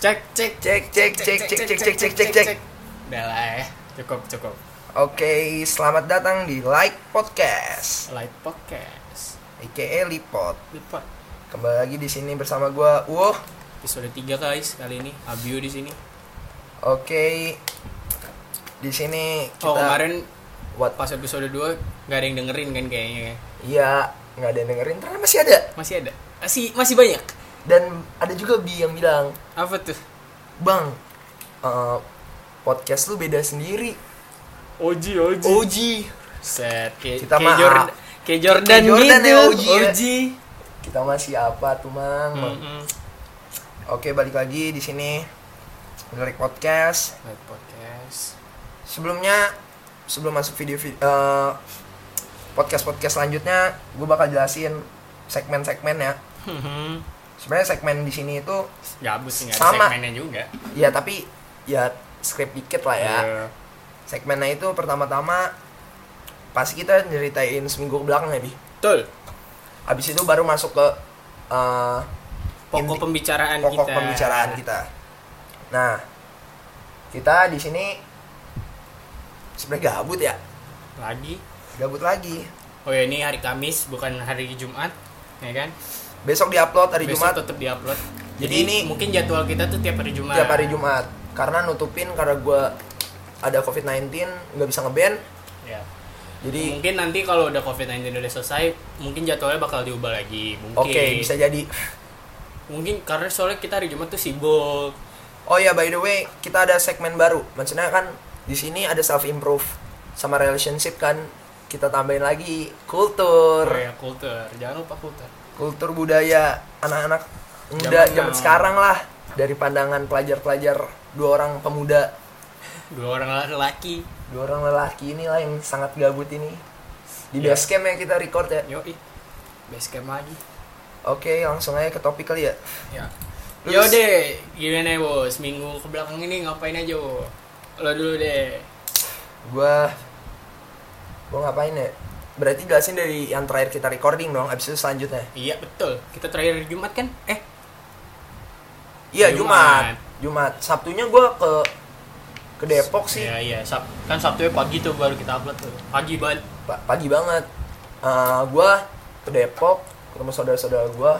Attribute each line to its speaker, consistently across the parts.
Speaker 1: cek cek
Speaker 2: Cek cek cek cek cek cek cek cek cek.
Speaker 1: udah lah ya cukup cukup
Speaker 2: Oke, selamat datang di Like Podcast,
Speaker 1: like podcast
Speaker 2: aka Lipot.
Speaker 1: lipat
Speaker 2: Kembali lagi di sini bersama gua Uwoh.
Speaker 1: episode 3 guys kali ini Abio di sini
Speaker 2: Oke. Di sini kita
Speaker 1: oh kemarin
Speaker 2: buat
Speaker 1: pas episode 2 nggak ada yang dengerin kan kayaknya ya.
Speaker 2: iya, nggak ada yang dengerin ternyata masih ada.
Speaker 1: masih ada masih masih banyak
Speaker 2: Dan ada juga Bi yang bilang,
Speaker 1: apa tuh
Speaker 2: "Bang, eh, podcast lu beda sendiri."
Speaker 1: Oji Oji
Speaker 2: Oji,
Speaker 1: set kayak
Speaker 2: Kita
Speaker 1: kayak
Speaker 2: mah-
Speaker 1: Jordan kayak Jordan,
Speaker 2: kayak Jordan
Speaker 1: gitu
Speaker 2: ya, Oji ya. Hmm.
Speaker 1: Oji.
Speaker 2: kita masih apa tuh, Mang?
Speaker 1: Mm-mm.
Speaker 2: Oke, balik lagi di sini Like Podcast.
Speaker 1: like podcast
Speaker 2: sebelumnya sebelum masuk video, podcast podcast selanjutnya gue bakal jelasin segmen segmen ya
Speaker 1: Mhm.
Speaker 2: sebenarnya segmen di sini itu
Speaker 1: gabut sih nggak ada
Speaker 2: Sama.
Speaker 1: segmennya juga
Speaker 2: ya tapi ya script dikit lah ya
Speaker 1: Iya.
Speaker 2: segmennya itu pertama-tama pasti kita nyeritain seminggu ke belakang ya bi
Speaker 1: betul
Speaker 2: abis itu baru masuk ke eh,
Speaker 1: pokok
Speaker 2: inti-
Speaker 1: pembicaraan
Speaker 2: pokok
Speaker 1: kita
Speaker 2: pembicaraan kita nah kita di sini sebenarnya gabut ya
Speaker 1: lagi
Speaker 2: gabut lagi
Speaker 1: oh ya ini hari Kamis bukan hari Jumat ya kan
Speaker 2: besok diupload hari
Speaker 1: besok
Speaker 2: Jumat
Speaker 1: tetap diupload
Speaker 2: Jadi
Speaker 1: jadi, ini
Speaker 2: ini-
Speaker 1: mungkin jadwal kita tuh tiap hari Jumat
Speaker 2: tiap hari Jumat karena nutupin karena gue ada COVID-19 nggak bisa ngeband
Speaker 1: ya.
Speaker 2: jadi
Speaker 1: mungkin nanti kalau udah COVID-19 udah selesai mungkin jadwalnya bakal diubah lagi mungkin
Speaker 2: oke bisa jadi
Speaker 1: mungkin karena soalnya kita hari Jumat tuh sibuk
Speaker 2: oh ya by the way kita ada segmen baru maksudnya kan di sini ada self improve sama relationship kan kita tambahin lagi kultur
Speaker 1: Korea kultur Oh ya, jangan lupa kultur
Speaker 2: kultur budaya anak-anak muda
Speaker 1: Zaman
Speaker 2: zaman
Speaker 1: now.
Speaker 2: sekarang lah dari pandangan pelajar-pelajar dua orang pemuda
Speaker 1: dua orang lelaki
Speaker 2: dua orang lelaki inilah yang sangat gabut ini di
Speaker 1: Ya.
Speaker 2: basecamp ya kita record ya
Speaker 1: yoi basecamp lagi
Speaker 2: oke langsung aja ke topik kali ya
Speaker 1: ya
Speaker 2: Terus-
Speaker 1: yo deh gimana bos minggu ke belakang ini ngapain aja Bo? lo dulu deh
Speaker 2: gua gua ngapain ya berarti jelasin dari yang terakhir kita recording dong abis itu selanjutnya
Speaker 1: Iya betul. Kita terakhir hari Jumat kan? Eh,
Speaker 2: iya
Speaker 1: Jumat.
Speaker 2: Jumat Jumat Sabtunya gua ke ke Depok sih
Speaker 1: Iya iya. Sab kan Sabtunya pagi tuh baru kita upload tuh. Pagi banget.
Speaker 2: Pa- pagi banget Eh, gua ke Depok ketemu saudara-saudara gua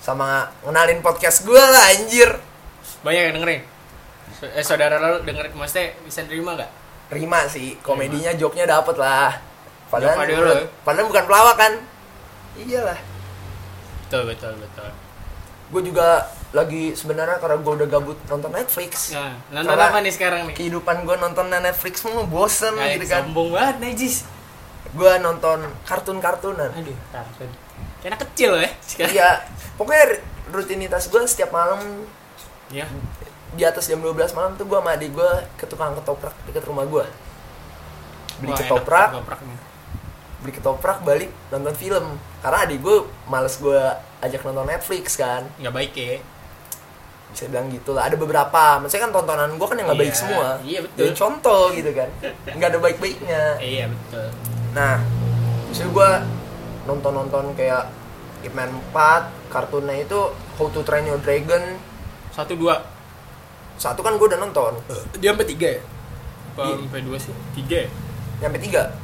Speaker 2: sama ngenalin podcast gua lah anjir
Speaker 1: Banyak yang dengerin. So- Eh saudara lo dengerin maksudnya bisa terima nggak?
Speaker 2: Rima sih komedinya joknya dapet lah padahal
Speaker 1: Jok padahal ya.
Speaker 2: padahal bukan pelawak kan iyalah
Speaker 1: Betul betul betul.
Speaker 2: gue juga lagi sebenarnya karena gua udah gabut nonton Netflix
Speaker 1: Nah, nonton
Speaker 2: Salah.
Speaker 1: apa nih sekarang nih?
Speaker 2: kehidupan gue nonton Netflix mulu bosen
Speaker 1: Kayak
Speaker 2: gitu Iya, kan
Speaker 1: sombong banget Najis.
Speaker 2: gue nonton kartun-kartunan
Speaker 1: Aduh, kartun. Karena kecil ya sekarang.
Speaker 2: iya pokoknya r- rutinitas gue setiap malam
Speaker 1: Iya.
Speaker 2: di atas jam 12 malam tuh gue sama adik gue ke tukang ketoprak dekat rumah gue beli
Speaker 1: Wah, enak
Speaker 2: ketoprak
Speaker 1: ketopraknya.
Speaker 2: beli ketoprak balik nonton film karena adik gue males gue ajak nonton Netflix kan
Speaker 1: Nggak baik ya.
Speaker 2: bisa bilang gitu lah ada beberapa maksudnya kan tontonan gue kan yang nggak baik
Speaker 1: Iya,
Speaker 2: semua
Speaker 1: iya, betul.
Speaker 2: Jadi contoh gitu kan nggak ada baik-baiknya
Speaker 1: Eh, iya betul.
Speaker 2: Nah, justru gue nonton-nonton kayak Ip Man 4, kartunnya itu How to Train Your Dragon.
Speaker 1: Satu dua.
Speaker 2: Satu kan gue udah nonton,
Speaker 1: Dia sampai tiga ya?
Speaker 2: Iya.
Speaker 1: Apa sampai dua sih? Tiga ya?
Speaker 2: nyampe tiga.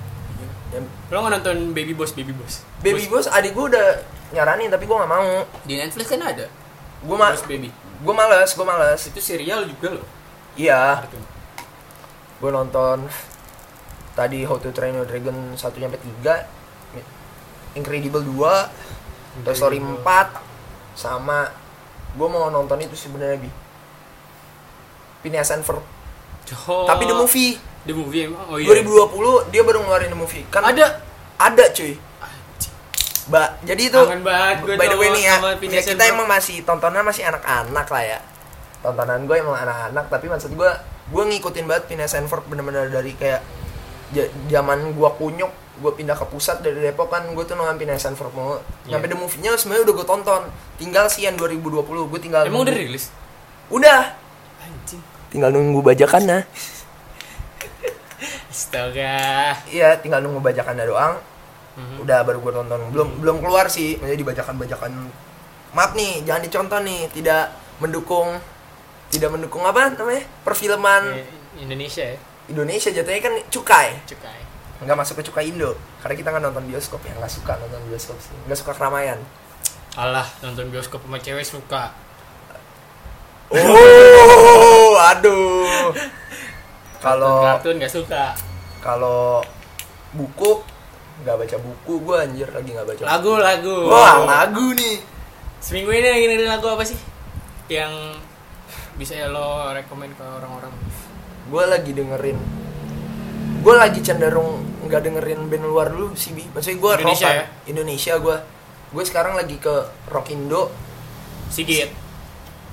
Speaker 2: Nyam-
Speaker 1: Lo nggak nonton Baby Boss Baby Boss?
Speaker 2: Baby Boss adik gue udah nyaranin tapi gue nggak mau.
Speaker 1: Di Netflix kan ada.
Speaker 2: Gue ma
Speaker 1: Boss Baby.
Speaker 2: gue males, gue males.
Speaker 1: Itu serial juga loh.
Speaker 2: Iya,
Speaker 1: Kartun.
Speaker 2: gue nonton tadi How to Train Your Dragon 1 nyampe 3, Incredible 2, Toy Story
Speaker 1: Iya.
Speaker 2: 4 sama gue mau nonton itu sebenarnya bi. Phineas and Ferb
Speaker 1: Oh,
Speaker 2: Tapi the movie
Speaker 1: The movie emang. Oh iya.
Speaker 2: 2020 dia baru ngeluarin the movie. Kan
Speaker 1: Ada.
Speaker 2: ada cuy. Mbak, jadi itu
Speaker 1: Kangen banget gue
Speaker 2: by the way
Speaker 1: sama-
Speaker 2: nih ya,
Speaker 1: sama
Speaker 2: ya
Speaker 1: Phineas and
Speaker 2: kita
Speaker 1: Ferb.
Speaker 2: emang masih tontonan masih anak-anak lah ya. Tontonan gue emang anak-anak tapi maksud gue gue ngikutin banget Phineas and Ferb bener-bener dari kayak ja- zaman gue kunyuk gue pindah ke pusat dari Depok kan gue tuh nonton Phineas and Ferb mulu.
Speaker 1: Iya.
Speaker 2: Nyampe the movie-nya sebenarnya udah gue tonton. Tinggal sih yang 2020 gue tinggal
Speaker 1: Emang udah
Speaker 2: nunggu-
Speaker 1: rilis?
Speaker 2: Udah.
Speaker 1: Anjing.
Speaker 2: Tinggal nunggu bajakannya.
Speaker 1: Astaga.
Speaker 2: Iya, tinggal nunggu bajakannya doang.
Speaker 1: Mhm.
Speaker 2: udah baru gue tonton belum belum keluar sih maksudnya dibacakan bacakan maaf nih jangan dicontoh nih tidak mendukung tidak mendukung apa namanya perfilman
Speaker 1: Eh, Indonesia ya
Speaker 2: Indonesia jatuhnya kan cukai
Speaker 1: cukai
Speaker 2: nggak masuk ke cukai Indo karena kita kan nonton bioskop ya nggak suka nonton bioskop sih nggak suka keramaian
Speaker 1: alah nonton bioskop sama cewek suka
Speaker 2: oh aduh kalau
Speaker 1: kartun nggak suka
Speaker 2: kalau buku nggak baca buku gue anjir lagi nggak baca buku.
Speaker 1: lagu lagu
Speaker 2: wah lagu nih
Speaker 1: seminggu ini lagi dengerin lagu apa sih yang bisa lo rekomend ke orang-orang
Speaker 2: gue lagi dengerin gue lagi cenderung nggak dengerin band luar dulu sih bi maksudnya gue
Speaker 1: Indonesia ya?
Speaker 2: Indonesia gue gue sekarang lagi ke rock Indo
Speaker 1: Sigit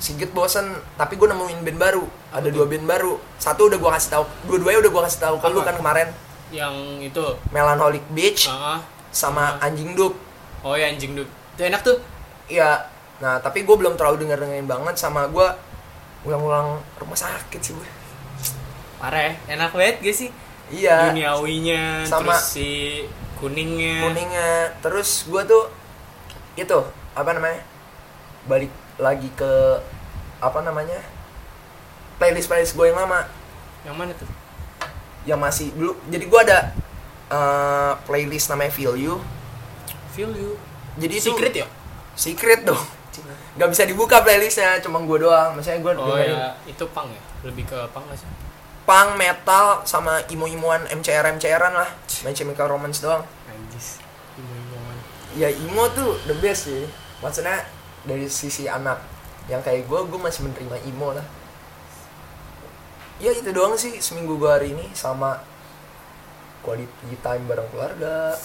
Speaker 2: Sigit bosen tapi gue nemuin band baru ada dua band baru satu udah gue kasih tahu dua-duanya udah gue kasih tahu ke lu
Speaker 1: Apa?
Speaker 2: kan kemarin
Speaker 1: yang itu
Speaker 2: Melancholic Beach
Speaker 1: Ah, ah.
Speaker 2: sama Anjing Dup
Speaker 1: oh ya anjing dude itu enak tuh
Speaker 2: Iya. Nah, tapi gue belum terlalu denger dengerin banget sama gue ulang-ulang rumah sakit sih gue.
Speaker 1: parah ya enak banget gak sih
Speaker 2: Iya.
Speaker 1: duniawinya
Speaker 2: Sama.
Speaker 1: terus si kuningnya
Speaker 2: Kuningnya. Terus gue tuh itu apa namanya? Balik lagi ke apa namanya? Playlist playlist gue yang lama
Speaker 1: yang mana tuh
Speaker 2: yang masih dulu. Jadi gue ada eh, playlist namanya Feel You.
Speaker 1: feel you
Speaker 2: Jadi itu
Speaker 1: secret ya
Speaker 2: Secret dong. Gak bisa dibuka playlistnya, cuma gue doang. Maksudnya gue
Speaker 1: oh ya itu pang ya lebih ke pang gak sih
Speaker 2: punk metal sama imo-imoan MCR MCRan lah main Chemical Romance doang
Speaker 1: anjis Ibu-ibuan.
Speaker 2: ya imo tuh the best sih maksudnya dari sisi anak yang kayak gue gue masih menerima imo lah ya itu doang sih seminggu gue hari ini sama quality time bareng keluarga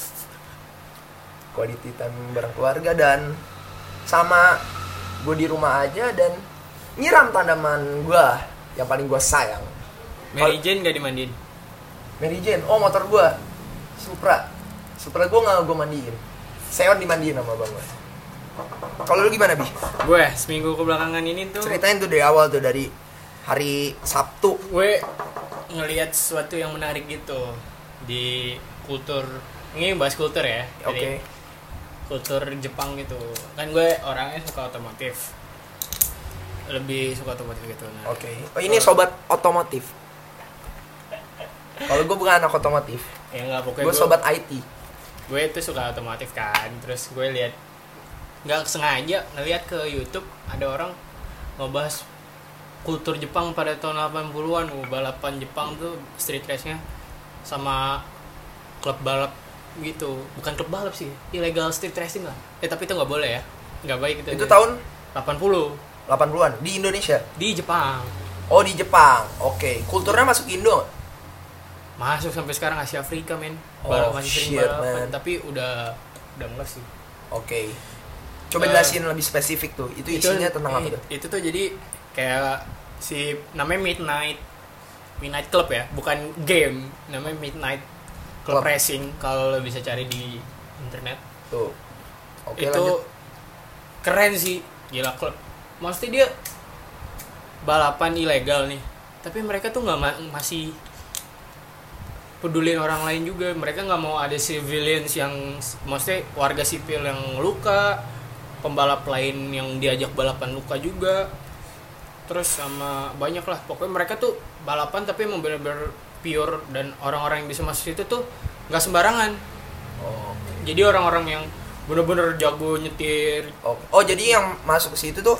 Speaker 2: quality time bareng keluarga dan sama gue di rumah aja dan nyiram tanaman gue yang paling gue sayang
Speaker 1: Mary Jane gak dimandiin
Speaker 2: Mary Jane, oh motor gua Supra Supra gua nggak gua mandiin Seon dimandiin sama bang gua Kalau lu gimana Bi?
Speaker 1: gue seminggu kebelakangan ini tuh
Speaker 2: Ceritain tuh dari awal tuh dari hari Sabtu
Speaker 1: gue ngelihat sesuatu yang menarik gitu di kultur ini bahas kultur ya
Speaker 2: Oke
Speaker 1: Jadi, kultur Jepang gitu kan gue orangnya suka otomotif lebih suka otomotif gitu nah
Speaker 2: Oke Oh ini sobat otomotif Kalau gua bukan anak otomotif
Speaker 1: ya nggak pokoknya
Speaker 2: Gua
Speaker 1: gue-
Speaker 2: sobat IT
Speaker 1: gue itu suka otomotif kan terus gue lihat nggak sengaja ngeliat ke YouTube ada orang ngebahas kultur Jepang pada tahun 80-an uh, balapan Jepang tuh street race-nya sama klub balap gitu bukan klub balap sih illegal street racing lah eh tapi itu nggak boleh ya nggak baik itu
Speaker 2: Itu tahun
Speaker 1: 80
Speaker 2: 80-an di Indonesia
Speaker 1: di Jepang
Speaker 2: Oh di Jepang Oke Kulturnya masuk Indo nggak?
Speaker 1: masuk sampai sekarang Asia Afrika men
Speaker 2: Oh,
Speaker 1: balap masih sering
Speaker 2: shit,
Speaker 1: balapan
Speaker 2: man.
Speaker 1: tapi udah udah enggak sih
Speaker 2: Oke Coba
Speaker 1: Eh,
Speaker 2: jelasin lebih spesifik tuh Itu isinya tentang apa
Speaker 1: itu, hmm,
Speaker 2: tuh?
Speaker 1: itu tuh jadi kayak si namanya midnight midnight club ya bukan game namanya midnight club,
Speaker 2: Club.
Speaker 1: racing kalau lo bisa cari di internet
Speaker 2: Tuh Oke
Speaker 1: itu
Speaker 2: lanjut
Speaker 1: keren sih gila klub maksudnya dia balapan ilegal nih tapi mereka tuh nggak ma- masih pedulin orang lain juga mereka nggak mau ada civilians yang maksudnya warga sipil yang luka pembalap lain yang diajak balapan luka juga terus sama banyak lah pokoknya mereka tuh balapan tapi emang bener-bener pure dan orang-orang yang bisa masuk situ tuh nggak sembarangan
Speaker 2: Oh, oke.
Speaker 1: jadi orang-orang yang bener-bener jago nyetir
Speaker 2: Oh, oh jadi yang masuk ke situ tuh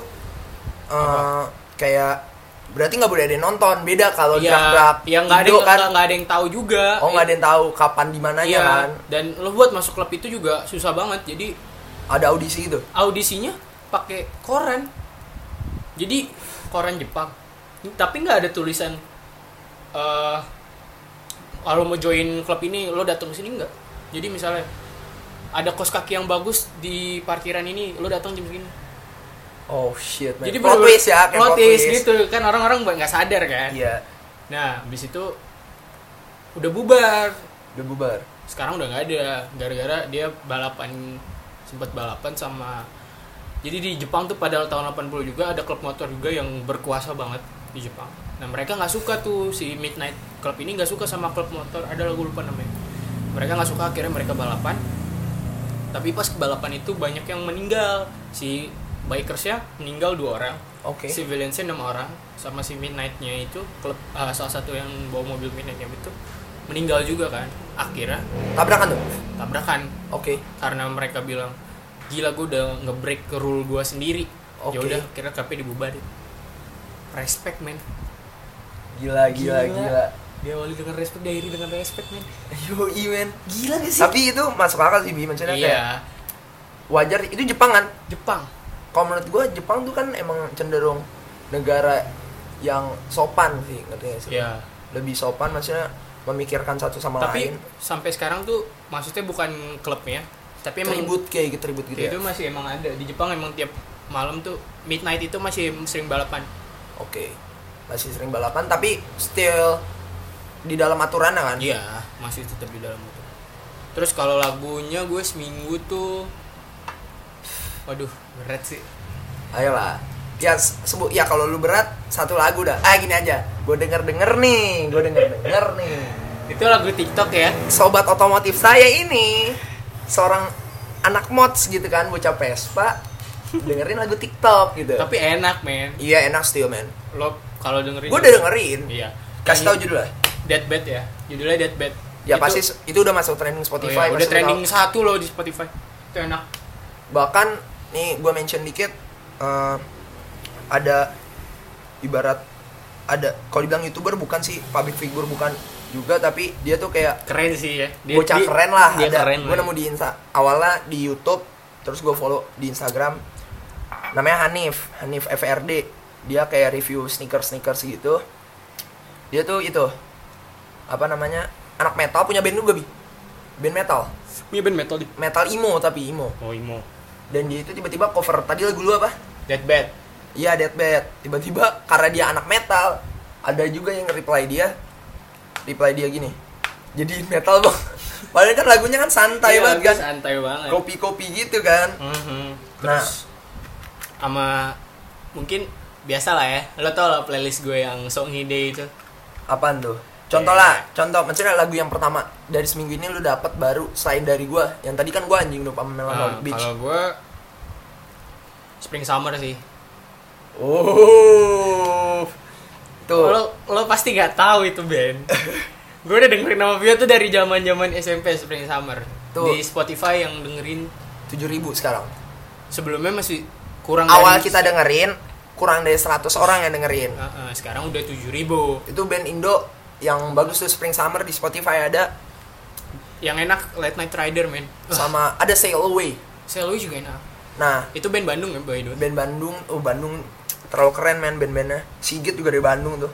Speaker 2: eh, kayak berarti nggak boleh ada yang nonton. Beda kalau drag-drag
Speaker 1: ya yang nggak ada
Speaker 2: Indo
Speaker 1: yang-
Speaker 2: kan.
Speaker 1: nggak- nggak ada yang tahu juga
Speaker 2: Oh nggak ada yang tahu kapan di mananya
Speaker 1: Iya,
Speaker 2: kan.
Speaker 1: dan lo buat masuk klub itu juga susah banget jadi
Speaker 2: Ada audisi gitu. itu.
Speaker 1: audisinya pakai koran jadi koran Jepang tapi nggak ada tulisan eh kalau mau join klub ini lo datang ke sini nggak jadi misalnya ada kos kaki yang bagus di parkiran ini lo datang jam segini
Speaker 2: Oh shit. Man.
Speaker 1: jadi
Speaker 2: plot
Speaker 1: bener-bener
Speaker 2: twist ya, kayak
Speaker 1: plot twist gitu kan orang-orang nggak sadar kan
Speaker 2: Iya,
Speaker 1: Nah, habis itu udah bubar.
Speaker 2: udah bubar.
Speaker 1: Sekarang udah nggak ada gara-gara dia balapan sempat balapan sama jadi di Jepang tuh pada tahun 80 juga ada klub motor juga yang berkuasa banget di Jepang. Nah mereka nggak suka tuh si Midnight Club ini nggak suka sama klub motor ada lagu lupa namanya. Mereka nggak suka akhirnya mereka balapan. Tapi pas balapan itu banyak yang meninggal si bikersnya meninggal dua orang
Speaker 2: Oke.
Speaker 1: si Valencia enam orang sama si Midnight-nya itu klub eh, salah satu yang bawa mobil Midnight-nya itu meninggal juga kan akhirnya
Speaker 2: Tabrakan tuh.
Speaker 1: tabrakan
Speaker 2: Oke.
Speaker 1: karena mereka bilang gila gue udah ngebreak ke rule gue sendiri
Speaker 2: Oke.
Speaker 1: ya udah kira KP dibubarin respect men
Speaker 2: Gila
Speaker 1: Gila.
Speaker 2: gila gila.
Speaker 1: diawali dengan respect diakhiri dengan respect men
Speaker 2: Yo men.
Speaker 1: gila gak sih
Speaker 2: Tapi itu masuk akal sih Bi, maksudnya kayak
Speaker 1: iya
Speaker 2: wajar itu Jepang kan.
Speaker 1: Jepang
Speaker 2: Kalau menurut gue Jepang tuh kan emang cenderung negara yang sopan sih ngerti gak sih?
Speaker 1: iya
Speaker 2: Lebih sopan maksudnya memikirkan satu sama
Speaker 1: tapi
Speaker 2: lain.
Speaker 1: sampai sekarang tuh maksudnya bukan klubnya tapi emang
Speaker 2: Tribut kayak gitu tribut gitu.
Speaker 1: itu
Speaker 2: ya.
Speaker 1: masih emang ada di Jepang emang tiap malam tuh midnight itu masih sering balapan
Speaker 2: Oke. Masih sering balapan tapi still di dalam aturan kan?
Speaker 1: iya masih tetap di dalam itu terus kalau lagunya gue seminggu tuh waduh berat sih
Speaker 2: Ayolah. Ya s- sebut ya kalau lu berat satu lagu dah. Ah gini aja. Gue denger denger nih. Gue denger denger nih.
Speaker 1: itu lagu TikTok ya
Speaker 2: Sobat otomotif saya ini seorang anak mods gitu kan, bocah Vespa dengerin lagu TikTok gitu.
Speaker 1: tapi enak men
Speaker 2: iya enak still man.
Speaker 1: lo kalau dengerin
Speaker 2: Gue udah dengerin.
Speaker 1: iya
Speaker 2: Kasih tahu judulnya.
Speaker 1: Deathbed ya judulnya Deathbed Itu-
Speaker 2: Ya pasti s- itu udah masuk trending
Speaker 1: oh iya,
Speaker 2: Spotify.
Speaker 1: udah
Speaker 2: masuk
Speaker 1: trending
Speaker 2: viral.
Speaker 1: satu loh di Spotify itu enak
Speaker 2: Bahkan nih gue mention dikit eh, ada ibarat ada kalau dibilang youtuber bukan sih public figure bukan juga tapi dia tuh kayak
Speaker 1: keren sih ya Dia-
Speaker 2: bocah
Speaker 1: dia-
Speaker 2: keren lah
Speaker 1: dia
Speaker 2: ada
Speaker 1: keren
Speaker 2: gue
Speaker 1: lah. ya.
Speaker 2: nemu di insta awalnya di YouTube terus gue follow di Instagram namanya Hanif Hanif FRD dia kayak review sneakers sneakers gitu dia tuh itu apa namanya anak metal punya band juga bi band metal
Speaker 1: punya band metal di
Speaker 2: metal emo tapi emo
Speaker 1: oh imo
Speaker 2: dan dia itu tiba-tiba cover tadi lagu lu apa
Speaker 1: Deathbed
Speaker 2: Iya Deathbed Tiba-tiba karena dia anak metal Ada juga yang reply dia Reply dia gini Jadi metal bang Padahal kan lagunya kan santai
Speaker 1: Iya,
Speaker 2: banget
Speaker 1: lagu
Speaker 2: kan
Speaker 1: santai banget
Speaker 2: Kopi-kopi gitu kan
Speaker 1: Mhm.
Speaker 2: Nah.
Speaker 1: terus sama mungkin biasa lah ya lo tau lah playlist gue yang Song Hide itu
Speaker 2: Apaan tuh? Contoh
Speaker 1: Iya.
Speaker 2: lah Contoh maksudnya lagu yang pertama Dari seminggu ini lu dapat baru Selain dari gua Yang tadi kan gua anjing lupa
Speaker 1: Nah,
Speaker 2: Melancholic Beach
Speaker 1: kalau gue Spring Summer sih
Speaker 2: Oh Tuh
Speaker 1: lo lo pasti nggak tahu itu band gue udah dengerin nama dia tuh dari zaman zaman SMP Spring Summer
Speaker 2: Tuh.
Speaker 1: di Spotify yang dengerin
Speaker 2: 7000 sekarang
Speaker 1: sebelumnya masih kurang
Speaker 2: Awal
Speaker 1: dari-
Speaker 2: kita dengerin Kurang dari 100 orang yang dengerin
Speaker 1: Eh, eh, sekarang udah tujuh ribu
Speaker 2: itu band Indo yang bagus tuh Spring Summer di Spotify ada
Speaker 1: yang enak Late Night Rider men Wah,
Speaker 2: sama ada Sail Away.
Speaker 1: Seloi juga enak
Speaker 2: Nah,
Speaker 1: itu band Bandung ya by the way
Speaker 2: band Bandung, oh Bandung terlalu keren main band-bandnya. Sigit juga dari Bandung tuh.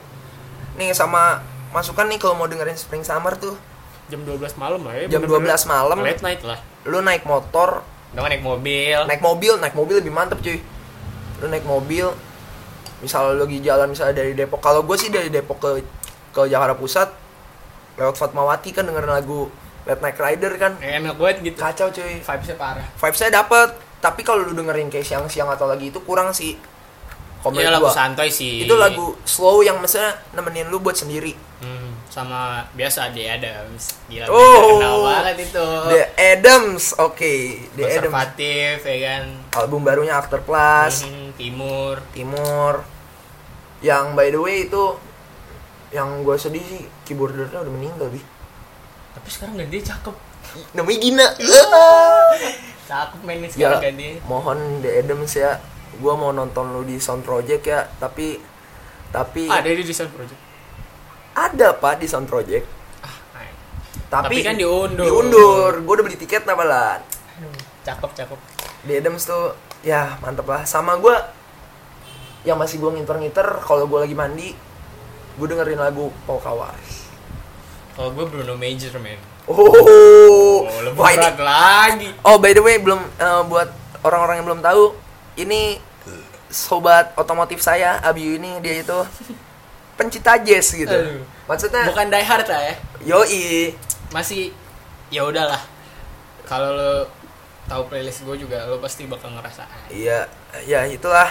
Speaker 2: Nih sama masukan nih kalau mau dengerin Spring Summer tuh
Speaker 1: jam 12 malam lah ya
Speaker 2: jam 12
Speaker 1: bener-bener.
Speaker 2: malam
Speaker 1: late night lah
Speaker 2: lu naik motor,
Speaker 1: dengan naik mobil
Speaker 2: naik mobil, naik mobil lebih mantep cuy. Lu naik mobil misal lu lagi jalan misalnya dari Depok. Kalau gue sih dari Depok ke ke Jakarta Pusat lewat Fatmawati kan dengerin lagu Late Night Rider kan.
Speaker 1: Eh, enak banget gitu
Speaker 2: Kacau cuy.
Speaker 1: vibesnya parah
Speaker 2: vibes saya dapet tapi kalau lu dengerin kayak siang-siang atau lagi itu kurang sih komen
Speaker 1: Iya lagu
Speaker 2: gua
Speaker 1: santai sih
Speaker 2: itu lagu slow yang maksudnya nemenin lu buat sendiri
Speaker 1: Hmm, sama biasa Ade Adams gila
Speaker 2: Oh.
Speaker 1: bener, kenal banget itu
Speaker 2: The Adams oke The Adams
Speaker 1: konservatif ya kan
Speaker 2: album barunya After Plus
Speaker 1: Mhm, timur
Speaker 2: Timur yang by the way itu yang gue sedih sih keyboardernya udah meninggal bi
Speaker 1: tapi sekarang ganti cakep
Speaker 2: namanya Gina
Speaker 1: cakep mainnya
Speaker 2: ya
Speaker 1: Iya. sekarang ganti
Speaker 2: mohon The Adams ya gue mau nonton lu di Sound Project ya tapi tapi
Speaker 1: Ah, ada di desain project
Speaker 2: ada pak di Sound Project
Speaker 1: ah ay.
Speaker 2: tapi,
Speaker 1: Tapi kan diundur.
Speaker 2: diundur gue udah beli tiket nah malah
Speaker 1: aduh cakep cakep
Speaker 2: di Adams tuh ya mantep lah sama gue yang masih gue ngiter-ngiter kalau gue lagi mandi gue dengerin lagu Paul Kawas
Speaker 1: kalau gue Bruno Major men
Speaker 2: oh,
Speaker 1: oh lebih
Speaker 2: wah, ini-
Speaker 1: berat lagi
Speaker 2: oh by the way belum eh, buat orang-orang yang belum tahu ini sobat otomotif saya Abiu ini dia itu pencipta jazz gitu
Speaker 1: Aduh.
Speaker 2: maksudnya
Speaker 1: bukan die hard lah ya
Speaker 2: yoi
Speaker 1: masih ya udahlah kalau lo tahu playlist gue juga lo pasti bakal "Ah, ngerasain
Speaker 2: iya ya itulah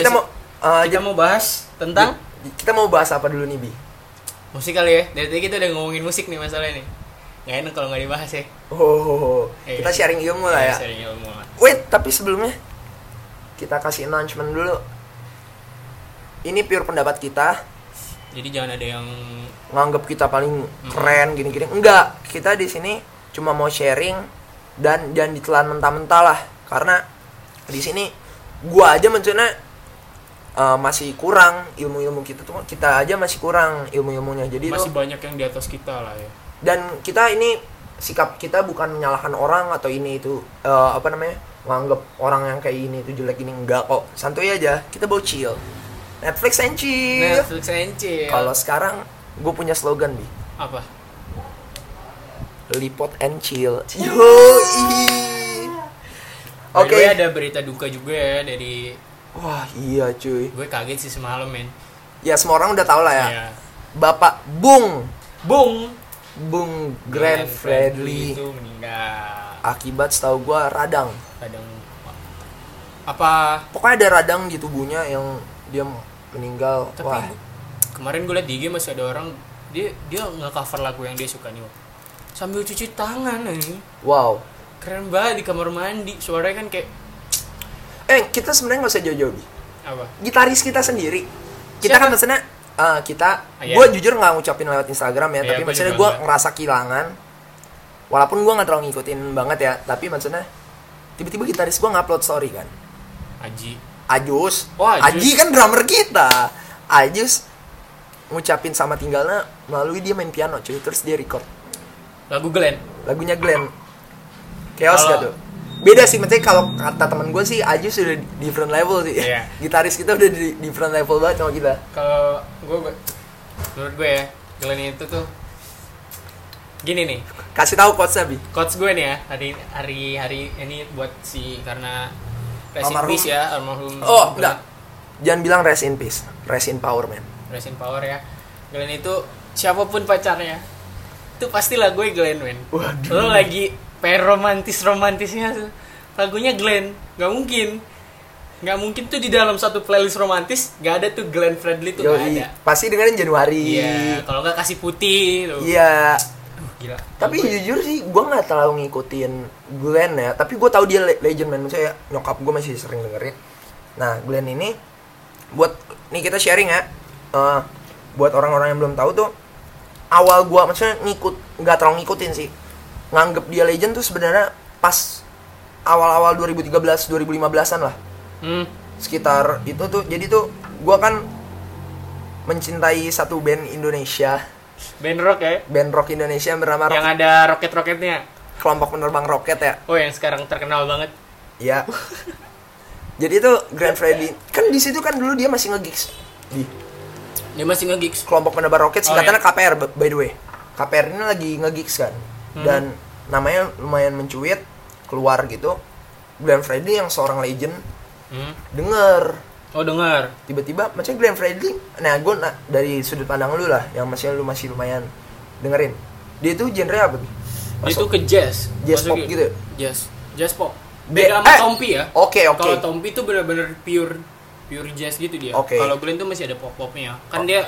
Speaker 1: Jazz-
Speaker 2: kita mau eh,
Speaker 1: kita mau bahas tentang
Speaker 2: Di- kita mau bahas apa dulu nih bi
Speaker 1: musik kali ya dari tadi kita udah ngomongin musik nih masalahnya nih nggak enak kalau nggak dibahas ya
Speaker 2: oh
Speaker 1: Iya.
Speaker 2: kita sharing ilmu lah ya
Speaker 1: Sharing ilmu lah.
Speaker 2: wait tapi sebelumnya kita kasih announcement dulu ini pure pendapat kita
Speaker 1: jadi jangan ada yang
Speaker 2: nganggap kita paling keren gini-gini enggak kita di sini cuma mau sharing dan jangan ditelan mentah-mentah lah karena di sini gua aja maksudnya eh, masih kurang ilmu-ilmu kita tuh kita aja masih kurang ilmu-ilmunya jadi tuh-
Speaker 1: masih banyak yang di atas kita lah ya
Speaker 2: dan kita ini sikap kita bukan menyalahkan orang atau ini itu eh, apa namanya menganggap orang yang kayak ini itu jelek ini enggak kok santuy aja kita bau chill Netflix and chill
Speaker 1: Netflix and chill.
Speaker 2: Iya. kalau sekarang gue punya slogan bi
Speaker 1: apa
Speaker 2: lipot and chill Yoi.
Speaker 1: By
Speaker 2: oke
Speaker 1: the way, ada berita duka juga ya dari
Speaker 2: wah iya cuy
Speaker 1: gue kaget sih semalam men
Speaker 2: ya semua orang udah tau lah ya
Speaker 1: Iya.
Speaker 2: bapak Bung
Speaker 1: Bung
Speaker 2: Bung
Speaker 1: Glenn
Speaker 2: Grand Fredly
Speaker 1: itu meninggal
Speaker 2: akibat setahu gue radang
Speaker 1: kadang apa
Speaker 2: pokoknya ada radang di tubuhnya yang dia meninggal
Speaker 1: tapi
Speaker 2: wah
Speaker 1: kemarin gue liat di IG masih ada orang dia dia nggak cover lagu yang dia suka nih Wak. sambil cuci tangan nih
Speaker 2: wow
Speaker 1: keren banget di kamar mandi suaranya kan kayak
Speaker 2: eh kita sebenarnya nggak usah jauh-jauh bi
Speaker 1: apa
Speaker 2: gitaris kita sendiri kita
Speaker 1: Siapa?
Speaker 2: kan maksudnya eh, kita
Speaker 1: Ah, iya.
Speaker 2: gue jujur nggak ngucapin lewat Instagram ya
Speaker 1: Iya,
Speaker 2: tapi
Speaker 1: gua
Speaker 2: maksudnya
Speaker 1: juga
Speaker 2: gue
Speaker 1: nggak.
Speaker 2: ngerasa kehilangan walaupun gue nggak terlalu ngikutin banget ya tapi maksudnya tiba-tiba gitaris gue ngupload story kan
Speaker 1: Aji
Speaker 2: Ajus.
Speaker 1: Oh, Ajus.
Speaker 2: Aji kan drummer kita. Ajus ngucapin sama tinggalnya melalui dia main piano cuy terus dia record
Speaker 1: lagu Glenn
Speaker 2: lagunya Glenn chaos
Speaker 1: Kalau-
Speaker 2: gak tuh beda sih maksudnya kalau kata teman gue sih Ajus sudah di different level sih
Speaker 1: Iya.
Speaker 2: gitaris kita udah di different level banget sama kita
Speaker 1: kalau gue menurut gue ya Glenn itu tuh gini nih
Speaker 2: kasih tahu quotesnya bi
Speaker 1: coach gue nih ya hari hari hari ini buat si karena rest in
Speaker 2: Almarhum.
Speaker 1: peace ya almarhum
Speaker 2: oh enggak jangan bilang rest in peace rest in power man
Speaker 1: rest in power ya Glenn itu siapapun pacarnya itu pastilah gue Glenn men lo
Speaker 2: Waduh.
Speaker 1: lagi peromantis romantisnya tuh, lagunya Glenn nggak mungkin nggak mungkin tuh di dalam satu playlist romantis nggak ada tuh Glenn Fredly tuh nggak
Speaker 2: Yoi.
Speaker 1: ada
Speaker 2: pasti dengerin Januari
Speaker 1: iya kalau nggak kasih putih tuh
Speaker 2: Iya.
Speaker 1: Aduh, gila
Speaker 2: tapi jujur sih gue nggak terlalu ngikutin Glenn ya tapi gue tahu dia le- legend man saya nyokap gue masih sering dengerin nah Glenn ini buat nih kita sharing ya Eh, buat orang-orang yang belum tahu tuh awal gue maksudnya ngikut nggak terlalu ngikutin sih nganggep dia legend tuh sebenarnya pas awal-awal 2013 2015an lah
Speaker 1: hmm,
Speaker 2: sekitar itu tuh jadi tuh gue kan mencintai satu band Indonesia
Speaker 1: band rock ya
Speaker 2: band rock Indonesia yang bernama
Speaker 1: yang ada roket roketnya
Speaker 2: kelompok penerbang roket ya
Speaker 1: oh yang sekarang terkenal banget
Speaker 2: ya jadi itu Grand Freddy kan di situ kan dulu dia masih ngegigs di
Speaker 1: dia masih nge-gigs
Speaker 2: kelompok penerbang roket
Speaker 1: Oh,
Speaker 2: singkatannya KPR b- by the way KPR ini lagi ngegigs kan
Speaker 1: Hmm.
Speaker 2: dan namanya lumayan mencuit keluar gitu Glenn Fredly yang seorang legend
Speaker 1: Hmm.
Speaker 2: denger
Speaker 1: Oh dengar.
Speaker 2: tiba-tiba macam Glenn Fredly nah gue dari sudut pandang lu lah yang masih lu masih lumayan dengerin dia itu genre apa Bi?
Speaker 1: Dia
Speaker 2: Masuk-
Speaker 1: tuh ke jazz.
Speaker 2: Jazz pop gitu?
Speaker 1: Jazz. Jazz pop.
Speaker 2: Be-
Speaker 1: Beda sama
Speaker 2: eh!
Speaker 1: Tompi ya.
Speaker 2: Oke, oke.
Speaker 1: Kalau Tompi tuh bener-bener pure pure jazz gitu dia.
Speaker 2: Oke.
Speaker 1: Kalau Glenn tuh masih ada pop-popnya. Kan dia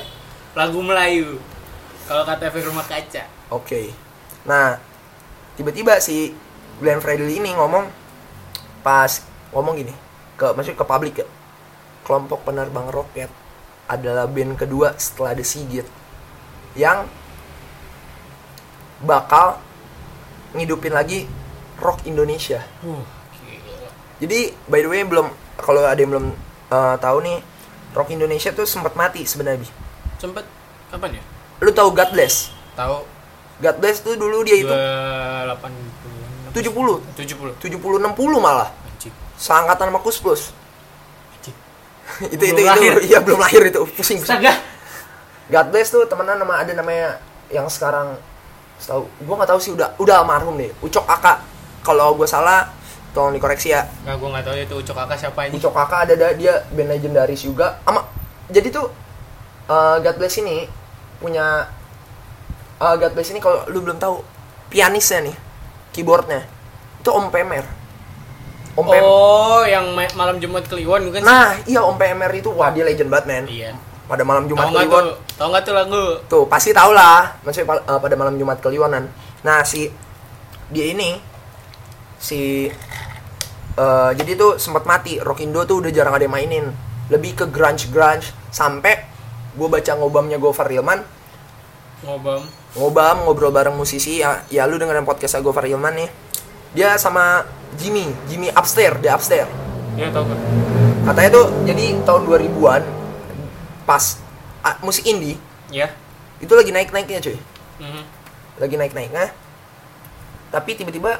Speaker 1: lagu Melayu. Kalau kata efek rumah kaca.
Speaker 2: Oke. Nah, tiba-tiba si Glenn Fredly ini ngomong pas ngomong gini ke maksudnya ke publik ya. Kelompok penerbang roket adalah band kedua setelah The Sigit yang bakal ngidupin lagi rock Indonesia.
Speaker 1: Huh, gila.
Speaker 2: Jadi by the way belum kalau ada yang belum eh, tahu nih rock Indonesia tuh sempat mati sebenarnya. Bi.
Speaker 1: Sempet kapan ya?
Speaker 2: Lu tahu God Bless?
Speaker 1: Tahu
Speaker 2: God Bless tuh dulu dia itu
Speaker 1: 280 70
Speaker 2: 70 70 60 malah.
Speaker 1: anjing.
Speaker 2: seangkatan sama Kus Plus.
Speaker 1: anjing.
Speaker 2: itu
Speaker 1: Belum
Speaker 2: itu
Speaker 1: lahir.
Speaker 2: itu iya belum lahir itu pusing pusing
Speaker 1: Astaga.
Speaker 2: God bless tuh temenan nama ada namanya yang sekarang tahu gua nggak tahu sih udah udah almarhum deh Ucok Aka kalau gua salah tolong dikoreksi ya
Speaker 1: Enggak gua enggak tahu itu Ucok Kakak siapa ini.
Speaker 2: Ucok Aka ada ada- dia band legendaris juga ama jadi tuh eh, God bless ini punya eh, God bless ini kalau lu belum tahu pianisnya nih keyboardnya itu Om Pemer Om Pemer
Speaker 1: Oh, yang ma- malam Jumat Kliwon bukan sih?
Speaker 2: Nah, iya Om PMR itu wah dia legend banget, men.
Speaker 1: Iya.
Speaker 2: Pada malam
Speaker 1: Tahu
Speaker 2: Jumat
Speaker 1: nggak
Speaker 2: Kliwon.
Speaker 1: tuh? Tahu nggak tuh lagu?
Speaker 2: Tuh, pasti tau lah. Maksudnya pal- eh, pada malam Jumat Kliwonan. Nah, si dia ini si eh, jadi tuh sempat mati. Rock Indo tuh udah jarang ada yang mainin. lebih ke grunge grunge sampai gue baca ngobamnya Gofar Hilman
Speaker 1: ngobam
Speaker 2: ngobam ngobrol bareng musisi ya, ya lu dengerin podcastnya Gofar Hilman nih dia sama Jimmy Jimmy upstairs dia upstairs
Speaker 1: ya tau kan
Speaker 2: katanya tuh jadi tahun 2000-an pas ah, musik indie
Speaker 1: ya
Speaker 2: itu lagi naik naiknya cuy
Speaker 1: Mhm.
Speaker 2: lagi naik naiknya tapi tiba-tiba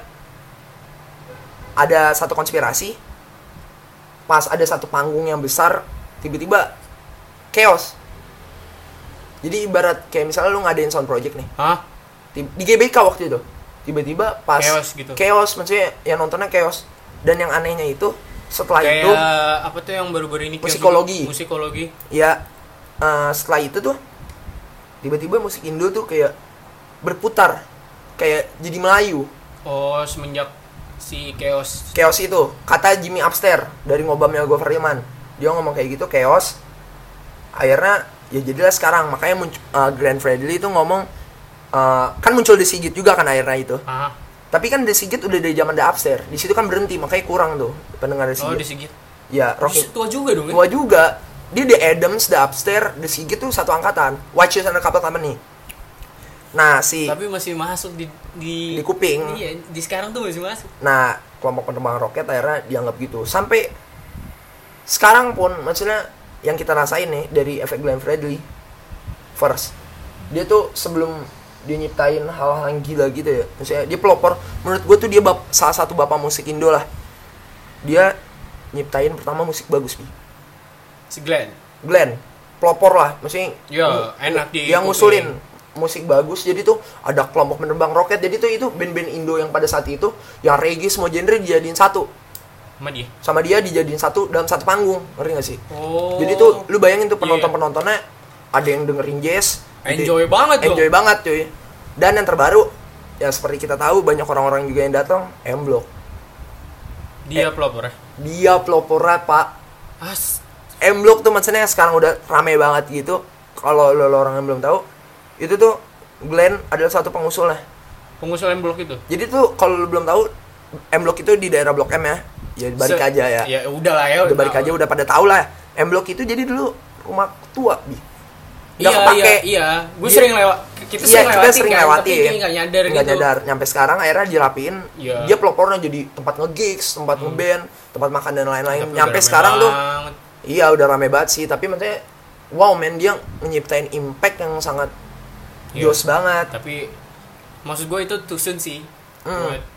Speaker 2: ada satu konspirasi pas ada satu panggung yang besar tiba-tiba chaos jadi ibarat kayak misalnya lu ngadain sound project nih
Speaker 1: hah
Speaker 2: Tib- di GBK waktu itu tiba-tiba pas
Speaker 1: Chaos gitu.
Speaker 2: chaos, maksudnya yang nontonnya chaos dan yang anehnya itu setelah
Speaker 1: kayak
Speaker 2: itu
Speaker 1: Ah, apa tuh yang baru-baru ini kayak
Speaker 2: Musikologi.
Speaker 1: gitu? musikologi
Speaker 2: ya eh, setelah itu tuh tiba-tiba musik Indo tuh kayak berputar kayak jadi Melayu
Speaker 1: oh semenjak si chaos
Speaker 2: chaos itu kata Jimmy Upstairs dari ngobamnya Gofar Hilman dia ngomong kayak gitu chaos akhirnya ya jadilah sekarang makanya muncul, Grand Fredly itu ngomong eh, kan muncul di Sigit juga kan akhirnya itu
Speaker 1: ah
Speaker 2: tapi kan The Sigit udah dari zaman The Upstairs di situ kan berhenti makanya kurang tuh pendengar The
Speaker 1: oh di
Speaker 2: Sigit
Speaker 1: Sigit
Speaker 2: ya Rocky
Speaker 1: Terus tua juga dong ya?
Speaker 2: tua juga dia The Adams The Upstairs The Sigit tuh satu angkatan Watch You Sana Couple Company nah si
Speaker 1: tapi masih masuk di di,
Speaker 2: Di kuping.
Speaker 1: iya di sekarang tuh masih masuk
Speaker 2: Nah, kelompok penerbang roket akhirnya dianggap gitu. Sampai sekarang pun maksudnya yang kita rasain nih dari efek Glenn Fredly first. Dia tuh sebelum dia nyiptain hal-hal yang gila gitu ya. Maksudnya dia pelopor. Menurut gue tuh dia bap- salah satu bapak musik Indo lah. Dia nyiptain pertama musik bagus nih.
Speaker 1: si Glenn
Speaker 2: Glenn pelopor lah maksudnya
Speaker 1: Ya,
Speaker 2: mu-
Speaker 1: enak di-
Speaker 2: yang ngusulin musik bagus jadi tuh ada kelompok penerbang roket jadi tuh itu band-band Indo yang pada saat itu yang reggae semua genre dijadiin satu
Speaker 1: sama dia
Speaker 2: sama dia dijadiin satu dalam satu panggung ngerti gak sih
Speaker 1: oh
Speaker 2: jadi tuh lu bayangin tuh
Speaker 1: Iya.
Speaker 2: penonton penontonnya ada yang dengerin jazz gitu.
Speaker 1: enjoy banget dong
Speaker 2: enjoy banget cuy dan yang terbaru ya seperti kita tahu banyak orang-orang juga yang datang M Block
Speaker 1: dia pelopor ya?
Speaker 2: dia pelopornya pak
Speaker 1: as
Speaker 2: M Block tuh maksudnya sekarang udah rame banget gitu. Kalau lo, lo orang yang belum tahu, itu tuh Glenn adalah satu pengusulnya.
Speaker 1: pengusulan blok itu
Speaker 2: Jadi tuh kalau lo belum tahu, M Block itu di daerah Blok M ya. Ya balik
Speaker 1: Se-
Speaker 2: aja ya.
Speaker 1: ya udah lah ya
Speaker 2: udah balik
Speaker 1: tahu.
Speaker 2: aja udah pada tahu lah. M Block itu jadi dulu rumah tua bi. Nggak
Speaker 1: iya
Speaker 2: kepake.
Speaker 1: iya iya gue
Speaker 2: Dia-
Speaker 1: sering lewat kita
Speaker 2: Iya,
Speaker 1: sering
Speaker 2: kita
Speaker 1: lewatin
Speaker 2: sering
Speaker 1: kan,
Speaker 2: lewatin.
Speaker 1: tapi kayak nggak nyadar
Speaker 2: Nggak
Speaker 1: gitu
Speaker 2: nyadar. Nyampe sekarang akhirnya dirapiin.
Speaker 1: Iya.
Speaker 2: Dia pelopornya jadi tempat nge-gigs, tempat nge-band, tempat makan dan lain-lain.
Speaker 1: Tapi
Speaker 2: Nyampe
Speaker 1: udah
Speaker 2: sekarang
Speaker 1: rame
Speaker 2: tuh
Speaker 1: banget.
Speaker 2: Iya udah rame banget sih, tapi maksudnya wow men dia menyiptain impact yang sangat
Speaker 1: Iya.
Speaker 2: jos banget
Speaker 1: tapi maksud gue itu too soon sih
Speaker 2: Hmm.
Speaker 1: Buat-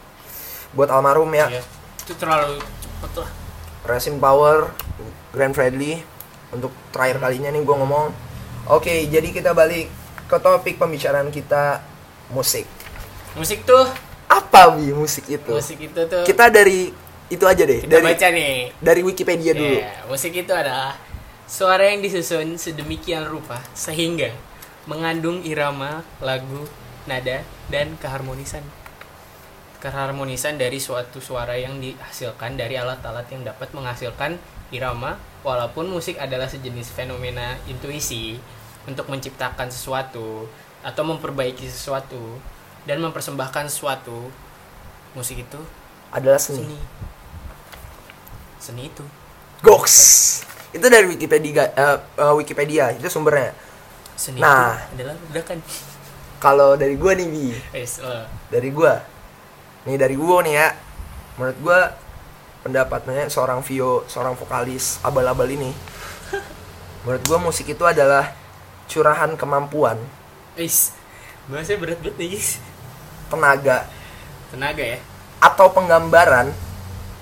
Speaker 2: buat almarhum ya.
Speaker 1: iya. itu terlalu cepet lah
Speaker 2: Racing Power, Grand Fredly untuk terakhir kalinya nih gue ngomong. Oke, jadi kita balik ke topik pembicaraan kita musik.
Speaker 1: musik tuh
Speaker 2: Apa bi musik itu?
Speaker 1: musik itu tuh
Speaker 2: Kita dari itu aja deh,
Speaker 1: kita
Speaker 2: dari
Speaker 1: baca nih
Speaker 2: dari Wikipedia dulu.
Speaker 1: Iya, musik itu adalah suara yang disusun sedemikian rupa sehingga mengandung irama, lagu, nada, dan keharmonisan. Keharmonisan dari suatu suara yang dihasilkan dari alat-alat yang dapat menghasilkan irama, walaupun musik adalah sejenis fenomena intuisi untuk menciptakan sesuatu atau memperbaiki sesuatu dan mempersembahkan sesuatu. Musik itu
Speaker 2: Adalah seni.
Speaker 1: seni. Seni itu
Speaker 2: Goks. Itu dari Wikipedia eh, eh, Wikipedia itu sumbernya.
Speaker 1: Seni
Speaker 2: Nah.
Speaker 1: itu adalah ledakan.
Speaker 2: Kalau dari gue nih bi,
Speaker 1: Wes, eh,
Speaker 2: dari gua nih dari gua nih ya menurut gua pendapatnya seorang Vio seorang vokalis abal-abal ini menurut gua musik itu adalah curahan kemampuan
Speaker 1: Wes. Bahasanya berat banget nih, guys.
Speaker 2: tenaga
Speaker 1: Tenaga ya.
Speaker 2: atau penggambaran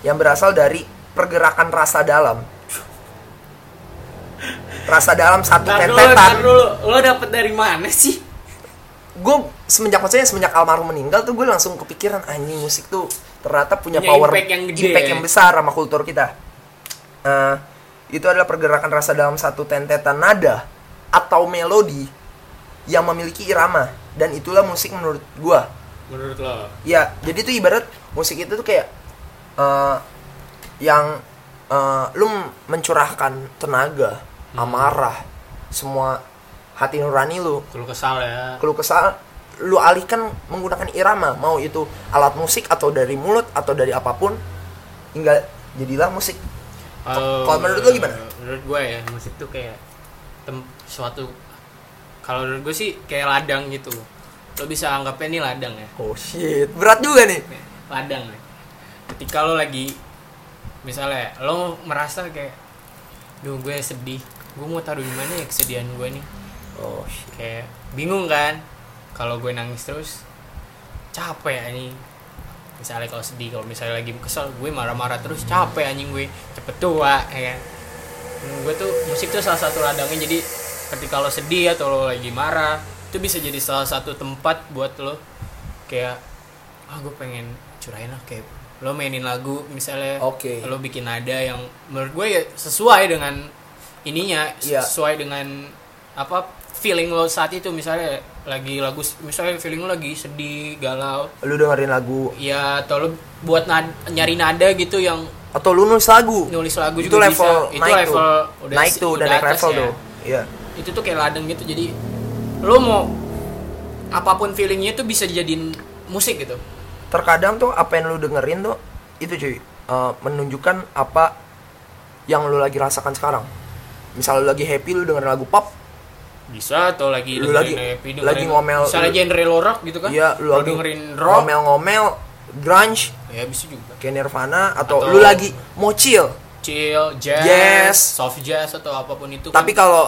Speaker 2: yang berasal dari pergerakan rasa dalam rasa dalam satu
Speaker 1: Ntar dulu, ntar
Speaker 2: tetetan
Speaker 1: dulu. Lo dapet dari mana sih?
Speaker 2: gue semenjak maksudnya semenjak almarhum meninggal tuh gue langsung kepikiran anjing musik tuh ternyata punya,
Speaker 1: Punya
Speaker 2: power
Speaker 1: impact yang gede.
Speaker 2: impact yang besar sama kultur kita Eh, itu adalah pergerakan rasa dalam satu tentetan nada atau melodi yang memiliki irama dan itulah musik menurut gue
Speaker 1: Menurut lo.
Speaker 2: ya jadi tuh ibarat musik itu tuh kayak eh, yang eh, lu mencurahkan tenaga
Speaker 1: Hmm.
Speaker 2: amarah semua hati nurani lu
Speaker 1: Kalau kesal ya.
Speaker 2: keluh kesal lu alihkan menggunakan irama mau itu alat musik atau dari mulut atau dari apapun hingga jadilah musik
Speaker 1: Eh,
Speaker 2: Kalau menurut lo gimana?
Speaker 1: Menurut gue ya musik tuh kayak tem- suatu kalau menurut gue sih kayak ladang gitu. Lo bisa anggapnya ini ladang ya.
Speaker 2: Oh shit, berat juga nih.
Speaker 1: Nih, Ladang nih. Ketika lo lagi misalnya lo merasa kayak duh gue sedih, gue mau taruh di mana ya kesedihan gue nih.
Speaker 2: Oh shit.
Speaker 1: Kayak bingung kan? Kalau gue nangis terus capek anjing misalnya kalau sedih kalau misalnya lagi kesel gue marah-marah terus capek anjing gue cepet tua ya kan Menurut gue tuh musik tuh salah satu ladangnya jadi ketika lo sedih atau lo lagi marah itu bisa jadi salah satu tempat buat lo kayak ah gue pengen curahin lah kayak lo mainin lagu misalnya
Speaker 2: Oke.
Speaker 1: lo bikin nada yang menurut gue ya sesuai dengan ininya
Speaker 2: Iya.
Speaker 1: sesuai dengan apa feeling lo saat itu misalnya lagi lagu misalnya feeling lo lagi sedih galau
Speaker 2: Lu dengerin lagu
Speaker 1: ya atau lo buat nad- nyari nada gitu yang
Speaker 2: atau lu nulis lagu.
Speaker 1: nulis lagu
Speaker 2: itu
Speaker 1: juga bisa
Speaker 2: level
Speaker 1: itu
Speaker 2: naik
Speaker 1: level
Speaker 2: tuh.
Speaker 1: udah
Speaker 2: naik
Speaker 1: si-
Speaker 2: tuh udah
Speaker 1: udah
Speaker 2: naik
Speaker 1: atas
Speaker 2: level
Speaker 1: ya.
Speaker 2: tuh. Iya.
Speaker 1: itu tuh kayak ladang gitu jadi lo mau apapun feelingnya tuh bisa dijadiin musik gitu
Speaker 2: Terkadang tuh apa yang lu dengerin tuh itu cuy eh, menunjukkan apa yang lu lagi rasakan sekarang. Misal lu lagi happy lu dengerin lagu pop,
Speaker 1: bisa atau lagi
Speaker 2: Lu
Speaker 1: dengerin
Speaker 2: lagi-
Speaker 1: happy, dengerin-
Speaker 2: lagi ngomel-
Speaker 1: misalnya
Speaker 2: lu-
Speaker 1: genre lo rock gitu kan
Speaker 2: iya lu
Speaker 1: Lo
Speaker 2: lagi
Speaker 1: dengerin rock
Speaker 2: ngomel-ngomel grunge
Speaker 1: ya bisa juga
Speaker 2: kayak Nirvana atau,
Speaker 1: Atau-
Speaker 2: lu lagi mau chill.
Speaker 1: chill jazz,
Speaker 2: Jazz.
Speaker 1: soft jazz atau apapun itu
Speaker 2: Tapi
Speaker 1: kan.
Speaker 2: kalau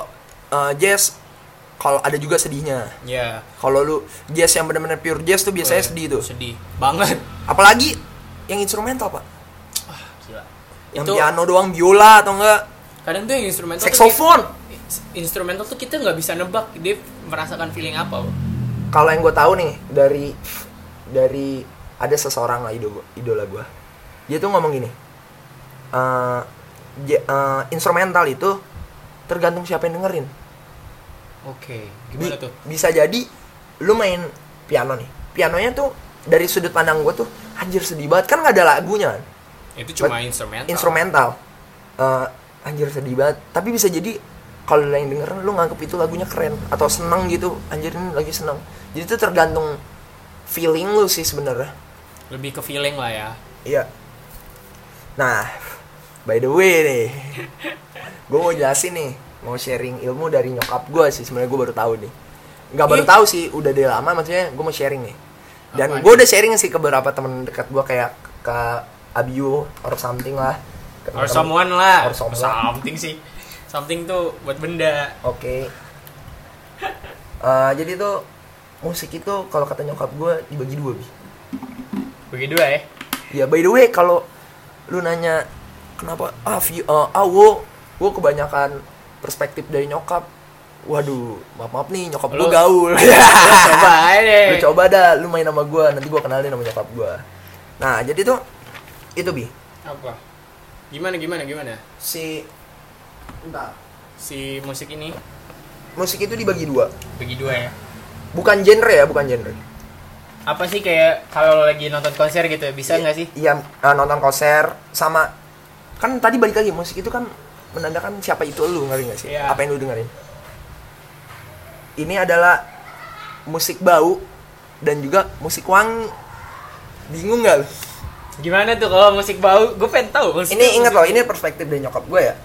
Speaker 2: eh, jazz kalau ada juga sedihnya.
Speaker 1: ya
Speaker 2: Kalau lu jazz yang benar-benar pure jazz tuh biasanya
Speaker 1: eh,
Speaker 2: sedih tuh.
Speaker 1: sedih banget
Speaker 2: Apalagi yang instrumental, Pak.
Speaker 1: ah gila
Speaker 2: Yang
Speaker 1: Itu-
Speaker 2: piano doang, biola atau enggak
Speaker 1: kadang tuh yang instrumental tuh
Speaker 2: saxophone.
Speaker 1: kayak- instrumental tuh kita nggak bisa nebak dia merasakan feeling apa Bo.
Speaker 2: Kalau yang gue tahu nih dari dari ada seseorang lah idola, idola gue. Dia tuh ngomong gini. eh, ja- eh, instrumental itu tergantung siapa yang dengerin.
Speaker 1: Oke,
Speaker 2: Bi-
Speaker 1: gimana tuh?
Speaker 2: Bisa jadi lu main piano nih. Pianonya tuh dari sudut pandang gue tuh anjir sedih banget kan nggak ada lagunya kan.
Speaker 1: Itu cuma
Speaker 2: But-
Speaker 1: instrumental.
Speaker 2: instrumental Eh, anjir sedih banget tapi bisa jadi kalau lu yang denger lu nganggep itu lagunya keren atau seneng gitu anjir ini lagi seneng jadi itu tergantung feeling lu sih sebenarnya
Speaker 1: Lebih ke feeling lah ya.
Speaker 2: iya nah by the way nih gue mau jelasin nih mau sharing ilmu dari nyokap gue sih sebenarnya gue baru tahu nih nggak baru
Speaker 1: Ih.
Speaker 2: tahu sih udah dari lama maksudnya gue mau sharing nih dan
Speaker 1: Iya. Apaan?
Speaker 2: gue udah sharing sih ke beberapa teman dekat gue kayak ke Abiu or something lah Ke
Speaker 1: Or
Speaker 2: teman-teman-
Speaker 1: someone lah.
Speaker 2: Or someone.
Speaker 1: Something sih. Something tuh buat benda.
Speaker 2: Oke. Eh, jadi tuh musik itu kalau kata nyokap gue dibagi dua bi.
Speaker 1: Bagi dua ya.
Speaker 2: Ya by the way kalau lu nanya kenapa ah view eh, ah wo wo kebanyakan perspektif dari nyokap. Waduh, maaf maaf nih nyokap
Speaker 1: Lu-
Speaker 2: gue gaul.
Speaker 1: Coba aja deh.
Speaker 2: lu coba dah, lu main sama gue nanti gue kenalin sama nyokap gue. Nah jadi tuh itu bi
Speaker 1: Apa? Gimana gimana gimana?
Speaker 2: si Bentar.
Speaker 1: Si musik ini
Speaker 2: musik itu dibagi dua
Speaker 1: bagi dua ya.
Speaker 2: bukan genre ya bukan genre
Speaker 1: Apa sih kayak kalau lo lagi nonton konser gitu ya, bisa nggak sih?
Speaker 2: Iya eh, nonton konser sama kan tadi balik lagi musik itu kan menandakan siapa itu lu ngerti gak sih?
Speaker 1: Iya.
Speaker 2: Apa yang lu dengerin? Ini adalah musik bau dan juga musik wangi. Bingung gak lu?
Speaker 1: Gimana tuh kalau musik bau? Gue pengen tahu. musik-
Speaker 2: Ini ingat loh, ini perspektif dari nyokap gue ya.
Speaker 1: Iya.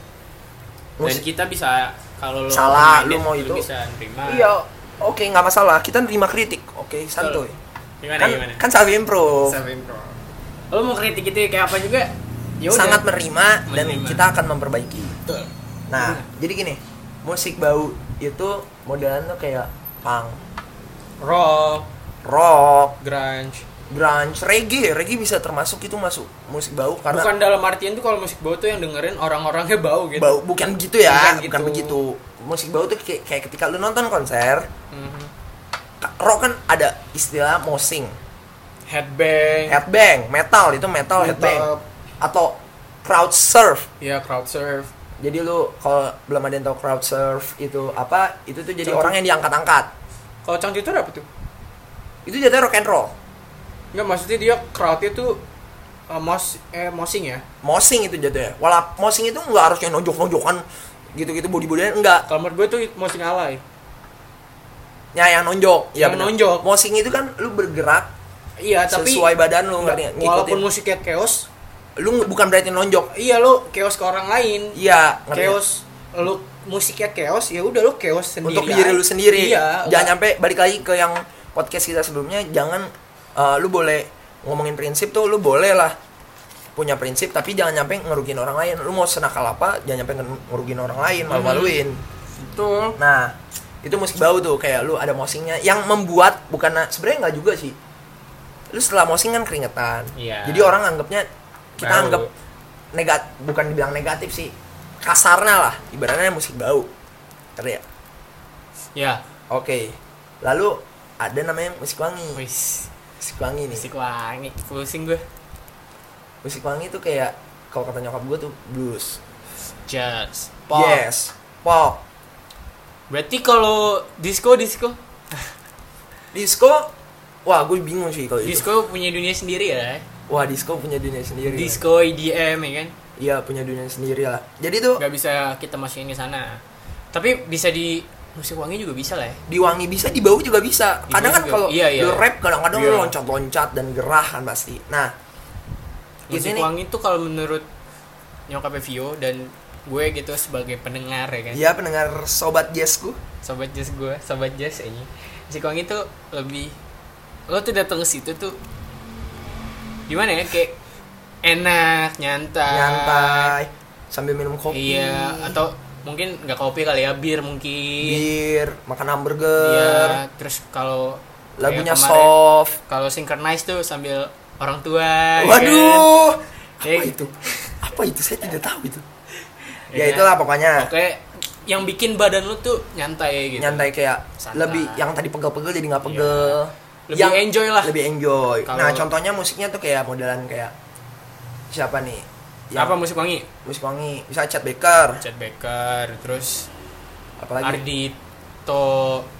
Speaker 1: Dan
Speaker 2: Musik
Speaker 1: kita bisa kalau lo
Speaker 2: Salah,
Speaker 1: recommended,
Speaker 2: lu mau itu.
Speaker 1: bisa nerima.
Speaker 2: Iya, oke nggak masalah. Kita nerima kritik, oke santuy.
Speaker 1: Gimana
Speaker 2: Kan
Speaker 1: gimana?
Speaker 2: kan self improve.
Speaker 1: Lo mau kritik itu kayak apa juga? Ya udah.
Speaker 2: Sangat menerima dan
Speaker 1: Menerima.
Speaker 2: kita akan memperbaiki.
Speaker 1: Betul.
Speaker 2: Nah,
Speaker 1: Gimana?
Speaker 2: jadi gini, musik bau itu modelannya kayak punk,
Speaker 1: rock,
Speaker 2: rock,
Speaker 1: grunge.
Speaker 2: grunge, reggae. Reggae bisa termasuk itu masuk musik bau karena
Speaker 1: Bukan dalam artian tuh kalau musik bau tuh yang dengerin orang-orangnya bau gitu.
Speaker 2: bau bukan gitu ya,
Speaker 1: Bukan
Speaker 2: bukan
Speaker 1: gitu.
Speaker 2: begitu. Musik bau tuh kayak, kayak ketika lu nonton konser,
Speaker 1: Mhm.
Speaker 2: ka- rock kan ada istilah mosing,
Speaker 1: Headbang.
Speaker 2: headbang, metal itu metal,
Speaker 1: Eh. Metal.
Speaker 2: headbang atau crowd surf.
Speaker 1: ya crowd surf.
Speaker 2: Jadi lu kalau belum ada yang tahu crowd surf itu apa, itu tuh jadi
Speaker 1: Cocok.
Speaker 2: orang yang diangkat-angkat.
Speaker 1: Kalau Changcuter apa tuh?
Speaker 2: Itu jatuhnya rock and roll.
Speaker 1: Enggak maksudnya dia crowdnya tuh uh, mos eh mosing ya.
Speaker 2: mosing itu jatuhnya wala mosing itu nggak harus yang nojok nojokan gitu gitu body bodyan enggak
Speaker 1: Kalau menurut gue tuh mosing alay.
Speaker 2: ya yang nonjok ya
Speaker 1: Yang
Speaker 2: bener.
Speaker 1: nonjok.
Speaker 2: mosing itu kan lu bergerak
Speaker 1: Iya, tapi
Speaker 2: sesuai badan lu ngerti nggak?
Speaker 1: walaupun
Speaker 2: Ngikutin.
Speaker 1: musiknya chaos,
Speaker 2: lu nge- bukan berarti nonjok
Speaker 1: iya lo chaos ke orang lain
Speaker 2: iya ngerti nggak?
Speaker 1: chaos lu musiknya chaos ya udah lu chaos sendiri
Speaker 2: untuk diri lu
Speaker 1: aja.
Speaker 2: sendiri
Speaker 1: iya
Speaker 2: jangan
Speaker 1: nggak-
Speaker 2: sampai balik lagi ke yang podcast kita sebelumnya jangan eh, lu boleh ngomongin prinsip tuh lu boleh lah punya prinsip tapi jangan nyampe ngerugiin orang lain lu mau senakal apa jangan nyampe nge- ngerugiin orang lain
Speaker 1: Mm-hmm.
Speaker 2: malu-maluin
Speaker 1: betul
Speaker 2: nah itu musik bau tuh kayak lu ada mosingnya yang membuat bukan na- sebenarnya nggak juga sih lu setelah mosing kan keringetan
Speaker 1: Iya.
Speaker 2: jadi orang anggapnya kita
Speaker 1: Bau.
Speaker 2: anggap negat bukan dibilang negatif sih kasarnya lah ibaratnya musik bau Ngerti ya?
Speaker 1: ya
Speaker 2: Oke. Lalu ada namanya musik wangi.
Speaker 1: wis
Speaker 2: Musik wangi nih.
Speaker 1: musik wangi pusing gue
Speaker 2: Musik wangi tuh kayak kalau kata nyokap gue tuh blues.
Speaker 1: jazz
Speaker 2: Pop.
Speaker 1: pop
Speaker 2: Yes. Pop.
Speaker 1: berarti kalau disco disco
Speaker 2: Disco. Wah, gue bingung sih kalau itu.
Speaker 1: disco punya dunia sendiri ya
Speaker 2: Wah, disco punya dunia sendiri.
Speaker 1: disco EDM ya kan
Speaker 2: Iya, punya dunia sendiri lah. Jadi tuh
Speaker 1: nggak bisa kita masukin ke sana tapi bisa di musik wangi juga bisa lah ya
Speaker 2: diwangi bisa, dibau juga bisa.
Speaker 1: Dibau
Speaker 2: Kadang kan
Speaker 1: juga.
Speaker 2: kalau
Speaker 1: Iya, iya.
Speaker 2: lu rap kadang-kadang
Speaker 1: Iya.
Speaker 2: lu loncat-loncat dan gerah kan pasti. Nah, Gitu
Speaker 1: musik
Speaker 2: nih.
Speaker 1: wangi itu kalau menurut nyokapnya Vio dan gue gitu sebagai pendengar ya kan
Speaker 2: dia iya, pendengar sobat jazzku.
Speaker 1: sobat jazz gue sobat jazz ini musik wangi itu lebih lo tuh datang ke situ tuh gimana ya kayak enak nyantai
Speaker 2: nyantai sambil minum kopi.
Speaker 1: iya atau mungkin nggak kopi kali ya bir mungkin
Speaker 2: bir, makan hamburger.
Speaker 1: iya terus kalau kayak
Speaker 2: lagunya
Speaker 1: kemarin,
Speaker 2: soft
Speaker 1: kalau synchronize tuh sambil orang tua ya kan?
Speaker 2: waduh
Speaker 1: Ya
Speaker 2: apa
Speaker 1: kan?
Speaker 2: itu apa itu saya tidak tahu itu
Speaker 1: Ya
Speaker 2: ya
Speaker 1: kan?
Speaker 2: itulah pokoknya
Speaker 1: kayak yang bikin badan lu tuh nyantai gitu
Speaker 2: nyantai kayak
Speaker 1: Santai. Iya.
Speaker 2: lebih yang tadi pegel-pegel jadi nggak pegel
Speaker 1: Lebih enjoy lah.
Speaker 2: lebih enjoy
Speaker 1: Kalau-
Speaker 2: nah contohnya musiknya tuh kayak modelan kayak siapa nih Yang
Speaker 1: apa musik wangi
Speaker 2: musik wangi bisa Chad Baker
Speaker 1: Chad Baker terus
Speaker 2: apalagi
Speaker 1: Ardito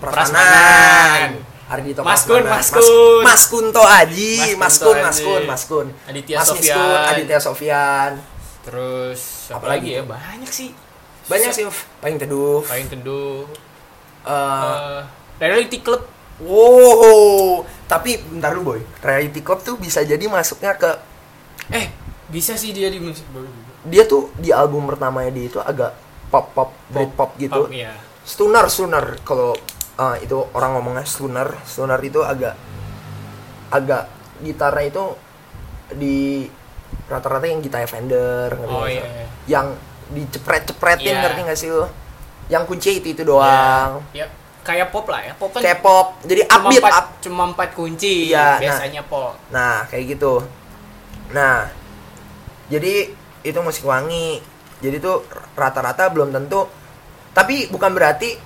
Speaker 2: Prasanan
Speaker 1: Prasmanan
Speaker 2: Ardito
Speaker 1: Mas Kun,
Speaker 2: Prasmanan.
Speaker 1: Mas Kun.
Speaker 2: Mas Kunto Aji
Speaker 1: Mas
Speaker 2: Mas
Speaker 1: Kunto
Speaker 2: Kun Mas
Speaker 1: Aji.
Speaker 2: Kun Mas Kun
Speaker 1: Aditya
Speaker 2: Mas Miskun,
Speaker 1: Sofyan.
Speaker 2: Aditya Sofyan
Speaker 1: terus apa
Speaker 2: Apalagi
Speaker 1: lagi ya
Speaker 2: tuh?
Speaker 1: banyak sih
Speaker 2: banyak sih Uf. paling teduh
Speaker 1: paling teduh
Speaker 2: Eh,
Speaker 1: eh, reality club
Speaker 2: Wow, tapi bentar lu boy, reality club tuh bisa jadi masuknya ke
Speaker 1: eh bisa sih dia di musik baru juga
Speaker 2: dia tuh di album pertamanya dia itu agak pop pop pop pop gitu,
Speaker 1: Pop, iya.
Speaker 2: stoner stoner kalau eh, itu orang ngomongnya stoner stoner itu agak agak gitarnya itu di rata-rata yang gitar Fender ngerti
Speaker 1: Oh,
Speaker 2: nggak
Speaker 1: iya,
Speaker 2: sih?
Speaker 1: iya.
Speaker 2: yang
Speaker 1: Iya.
Speaker 2: dicepret-cepretin ngerti gak sih lu? Yang kunci itu itu doang,
Speaker 1: ya, ya, kayak pop lah ya pop kan
Speaker 2: K-pop, jadi
Speaker 1: cuma
Speaker 2: upbeat
Speaker 1: empat
Speaker 2: up,
Speaker 1: cuma empat kunci
Speaker 2: Iya, nah.
Speaker 1: biasanya pop
Speaker 2: Nah, kayak gitu. Nah, jadi itu musik wangi. Jadi tuh rata-rata belum tentu. Tapi bukan berarti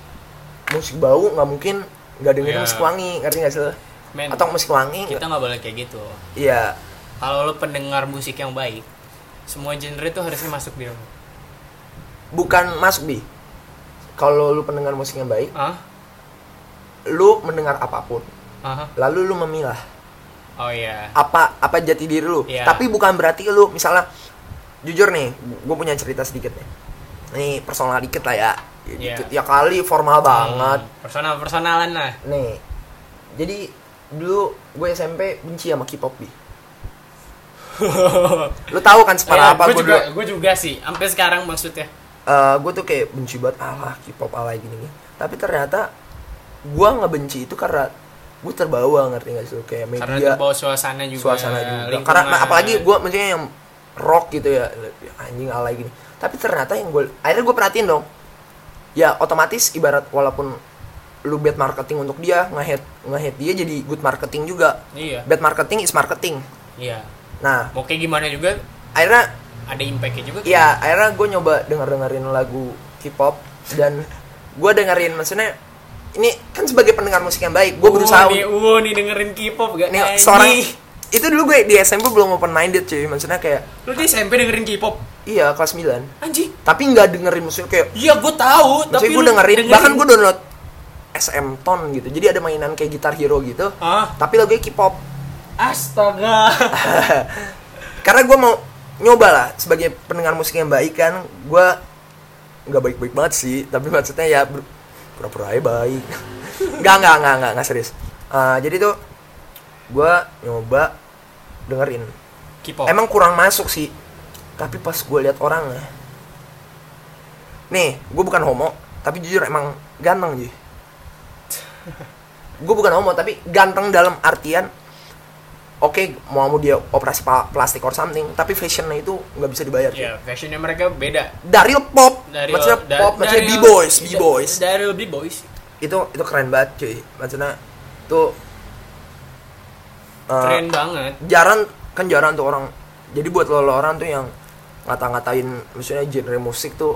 Speaker 2: musik bau nggak mungkin nggak dengerin
Speaker 1: Iya.
Speaker 2: musik wangi, ngerti nggak sih? lo?
Speaker 1: Men,
Speaker 2: Atau musik wangi?
Speaker 1: kita nggak boleh kayak gitu
Speaker 2: Iya,
Speaker 1: kalau lo pendengar musik yang baik semua genre itu harusnya masuk di lo
Speaker 2: bukan masuk bi. Kalau lu pendengar musik yang baik,
Speaker 1: ah
Speaker 2: lu mendengar apapun,
Speaker 1: ah
Speaker 2: lalu lu memilah
Speaker 1: oh iya
Speaker 2: apa apa jati diri lu.
Speaker 1: Iya.
Speaker 2: Tapi bukan berarti lu misalnya jujur nih, gue punya cerita sedikit nih. Nih personal dikit lah ya. Ya,
Speaker 1: Iya.
Speaker 2: dikit. ya kali formal banget.
Speaker 1: Hmm, personal personalan lah
Speaker 2: Nih. Jadi dulu gue SMP benci sama K-pop bi. Lu tahu kan separah apa
Speaker 1: gue Iya,
Speaker 2: gue
Speaker 1: juga
Speaker 2: dulu?
Speaker 1: gue juga sih sampai sekarang maksudnya
Speaker 2: Eh, gue tuh kayak benci banget Allah K-pop ala gini gini. Tapi ternyata gue nggak benci itu karena gue terbawa ngerti gak sih? lu? Kayak media.
Speaker 1: karena terbawa suasana juga
Speaker 2: suasana juga
Speaker 1: lingkungan.
Speaker 2: karena nah, apalagi gue maksudnya yang rock gitu ya anjing alay gini tapi ternyata yang gue akhirnya gue perhatiin dong ya otomatis ibarat walaupun lu bad marketing untuk dia ngehead ngehead dia jadi good marketing juga
Speaker 1: iya
Speaker 2: bad marketing is marketing
Speaker 1: iya
Speaker 2: nah
Speaker 1: mau kayak gimana juga
Speaker 2: akhirnya
Speaker 1: ada impactnya juga kan?
Speaker 2: ya akhirnya gue nyoba denger dengerin lagu K-pop dan gue dengerin maksudnya ini kan sebagai pendengar musik yang baik gue
Speaker 1: Uh,
Speaker 2: berusaha
Speaker 1: nih, uh, nih dengerin K-pop gak
Speaker 2: nih
Speaker 1: Anjing.
Speaker 2: seorang itu dulu gue di SMP belum open minded cuy maksudnya kayak
Speaker 1: lu di SMP dengerin K-pop
Speaker 2: Iya kelas 9
Speaker 1: anjing
Speaker 2: Tapi nggak dengerin musiknya kayak
Speaker 1: iya gue tahu tapi
Speaker 2: Maksudnya gue
Speaker 1: lu
Speaker 2: dengerin, Bahkan gue download SM Ton gitu Jadi ada mainan kayak Gitar Hero gitu
Speaker 1: ah
Speaker 2: Tapi lagunya K-pop
Speaker 1: astaga
Speaker 2: Karena gue mau nyoba lah Sebagai pendengar musik yang baik kan Gue nggak baik-baik banget sih Tapi maksudnya ya ber- Pura-pura aja baik Nggak, nggak, nggak, nggak, nggak serius Eh, Jadi tuh Gue nyoba dengerin
Speaker 1: K-pop Oh.
Speaker 2: Emang kurang masuk sih tapi pas gue lihat orangnya nih gue bukan homo tapi jujur emang ganteng sih gue bukan homo tapi ganteng dalam artian oke mau mau dia operasi pa- plastik or something tapi fashionnya itu nggak bisa dibayar cuy.
Speaker 1: ya fashionnya mereka beda
Speaker 2: dari pop
Speaker 1: dari
Speaker 2: maksudnya
Speaker 1: da-
Speaker 2: pop maksudnya
Speaker 1: dari-
Speaker 2: b boys b boys
Speaker 1: da- dari b boys
Speaker 2: itu itu keren banget cuy maksudnya tuh uh,
Speaker 1: keren banget
Speaker 2: jarang kan jarang tuh orang jadi buat lo, lo orang tuh yang ngata-ngatain maksudnya genre musik tuh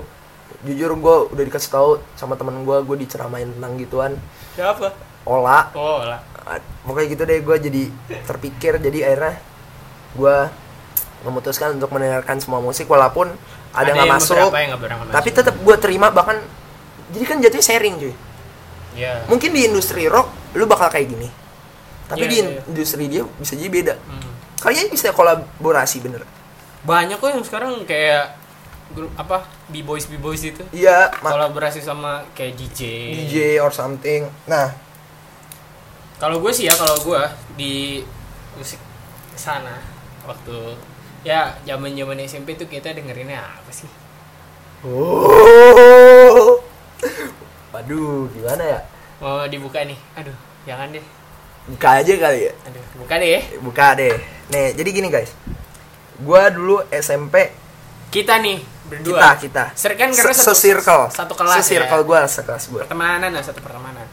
Speaker 2: jujur gue udah dikasih tahu sama temen gue gue diceramain tentang gituan
Speaker 1: siapa
Speaker 2: ola
Speaker 1: oh lah
Speaker 2: Ah, pokoknya gitu deh gue jadi terpikir jadi akhirnya gue memutuskan untuk mendengarkan semua musik walaupun ada nggak masuk
Speaker 1: beberapa yang nggak berangkat
Speaker 2: tapi
Speaker 1: masuk.
Speaker 2: tetap gue terima bahkan jadi kan jatuhnya sharing cuy
Speaker 1: ya
Speaker 2: mungkin di industri rock lu bakal kayak gini tapi
Speaker 1: Iya,
Speaker 2: di
Speaker 1: iya, iya.
Speaker 2: industri dia bisa jadi beda
Speaker 1: Hmm.
Speaker 2: kalian bisa kolaborasi bener
Speaker 1: banyak kok yang sekarang kayak grup apa b boys b boys itu
Speaker 2: iya ma-
Speaker 1: kolaborasi sama kayak DJ.
Speaker 2: DJ or something nah
Speaker 1: Kalau gue sih ya kalau gue di musik sana waktu ya zaman zaman SMP tuh kita dengerinnya apa sih?
Speaker 2: oh waduh gimana ya
Speaker 1: Mau dibuka nih? Aduh, jangan deh.
Speaker 2: buka aja kali ya
Speaker 1: Aduh, buka deh.
Speaker 2: buka deh nih jadi gini guys gua dulu SMP
Speaker 1: Kita nih berdua.
Speaker 2: kita kita
Speaker 1: Ser- kan karena
Speaker 2: Se-
Speaker 1: satu-
Speaker 2: se-circle.
Speaker 1: satu kelas
Speaker 2: Se-circle
Speaker 1: ya.
Speaker 2: gua sekelas gua
Speaker 1: Pertemanan lah satu pertemanan.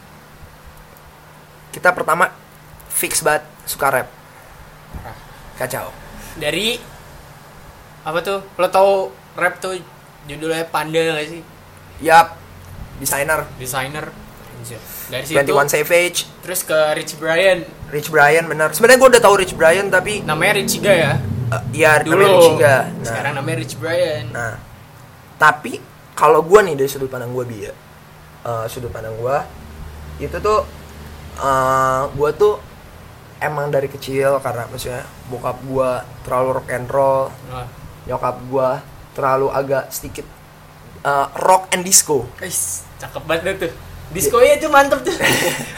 Speaker 2: kita pertama fix banget suka rap kacau
Speaker 1: Dari apa tuh? Lo tau rap tuh judulnya Panda gak sih?
Speaker 2: yap desainer
Speaker 1: Designer. Anjir. Dari situ
Speaker 2: 21 Savage
Speaker 1: terus ke Rich Brian.
Speaker 2: Rich Brian bener sebenarnya gua udah tahu Rich Brian tapi
Speaker 1: Namanya Richiga ya.
Speaker 2: eh, ya
Speaker 1: Dulu.
Speaker 2: namanya Rich juga. Nah,
Speaker 1: Sekarang namanya Rich Brian.
Speaker 2: Nah, tapi kalau gua nih dari sudut pandang gua Bia, eh, sudut pandang gua itu tuh eh, gua tuh emang dari kecil karena maksudnya bokap gua terlalu rock and roll,
Speaker 1: Nah.
Speaker 2: nyokap gua terlalu agak sedikit eh, rock and disco
Speaker 1: Guys, cakep banget dah tuh. Diskonya itu mantep tuh.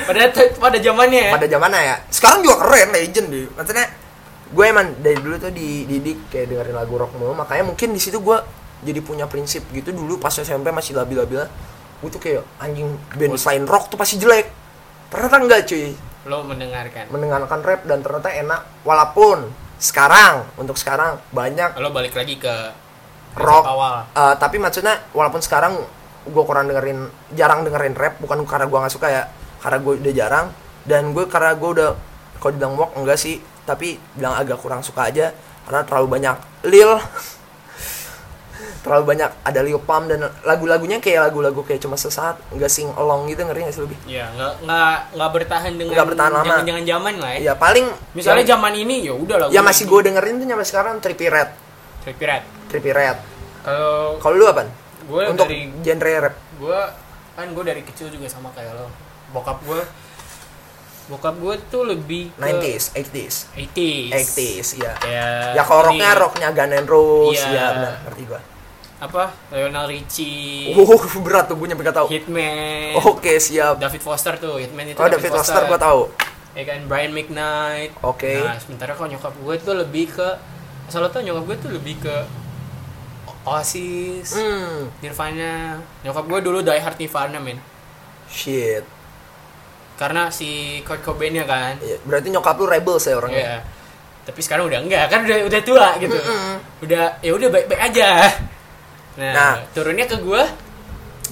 Speaker 1: pada pada zamannya ya.
Speaker 2: Iya. pada zamannya ya. Sekarang juga keren legend deh. Maksudnya gue emang dari dulu tuh dididik kayak dengerin lagu rock mulu makanya mungkin di situ gua jadi punya prinsip gitu dulu pas SMP masih labil-labil gue tuh kayak anjing band selain rock tuh pasti jelek ternyata enggak cuy
Speaker 1: Lo mendengarkan.
Speaker 2: mendengarkan rap dan ternyata enak walaupun sekarang untuk sekarang banyak
Speaker 1: Lo balik lagi ke
Speaker 2: Rock.
Speaker 1: prinsip awal.
Speaker 2: Eh, tapi maksudnya walaupun sekarang gue kurang dengerin jarang dengerin rap bukan karena gue nggak suka ya karena gue udah jarang dan gue karena gue udah kalau dibilang walk enggak sih tapi bilang agak kurang suka aja karena terlalu banyak lil terlalu banyak ada lil pump dan lagu-lagunya kayak lagu-lagu kayak cuma sesaat nggak sing along gitu ngeri nggak sih lebih
Speaker 1: Ya, nggak nggak nggak bertahan dengan
Speaker 2: Nggak bertahan lama.
Speaker 1: jangan zaman lah ya.
Speaker 2: ya paling
Speaker 1: Misalnya
Speaker 2: yang,
Speaker 1: zaman ini ya udah lah.
Speaker 2: yang masih gue dengerin tuh nyampe sekarang trippy red
Speaker 1: Trippy Red.
Speaker 2: trippy red
Speaker 1: Kalau
Speaker 2: kalau lu apa
Speaker 1: gue
Speaker 2: untuk
Speaker 1: dari
Speaker 2: genre rap
Speaker 1: gue kan gue dari kecil juga sama kayak lo. Bokap gue bokap gue tuh lebih ke
Speaker 2: 90s 80s
Speaker 1: 80s.
Speaker 2: 80s ya
Speaker 1: Kayak
Speaker 2: ya kalau rocknya
Speaker 1: ini,
Speaker 2: rocknya Gun N' Roses
Speaker 1: Iya.
Speaker 2: ya benar ngerti gua
Speaker 1: apa Lionel Richie
Speaker 2: oh berat tuh gue nyampe gak tahu
Speaker 1: Hitman
Speaker 2: oke siap
Speaker 1: David Foster tuh Hitman itu
Speaker 2: oh David Foster gua tahu
Speaker 1: ya kan Brian McKnight
Speaker 2: Oke.
Speaker 1: nah sementara kalau nyokap gue tuh lebih ke asal lo tau nyokap gue tuh lebih ke Oasis
Speaker 2: hmm
Speaker 1: Nirvana nyokap gue dulu die hard Nirvana men
Speaker 2: shit
Speaker 1: karena si Kurt Cobain ya kan
Speaker 2: Iya, berarti nyokap lu rebels ya orangnya
Speaker 1: Iya. tapi sekarang udah enggak kan udah udah tua gitu udah ya udah baik baik aja nah,
Speaker 2: Nah.
Speaker 1: turunnya ke gue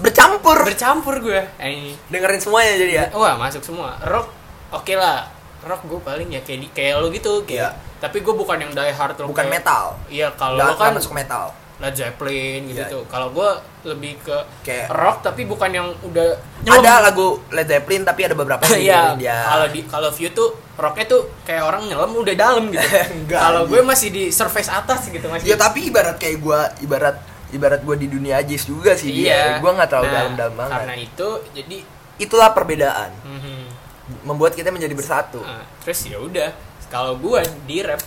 Speaker 2: bercampur
Speaker 1: bercampur gue Eh,
Speaker 2: dengerin semuanya jadi ya
Speaker 1: Wah masuk semua. Rock oke lah. Rock gue paling ya kayak di- kayak lo gitu. Kayak,
Speaker 2: Iya.
Speaker 1: Tapi gue bukan yang die hard lo
Speaker 2: bukan
Speaker 1: kayak-
Speaker 2: metal
Speaker 1: Iya kalau lo
Speaker 2: Nggak-
Speaker 1: kan
Speaker 2: nggak masuk metal
Speaker 1: Led Zeppelin gitu
Speaker 2: Iya.
Speaker 1: tuh. Kalau gue lebih ke
Speaker 2: Kayak-
Speaker 1: rock tapi bukan yang udah
Speaker 2: ada lagu Led Zeppelin tapi ada beberapa yang
Speaker 1: Iya.
Speaker 2: dengerin dia
Speaker 1: Kalau di kalau view tuh rocknya tuh kayak orang nyelam udah dalam gitu.
Speaker 2: Enggak,
Speaker 1: kalau
Speaker 2: anjing.
Speaker 1: gue masih di surface atas gitu masih.
Speaker 2: ya tapi ibarat kayak gua ibarat ibarat gua di dunia jazz juga sih dia Iya, gua nggak terlalu
Speaker 1: Nah,
Speaker 2: dalam-dalam banget
Speaker 1: Karena itu jadi
Speaker 2: itulah perbedaan
Speaker 1: mhm.
Speaker 2: membuat kita menjadi bersatu
Speaker 1: Nah, terus ya udah kalau gua di rap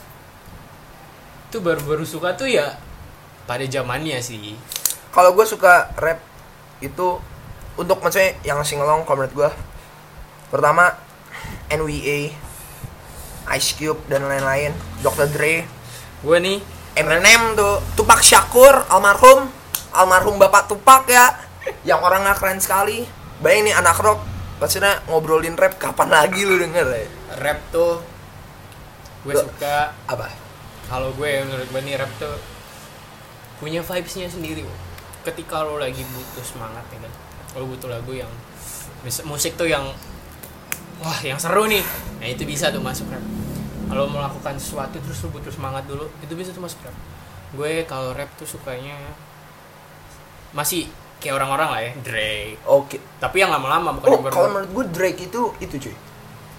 Speaker 1: tuh baru-baru suka tuh ya pada zamannya sih
Speaker 2: kalau gue suka rap itu untuk maksudnya yang singalong kalau menurut gue pertama NWA Ice Cube dan lain-lain Dr. Dre
Speaker 1: gua nih
Speaker 2: Eminem tuh Tupac Shakur almarhum almarhum bapak Tupac ya yang orangnya keren sekali bayangin nih anak rock maksudnya ngobrolin rap kapan lagi lu denger ya?
Speaker 1: rap tuh gue
Speaker 2: Gua-
Speaker 1: suka
Speaker 2: apa
Speaker 1: kalau gue menurut gue nih rap tuh punya vibesnya sendiri Wo. ketika lo lagi butuh semangat ya kan lo butuh lagu yang mis- musik tuh yang wah yang seru nih nah itu bisa tuh masuk rap kalau melakukan sesuatu terus lo butuh semangat dulu itu bisa tuh masuk rap gue kalau rap tuh sukanya masih kayak orang-orang lah ya Drake
Speaker 2: oke
Speaker 1: tapi yang lama-lama bukan
Speaker 2: oh
Speaker 1: yang baru-
Speaker 2: kalau menurut gue Drake itu itu cuy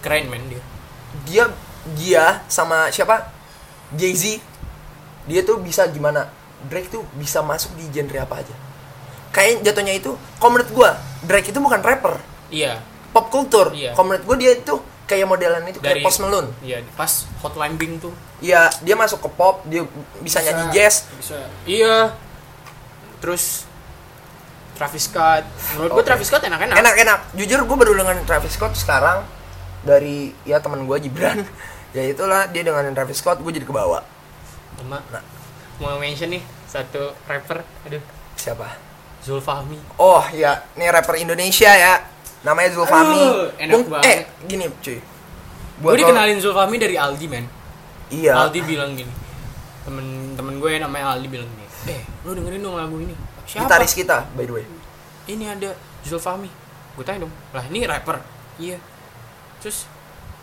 Speaker 1: keren men dia
Speaker 2: dia dia sama siapa Jay Z dia tuh bisa gimana Drake tuh bisa masuk di genre apa aja kayak jatuhnya itu kalau menurut gue Drake itu bukan rapper
Speaker 1: iya
Speaker 2: pop culture
Speaker 1: Iya.
Speaker 2: kalau menurut gue dia itu kayak modelan itu kayak
Speaker 1: Dari-
Speaker 2: Post Malone
Speaker 1: iya pas Hotline Bling tuh
Speaker 2: ya dia masuk ke pop dia bisa, nyanyi jazz
Speaker 1: bisa iya terus Travis Scott menurut gue
Speaker 2: Oke.
Speaker 1: Travis Scott enak enak
Speaker 2: enak enak jujur gue baru dengan Travis Scott sekarang dari ya teman gue Gibran ya itulah dia dengan Travis Scott gue jadi kebawa
Speaker 1: Cuma,
Speaker 2: Nah.
Speaker 1: mau mention nih satu rapper aduh
Speaker 2: siapa
Speaker 1: Zulfahmi
Speaker 2: Oh ya, ini rapper Indonesia ya. Namanya Zulfami.
Speaker 1: Aduh, enak
Speaker 2: Mung-
Speaker 1: banget.
Speaker 2: Eh, gini cuy.
Speaker 1: gue
Speaker 2: Buat lo-
Speaker 1: dikenalin Zulfahmi dari Aldi men
Speaker 2: Iya.
Speaker 1: Aldi bilang gini temen temen gue namanya Aldi bilang gini eh lu dengerin dong lagu ini siapa
Speaker 2: Gitaris kita, by the way.
Speaker 1: ini ada Zulfahmi gue tanya dong lah ini rapper iya terus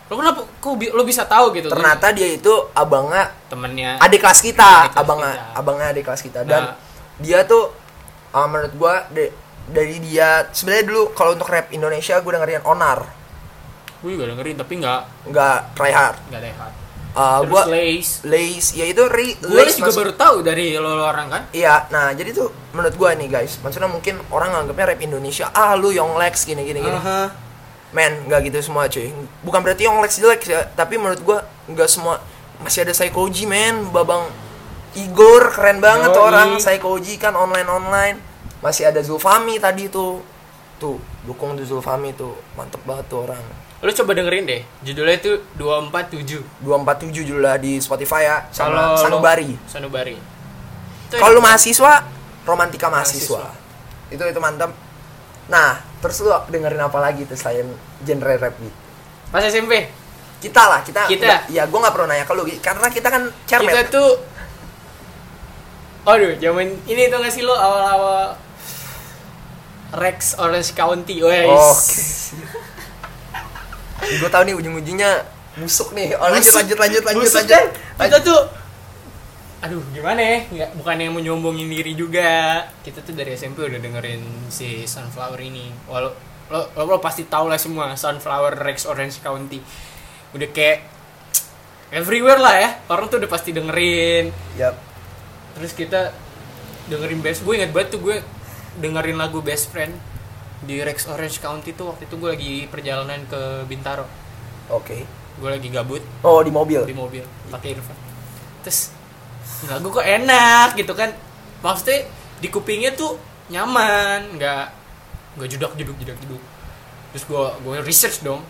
Speaker 1: lo kenapa kok bi- lo bisa tahu gitu
Speaker 2: Ternyata dia itu abangnya
Speaker 1: temennya
Speaker 2: adik kelas kita,
Speaker 1: Nah, Adik kelas
Speaker 2: abangnya
Speaker 1: kita.
Speaker 2: abangnya adik kelas kita dan
Speaker 1: Nah.
Speaker 2: dia tuh uh, menurut gua de- dari dia sebenarnya dulu kalau untuk rap Indonesia gua dengerin Onar,
Speaker 1: gue juga dengerin tapi nggak
Speaker 2: nggak try hard.
Speaker 1: nggak lehat
Speaker 2: Uh,
Speaker 1: terus
Speaker 2: gua
Speaker 1: Lace
Speaker 2: Lace, ya itu re-
Speaker 1: gue
Speaker 2: Lace
Speaker 1: juga
Speaker 2: masuk-
Speaker 1: baru tahu dari lo orang kan
Speaker 2: Iya, nah jadi tuh menurut gua nih guys, maksudnya mungkin orang nganggapnya rap Indonesia, ah lu Yonglex gini gini gini.
Speaker 1: Aha.
Speaker 2: Men, nggak gitu semua cuy. Bukan berarti yang Lex jelek ya, tapi menurut gua nggak semua masih ada psychology men, babang Igor keren banget tuh
Speaker 1: Yoi.
Speaker 2: orang psychology kan online online. Masih ada Zulfami tadi tuh. Tuh, dukung tuh Zulfami tuh. Mantep banget tuh orang.
Speaker 1: lo coba dengerin deh judulnya itu 247
Speaker 2: 247 judulnya di Spotify ya sama
Speaker 1: Kalau lo-
Speaker 2: Sanubari.
Speaker 1: Sanubari Itu ya?
Speaker 2: Kalau
Speaker 1: enak.
Speaker 2: lu mahasiswa, romantika mahasiswa.
Speaker 1: Mahasiswa.
Speaker 2: Itu itu mantap. Nah, terus lu dengerin apa lagi tuh selain genre rap gitu?
Speaker 1: pas SMP
Speaker 2: kita lah kita
Speaker 1: Kita.
Speaker 2: nggak- ya gue nggak perlu nanya ke lu Gi, karena kita kan cermet
Speaker 1: kita tuh aduh zaman ini tuh nggak sih lo awal-awal Rex Orange County wes
Speaker 2: oke gue tahu nih ujung-ujungnya busuk nih oh, lanjut
Speaker 1: Busuk.
Speaker 2: lanjut lanjut lanjut
Speaker 1: Busuk,
Speaker 2: lanjut
Speaker 1: kan? kita
Speaker 2: Lanjut.
Speaker 1: tuh aduh gimana ya nggak bukan yang menyombongin diri juga kita tuh dari SMP udah dengerin si Sunflower ini walau lo, lo, lo pasti tau lah semua Sunflower Rex Orange County udah kayak everywhere lah ya orang tuh udah pasti dengerin
Speaker 2: Yap.
Speaker 1: terus kita dengerin best gue inget banget tuh gue dengerin lagu best friend di Rex Orange County tuh waktu itu gue lagi perjalanan ke Bintaro
Speaker 2: oke
Speaker 1: gue lagi gabut
Speaker 2: oh di mobil
Speaker 1: di mobil pakai earphone terus lagu kok enak gitu kan maksudnya di kupingnya tuh nyaman nggak nggak judak jeduk judak jeduk terus gua gue research dong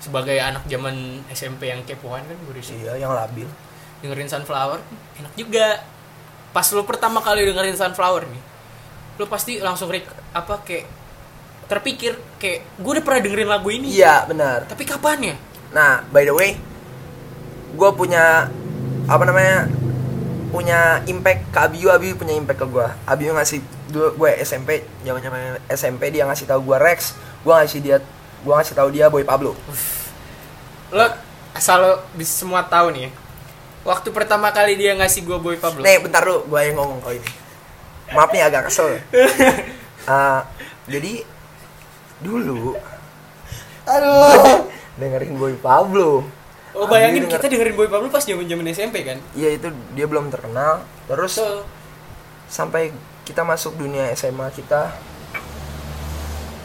Speaker 1: sebagai anak zaman SMP yang kepoan kan gue research
Speaker 2: iya yang labil
Speaker 1: dengerin sunflower enak juga pas lu pertama kali dengerin sunflower nih lu pasti langsung rek apa kayak terpikir kayak gue udah pernah dengerin lagu ini
Speaker 2: iya benar
Speaker 1: tapi kapan ya
Speaker 2: nah by the way gue punya apa namanya punya impact ke Abiu Abiu punya impact ke gue Abiu ngasih dulu gue SMP zaman zaman SMP dia ngasih tahu gue Rex gue ngasih dia gue ngasih tahu dia Boy Pablo
Speaker 1: lo asal lo bisa semua tahu nih ya, waktu pertama kali dia ngasih gue boy Pablo
Speaker 2: Nih, bentar dulu, gue yang ngomong kau ini. Maaf nih agak kesel. Ah, jadi dulu
Speaker 1: aduh
Speaker 2: dengerin Boy Pablo.
Speaker 1: oh bayangin
Speaker 2: Aduh, denger-
Speaker 1: kita dengerin boy Pablo pas zaman zaman SMP kan
Speaker 2: Iya itu dia belum terkenal. Terus
Speaker 1: so
Speaker 2: sampai kita masuk dunia SMA kita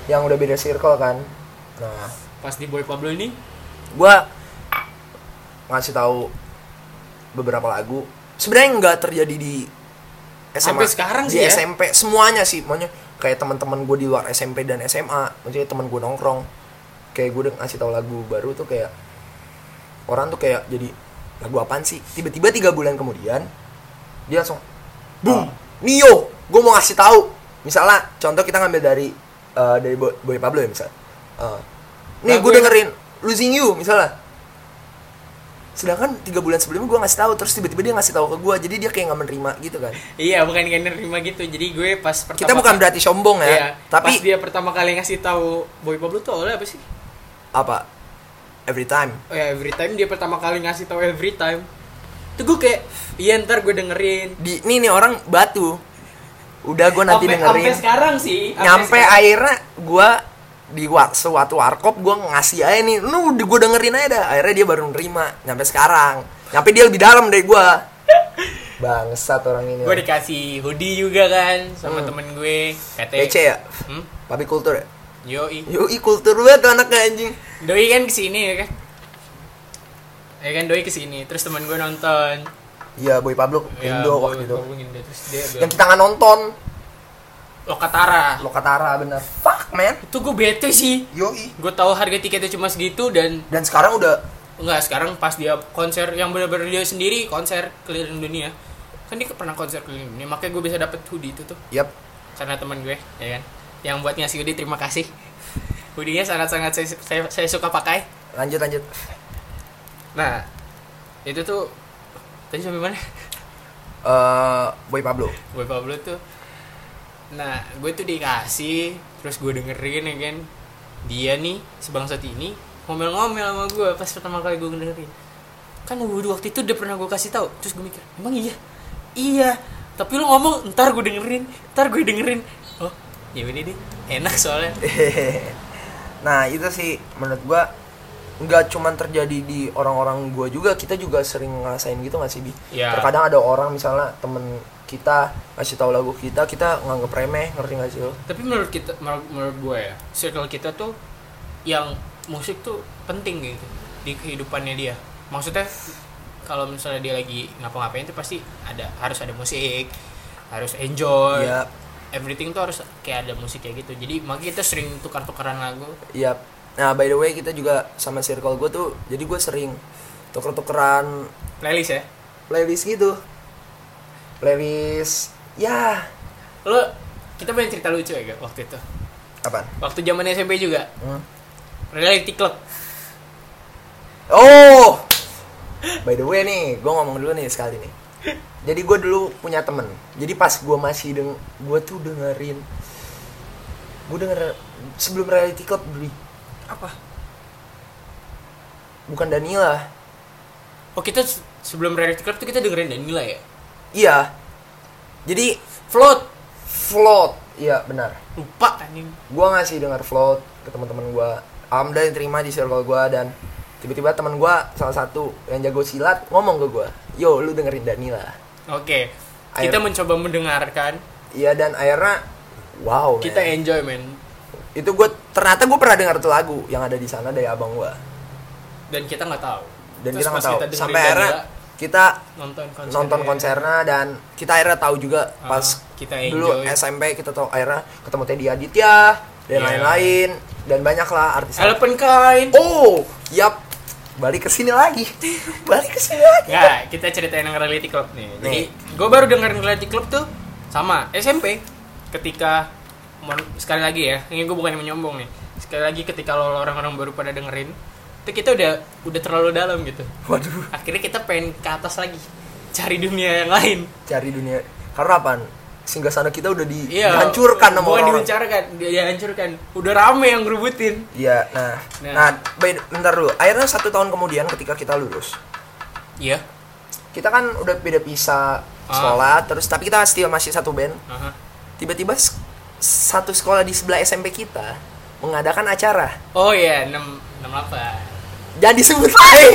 Speaker 2: yang udah beda circle kan. Nah,
Speaker 1: pas di boy Pablo ini
Speaker 2: gua ngasih tahu beberapa lagu. Sebenarnya nggak terjadi di SMA.
Speaker 1: Sampai sekarang sih
Speaker 2: di
Speaker 1: ya.
Speaker 2: SMP semuanya sih, maunya kayak teman-teman gue di luar SMP dan SMA, maksudnya teman gue nongkrong, kayak gue udah ngasih tahu lagu baru tuh kayak orang tuh kayak jadi lagu apaan sih? Tiba-tiba tiga bulan kemudian dia langsung boom Mio gue mau ngasih tahu misalnya contoh kita ngambil dari eh, dari Bo- Boy Pablo ya misal Eh,
Speaker 1: Nah,
Speaker 2: nih gue
Speaker 1: gue-
Speaker 2: dengerin Losing You misalnya sedangkan tiga bulan sebelumnya gue ngasih tahu terus tiba-tiba dia ngasih tahu ke gue jadi dia kayak nggak menerima gitu kan
Speaker 1: Iya, bukan kayak nerima gitu. Jadi gue pas pertama
Speaker 2: kita bukan berarti sombong ya
Speaker 1: Iya,
Speaker 2: tapi
Speaker 1: pas dia pertama kali ngasih tahu Boy Pablo tuh awalnya apa sih?
Speaker 2: apa every time
Speaker 1: Oh ya, every time dia pertama kali ngasih tahu every time. Tuh gue kayak, iya ntar gue dengerin.
Speaker 2: di nih nih orang batu udah gue nanti
Speaker 1: Sampai-
Speaker 2: dengerin
Speaker 1: sampai sekarang sih. sampai
Speaker 2: nyampe
Speaker 1: sekarang.
Speaker 2: akhirnya gue di wa- suatu warkop gue ngasih aja nih lu gue dengerin aja dah akhirnya dia baru nerima nyampe sekarang nyampe dia lebih dalam dari gue bangsat orang ini
Speaker 1: Gue dikasih hoodie juga kan sama
Speaker 2: Hmm.
Speaker 1: temen gue. Kata,
Speaker 2: DC ya
Speaker 1: hmm?
Speaker 2: tapi kultur ya
Speaker 1: Yoi.
Speaker 2: yoi kultur banget tuh anaknya anjing
Speaker 1: Doi kan kesini ya kan? Ya kan Doi kesini. Terus temen gue nonton. Oh, ya
Speaker 2: iya boy Pablo Indo gitu.
Speaker 1: gue-
Speaker 2: waktu itu
Speaker 1: gue Indo. Terus dia
Speaker 2: yang
Speaker 1: bilang,
Speaker 2: kita nggak nonton
Speaker 1: Lokatara.
Speaker 2: Lokatara bener fuck man
Speaker 1: Itu gue bete sih.
Speaker 2: yoi
Speaker 1: Gue tahu harga tiketnya cuma segitu dan
Speaker 2: dan sekarang udah
Speaker 1: Enggak, sekarang pas dia konser yang benar-benar dia sendiri konser keliling dunia. Kan dia pernah konser keliling dunia, makanya gue bisa dapet hoodie itu tuh
Speaker 2: yap
Speaker 1: karena teman gue, ya kan. Yang buat ngasih hoodie terima kasih. Hoodie-nya sangat-sangat saya, saya, saya suka pakai.
Speaker 2: lanjut lanjut
Speaker 1: Nah, itu tuh tadi sampai mana?
Speaker 2: Eh, boy Pablo
Speaker 1: Gue Pablo tuh. Nah, gue tuh dikasih terus gue dengerin ya kan. Dia nih sebangsat ini ngomel-ngomel sama gue pas pertama kali gue dengerin. Kan dulu waktu itu udah pernah gue kasih tahu, terus gue mikir, "Emang iya?" Iya. Tapi lu ngomong, "Ntar gue dengerin, ntar gue dengerin." Oh, ya udah deh. Enak soalnya.
Speaker 2: nah itu sih menurut gua nggak cuman terjadi di orang-orang gua juga kita juga sering ngerasain gitu nggak sih bi
Speaker 1: Ya.
Speaker 2: terkadang ada orang misalnya temen kita ngasih tahu lagu kita kita nganggep remeh ngerti nggak sih lo
Speaker 1: Tapi menurut kita menurut, menurut gue ya, circle kita tuh yang musik tuh penting gitu di kehidupannya dia. Maksudnya kalau misalnya dia lagi ngapa-ngapain tuh pasti ada harus ada musik, harus enjoy.
Speaker 2: Iya.
Speaker 1: Everything tuh harus kayak ada musik kayak gitu. Jadi makanya kita sering tukar-tukaran lagu.
Speaker 2: Iya. nah by the way kita juga sama circle gua tuh jadi gua sering tuker-tukeran
Speaker 1: Playlist ya.
Speaker 2: playlist gitu playlist ya
Speaker 1: Lo kita punya cerita lucu ya gak waktu itu.
Speaker 2: apa
Speaker 1: Waktu zaman SMP juga.
Speaker 2: Hmm.
Speaker 1: Reality Club.
Speaker 2: Oh, by the way nih, gue ngomong dulu nih sekali nih. Jadi gue dulu punya temen. Jadi pas gue masih deng, gue tuh dengerin, gue denger sebelum reality club beli apa? Bukan Danila,
Speaker 1: Oh kita se- sebelum Reality Club tuh kita dengerin Danila ya.
Speaker 2: iya. Jadi
Speaker 1: Float.
Speaker 2: float, iya benar.
Speaker 1: Lupa anjing.
Speaker 2: gue ngasih dengar float ke teman-teman gue alhamdulillah diterima di circle gue dan tiba-tiba teman gue salah satu yang jago silat ngomong ke gue yo lu dengerin Danila
Speaker 1: Oke.
Speaker 2: Air-
Speaker 1: Kita mencoba mendengarkan.
Speaker 2: iya dan akhirnya wow
Speaker 1: Kita
Speaker 2: man.
Speaker 1: enjoy men.
Speaker 2: itu gue ternyata gue pernah dengar tuh lagu yang ada di sana dari abang gue
Speaker 1: Dan kita nggak tahu.
Speaker 2: dan
Speaker 1: Terus
Speaker 2: kita nggak
Speaker 1: pas
Speaker 2: tahu
Speaker 1: dengerin
Speaker 2: sampai
Speaker 1: Danila,
Speaker 2: akhirnya kita
Speaker 1: nonton konser.
Speaker 2: nonton konsernya dan kita akhirnya tahu juga
Speaker 1: Ah,
Speaker 2: pas
Speaker 1: kita
Speaker 2: dulu
Speaker 1: enjoy.
Speaker 2: SMP kita tahu akhirnya ketemu Teddy Aditya dan
Speaker 1: Iya.
Speaker 2: lain-lain dan banyak lah artis
Speaker 1: Elephant Kind.
Speaker 2: Oh, yap. Balik ke sini lagi. Balik ke sini lagi.
Speaker 1: Nggak, Ya, kita ceritain yang reality club nih. Jadi, gue baru dengerin reality club tuh sama SMP ketika mon- sekali lagi ya, ini gue bukan yang menyombong nih. Sekali lagi ketika lo orang-orang baru pada dengerin, itu kita udah udah terlalu dalam gitu.
Speaker 2: Waduh,
Speaker 1: Akhirnya kita pengen ke atas lagi, cari dunia yang lain.
Speaker 2: cari dunia. Karena apaan? Singgah sana kita udah di-
Speaker 1: Iya.
Speaker 2: dihancurkan sama
Speaker 1: bukan
Speaker 2: orang.
Speaker 1: dibicarakan, dia dihancurkan. Udah rame yang ngerubutin.
Speaker 2: Iya, nah.
Speaker 1: Nah.
Speaker 2: Nah, by- bentar dulu. Akhirnya satu tahun kemudian ketika kita lulus,
Speaker 1: Iya.
Speaker 2: kita kan udah beda pisah
Speaker 1: Ah.
Speaker 2: sekolah, terus tapi kita still masih satu band.
Speaker 1: Aha.
Speaker 2: Tiba-tiba s- satu sekolah di sebelah SMP kita mengadakan acara.
Speaker 1: Oh iya, 6 68.
Speaker 2: Jangan disebut lagi.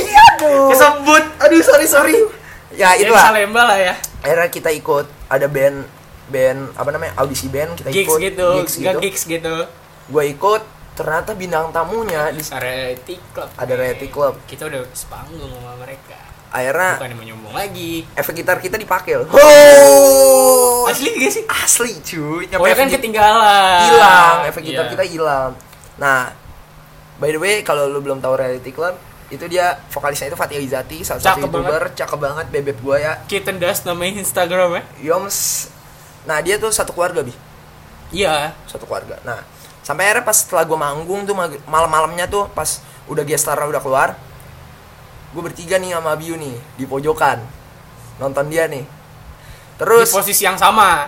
Speaker 2: Aduh.
Speaker 1: Kesebut.
Speaker 2: Aduh, sorry, sorry. Oh. Ya,
Speaker 1: Yang
Speaker 2: itulah.
Speaker 1: Salemba lah ya.
Speaker 2: akhirnya kita ikut ada band band apa namanya audisi band kita
Speaker 1: Gigs
Speaker 2: ikut
Speaker 1: gitu,
Speaker 2: gigs
Speaker 1: nggak
Speaker 2: gitu
Speaker 1: gigs gitu.
Speaker 2: gue ikut ternyata bintang tamunya di
Speaker 1: Reality club.
Speaker 2: Ada
Speaker 1: nih.
Speaker 2: reality club. Ah.
Speaker 1: Kita udah sepanggung sama mereka.
Speaker 2: akhirnya
Speaker 1: Bukan yang menyombong lagi.
Speaker 2: efek gitar kita dipakai loh. Ho!
Speaker 1: Asli gak sih?
Speaker 2: asli cuy
Speaker 1: Oh
Speaker 2: nyampe
Speaker 1: ya kan
Speaker 2: efek git-
Speaker 1: ketinggalan.
Speaker 2: hilang efek gitar
Speaker 1: Iya.
Speaker 2: kita hilang nah by the way kalau lu belum tahu reality club itu dia vokalisnya itu Fatih Izati salah satu
Speaker 1: Cakep
Speaker 2: youtuber cakep banget bebek gua ya
Speaker 1: Kitten Dust namanya Instagram ya?
Speaker 2: Yoms nah dia tuh satu keluarga bi
Speaker 1: Iya.
Speaker 2: satu keluarga nah sampai akhirnya pas setelah gua manggung tuh mag- malam-malamnya tuh pas udah Gestara udah keluar gue bertiga nih sama Biu nih di pojokan nonton dia nih
Speaker 1: Di
Speaker 2: terus
Speaker 1: posisi yang sama.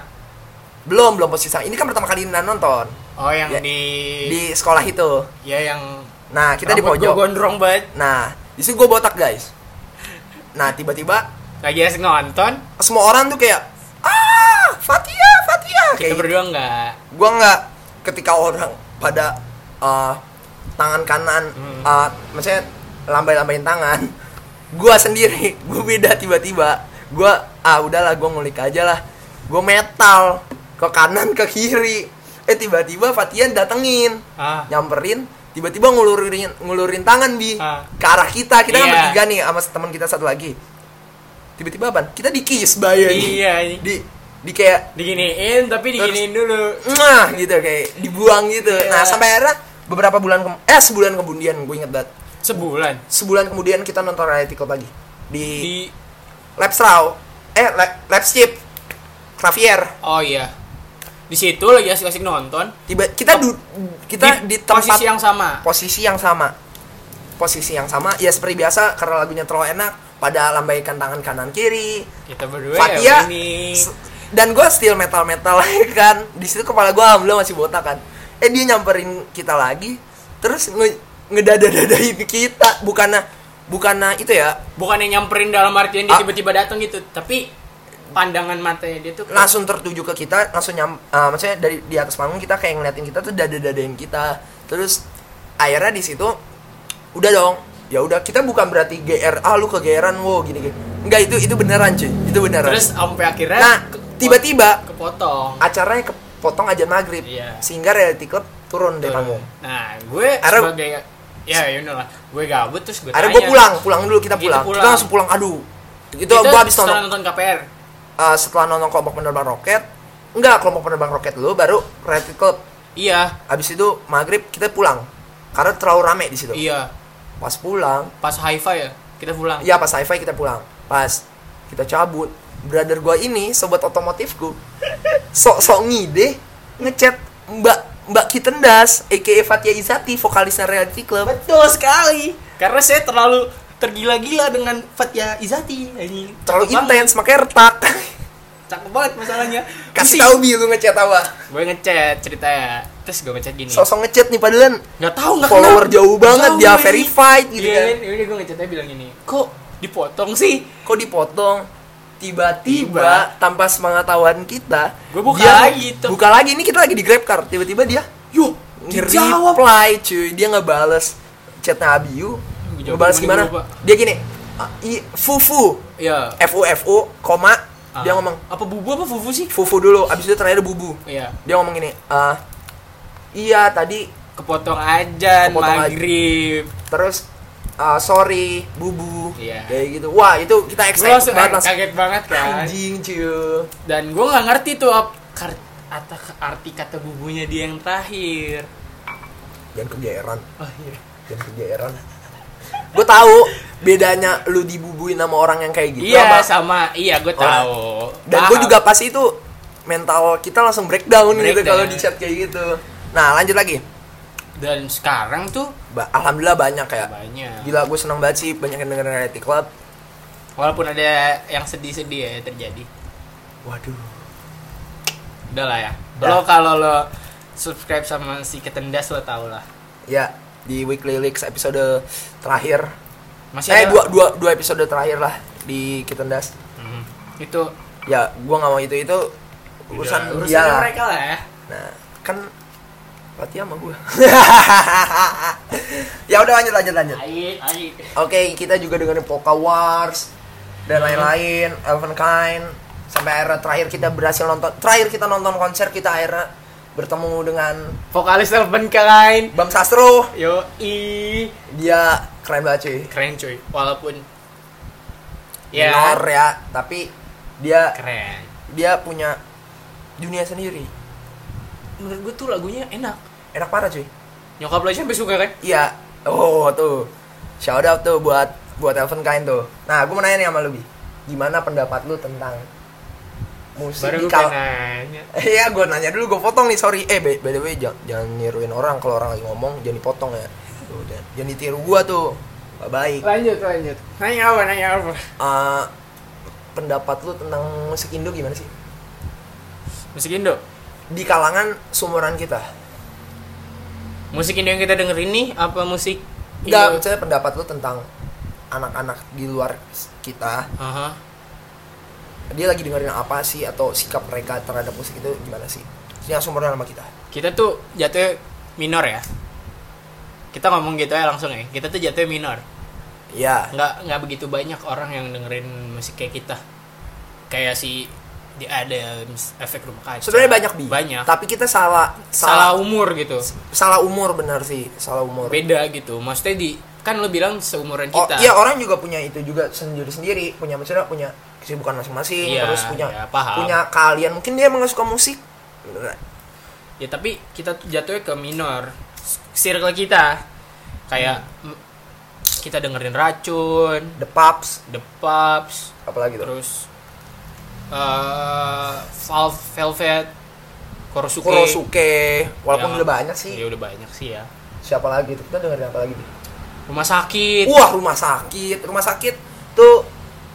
Speaker 2: belum belum posisi ini kan pertama kali Nina nonton
Speaker 1: Oh yang
Speaker 2: Ya,
Speaker 1: di,
Speaker 2: di sekolah itu
Speaker 1: ya yang
Speaker 2: nah kita di
Speaker 1: rambut
Speaker 2: pojok
Speaker 1: gua gondrong banget.
Speaker 2: Nah, di situ gue botak guys. Nah, tiba-tiba
Speaker 1: Lagi asik nonton,
Speaker 2: semua orang tuh kayak ah Fatia Fatia
Speaker 1: kita
Speaker 2: kayak gitu.
Speaker 1: berdua enggak.
Speaker 2: Gue nggak ketika orang pada uh, tangan kanan,
Speaker 1: Hmm.
Speaker 2: uh, maksudnya lambai-lambain tangan. Gue sendiri, gue beda tiba-tiba. Gue ah udahlah gue ngulik aja lah. Gue metal ke kanan ke kiri. Eh tiba-tiba Fatian datengin
Speaker 1: Ah.
Speaker 2: nyamperin tiba-tiba ngulurin ngulurin tangan bi
Speaker 1: Ah.
Speaker 2: ke arah kita kita kan
Speaker 1: Iya.
Speaker 2: bertiga nih sama teman kita satu lagi tiba-tiba apa kita di kiss bayar
Speaker 1: Iya, anjing.
Speaker 2: di di kayak
Speaker 1: diginiin tapi diginiin dulu.
Speaker 2: nah gitu kayak dibuang gitu
Speaker 1: Iya.
Speaker 2: nah sampai akhirnya beberapa bulan kem- eh sebulan kemudian gue inget banget
Speaker 1: Sebulan
Speaker 2: sebulan kemudian kita nonton reality club lagi di,
Speaker 1: di
Speaker 2: Lapsrau eh La- Lapschip Xavier
Speaker 1: Oh iya. Di situ lagi asik-asik nonton.
Speaker 2: tiba kita du- kita di, tempat
Speaker 1: posisi yang sama.
Speaker 2: posisi yang sama posisi yang sama ya seperti biasa karena lagunya terlalu enak pada lambaikan tangan kanan kiri
Speaker 1: Kita berdua
Speaker 2: Fatia
Speaker 1: ya ini.
Speaker 2: s- dan gue still metal metal kan di situ kepala gue alhamdulillah masih botak kan eh dia nyamperin kita lagi terus nge ngedadadadain kita bukannya bukannya itu ya
Speaker 1: Bukan yang nyamperin dalam artian dia
Speaker 2: Ah.
Speaker 1: tiba-tiba datang gitu, tapi pandangan matanya dia tuh kayak-
Speaker 2: langsung tertuju ke kita langsung nyam eh, maksudnya dari di atas panggung kita kayak ngeliatin kita tuh dada dadain kita terus akhirnya di situ udah dong ya udah kita bukan berarti gr ah lu kegeran wow gini gini enggak itu itu beneran cuy itu beneran
Speaker 1: terus sampai akhirnya
Speaker 2: nah Ah,
Speaker 1: ke-
Speaker 2: tiba-tiba
Speaker 1: kepotong.
Speaker 2: acaranya kepotong aja maghrib
Speaker 1: Iya.
Speaker 2: sehingga reality club turun deh panggung
Speaker 1: Nah, gue
Speaker 2: Akhirnya-
Speaker 1: sebagai ya you know lah, gue gabut terus gue
Speaker 2: akhirnya
Speaker 1: tanya.
Speaker 2: gue pulang pulang dulu kita
Speaker 1: Gitu
Speaker 2: pulang.
Speaker 1: pulang.
Speaker 2: kita langsung pulang aduh itu
Speaker 1: Kita
Speaker 2: gue habis
Speaker 1: setelah
Speaker 2: nonton
Speaker 1: nonton KPR.
Speaker 2: eh, setelah nonton kelompok penerbang roket enggak kelompok penerbang roket dulu baru reality club
Speaker 1: Iya,
Speaker 2: Abis itu maghrib kita pulang karena terlalu rame di situ.
Speaker 1: iya.
Speaker 2: Pas pulang,
Speaker 1: Pas hi-fi ya, kita pulang.
Speaker 2: ya pas hi-fi kita pulang. Pas kita cabut, brother gua ini sobat otomotifku sok-sok ngide ngechat Mbak Mbak Kitendas, EKE Fatia Izati, vokalisnya Reality Club.
Speaker 1: Betul sekali. Karena saya terlalu tergila-gila dengan Fatia Izati. Ini cakep
Speaker 2: Terlalu
Speaker 1: banget,
Speaker 2: intens, makanya retak.
Speaker 1: Cakep banget masalahnya. Pusing.
Speaker 2: Kasih tahu bi lu ngechat apa?
Speaker 1: Gue ngechat ceritanya. Terus gue ngechat gini.
Speaker 2: Sosok ngechat nih padahal
Speaker 1: Nggak tahu nggak
Speaker 2: follower
Speaker 1: kenal.
Speaker 2: jauh banget
Speaker 1: Jauh
Speaker 2: dia
Speaker 1: ini.
Speaker 2: verified gitu
Speaker 1: Iya,
Speaker 2: kan.
Speaker 1: kan? Yaudah gue ngechatnya bilang gini. Kok dipotong sih?
Speaker 2: kok dipotong tiba-tiba
Speaker 1: Tiba.
Speaker 2: tanpa sepengetahuan kita
Speaker 1: Gua buka lagi itu.
Speaker 2: buka lagi ini kita lagi di grab car tiba-tiba dia
Speaker 1: Yuh, dijawab.
Speaker 2: reply cuy dia nggak bales chatnya Abiu
Speaker 1: Gua jawab
Speaker 2: ngebales
Speaker 1: gimana
Speaker 2: gimana
Speaker 1: dulu, Pak?
Speaker 2: dia gini "Ah, i- fufu
Speaker 1: Iya.
Speaker 2: fu fu koma
Speaker 1: Ah.
Speaker 2: dia ngomong
Speaker 1: apa bubu apa fufu sih?
Speaker 2: fufu dulu abis itu terakhir bubu
Speaker 1: Iya.
Speaker 2: dia ngomong gini "Ah, iya tadi
Speaker 1: Kepotong aja
Speaker 2: Kepotong aja.
Speaker 1: maghrib.
Speaker 2: terus ah, sorry bubu
Speaker 1: Iya.
Speaker 2: kayak gitu wah itu kita
Speaker 1: Gue
Speaker 2: excited
Speaker 1: langsung
Speaker 2: banget langsung
Speaker 1: kaget banget kan.
Speaker 2: anjing cuy
Speaker 1: Dan gue nggak ngerti tuh ap, kar- ata- arti kata bubunya dia yang terakhir.
Speaker 2: jangan kegeeran
Speaker 1: Oh iya.
Speaker 2: Jangan kegeeran. gue tahu bedanya lu dibubuin sama orang yang kayak gitu
Speaker 1: Iya
Speaker 2: sama-
Speaker 1: sama, iya gue tahu.
Speaker 2: dan gue juga pasti itu mental kita langsung breakdown, gitu
Speaker 1: Breakdown.
Speaker 2: kalau di chat kayak gitu nah lanjut lagi
Speaker 1: Dan sekarang tuh
Speaker 2: Ba- alhamdulillah banyak kayak
Speaker 1: banyak.
Speaker 2: gila gue seneng banget sih banyak yang dengerin reality club
Speaker 1: Walaupun ada yang sedih-sedih ya terjadi.
Speaker 2: waduh
Speaker 1: Udah lah ya.
Speaker 2: Udah.
Speaker 1: Lo kalau lo subscribe sama si Ketendas lo tau lah.
Speaker 2: ya di weekly leaks episode terakhir
Speaker 1: Masih
Speaker 2: eh
Speaker 1: ada-
Speaker 2: dua, dua, dua episode terakhir lah di Kitendas
Speaker 1: Mhm. Itu
Speaker 2: ya gue nggak mau itu itu urusan
Speaker 1: urusan
Speaker 2: dia lah.
Speaker 1: mereka lah ya.
Speaker 2: Nah, kan Fatih sama gue. ya udah lanjut lanjut lanjut.
Speaker 1: Aik, aik.
Speaker 2: Oke, kita juga dengerin Poka Wars dan
Speaker 1: Hmm.
Speaker 2: lain-lain, Elvenkind sampai akhirnya terakhir kita berhasil nonton. Terakhir kita nonton konser kita akhirnya bertemu dengan
Speaker 1: Vokalis Elven keren.
Speaker 2: Bam Sastro.
Speaker 1: Yo i
Speaker 2: Dia keren banget cuy.
Speaker 1: keren cuy. Walaupun ya
Speaker 2: Minor ya, tapi dia
Speaker 1: keren.
Speaker 2: dia punya dunia sendiri.
Speaker 1: Menurut gue tuh lagunya enak.
Speaker 2: Enak parah cuy.
Speaker 1: Nyokap lo aja sampai suka kan?
Speaker 2: Iya. Oh, tuh. Shout out tuh buat buat Elven Kain tuh. Nah, gue mau nanya nih sama lu, Bi. Gimana pendapat lu tentang musik
Speaker 1: Baru
Speaker 2: di
Speaker 1: gue
Speaker 2: kal-
Speaker 1: pengen nanya.
Speaker 2: Iya, gue nanya dulu, gue potong nih, sorry. Eh, by, by the way, jangan, jangan niruin orang kalau orang lagi ngomong, jangan dipotong ya. Tuh, jangan, jangan ditiru gue tuh, gak baik.
Speaker 1: Lanjut, lanjut. Nanya apa, nanya apa?
Speaker 2: Eh, pendapat lu tentang musik Indo gimana sih?
Speaker 1: Musik Indo.
Speaker 2: Di kalangan sumuran kita.
Speaker 1: Musik Indo yang kita denger ini apa musik Indo?
Speaker 2: Enggak, misalnya pendapat lu tentang anak-anak di luar kita,
Speaker 1: Aha.
Speaker 2: dia lagi dengerin apa sih atau sikap mereka terhadap musik itu gimana sih? Yang sumuran sama kita.
Speaker 1: Kita tuh jatuhnya minor ya. Kita ngomong gitu ya langsung ya. Kita tuh jatuhnya minor.
Speaker 2: Iya.
Speaker 1: nggak nggak begitu banyak orang yang dengerin musik kayak kita kayak si di ada efek rumah kaca
Speaker 2: Sebenarnya banyak bi.
Speaker 1: banyak
Speaker 2: Tapi kita salah
Speaker 1: salah
Speaker 2: salah
Speaker 1: umur gitu
Speaker 2: salah umur benar sih, salah umur.
Speaker 1: beda gitu maksudnya di kan lo bilang seumuran
Speaker 2: Oh,
Speaker 1: kita
Speaker 2: iya orang juga punya itu juga sendiri sendiri, punya maksudnya punya kesibukan masing-masing,
Speaker 1: Iya,
Speaker 2: terus punya
Speaker 1: iya, paham.
Speaker 2: punya kalian mungkin dia emang nggak suka musik. Bener.
Speaker 1: ya tapi kita tuh jatuhnya ke minor circle kita kayak
Speaker 2: Hmm.
Speaker 1: m- kita dengerin racun
Speaker 2: The Pups,
Speaker 1: the Pups,
Speaker 2: apalagi tuh.
Speaker 1: terus eh Val- velvet korosuke
Speaker 2: Kurosuke, walaupun
Speaker 1: Ya,
Speaker 2: udah banyak sih.
Speaker 1: ya udah banyak sih ya
Speaker 2: Siapa lagi tuh? Kita dengerin apa lagi? Bi?
Speaker 1: rumah sakit
Speaker 2: Wah, rumah sakit. Rumah sakit tuh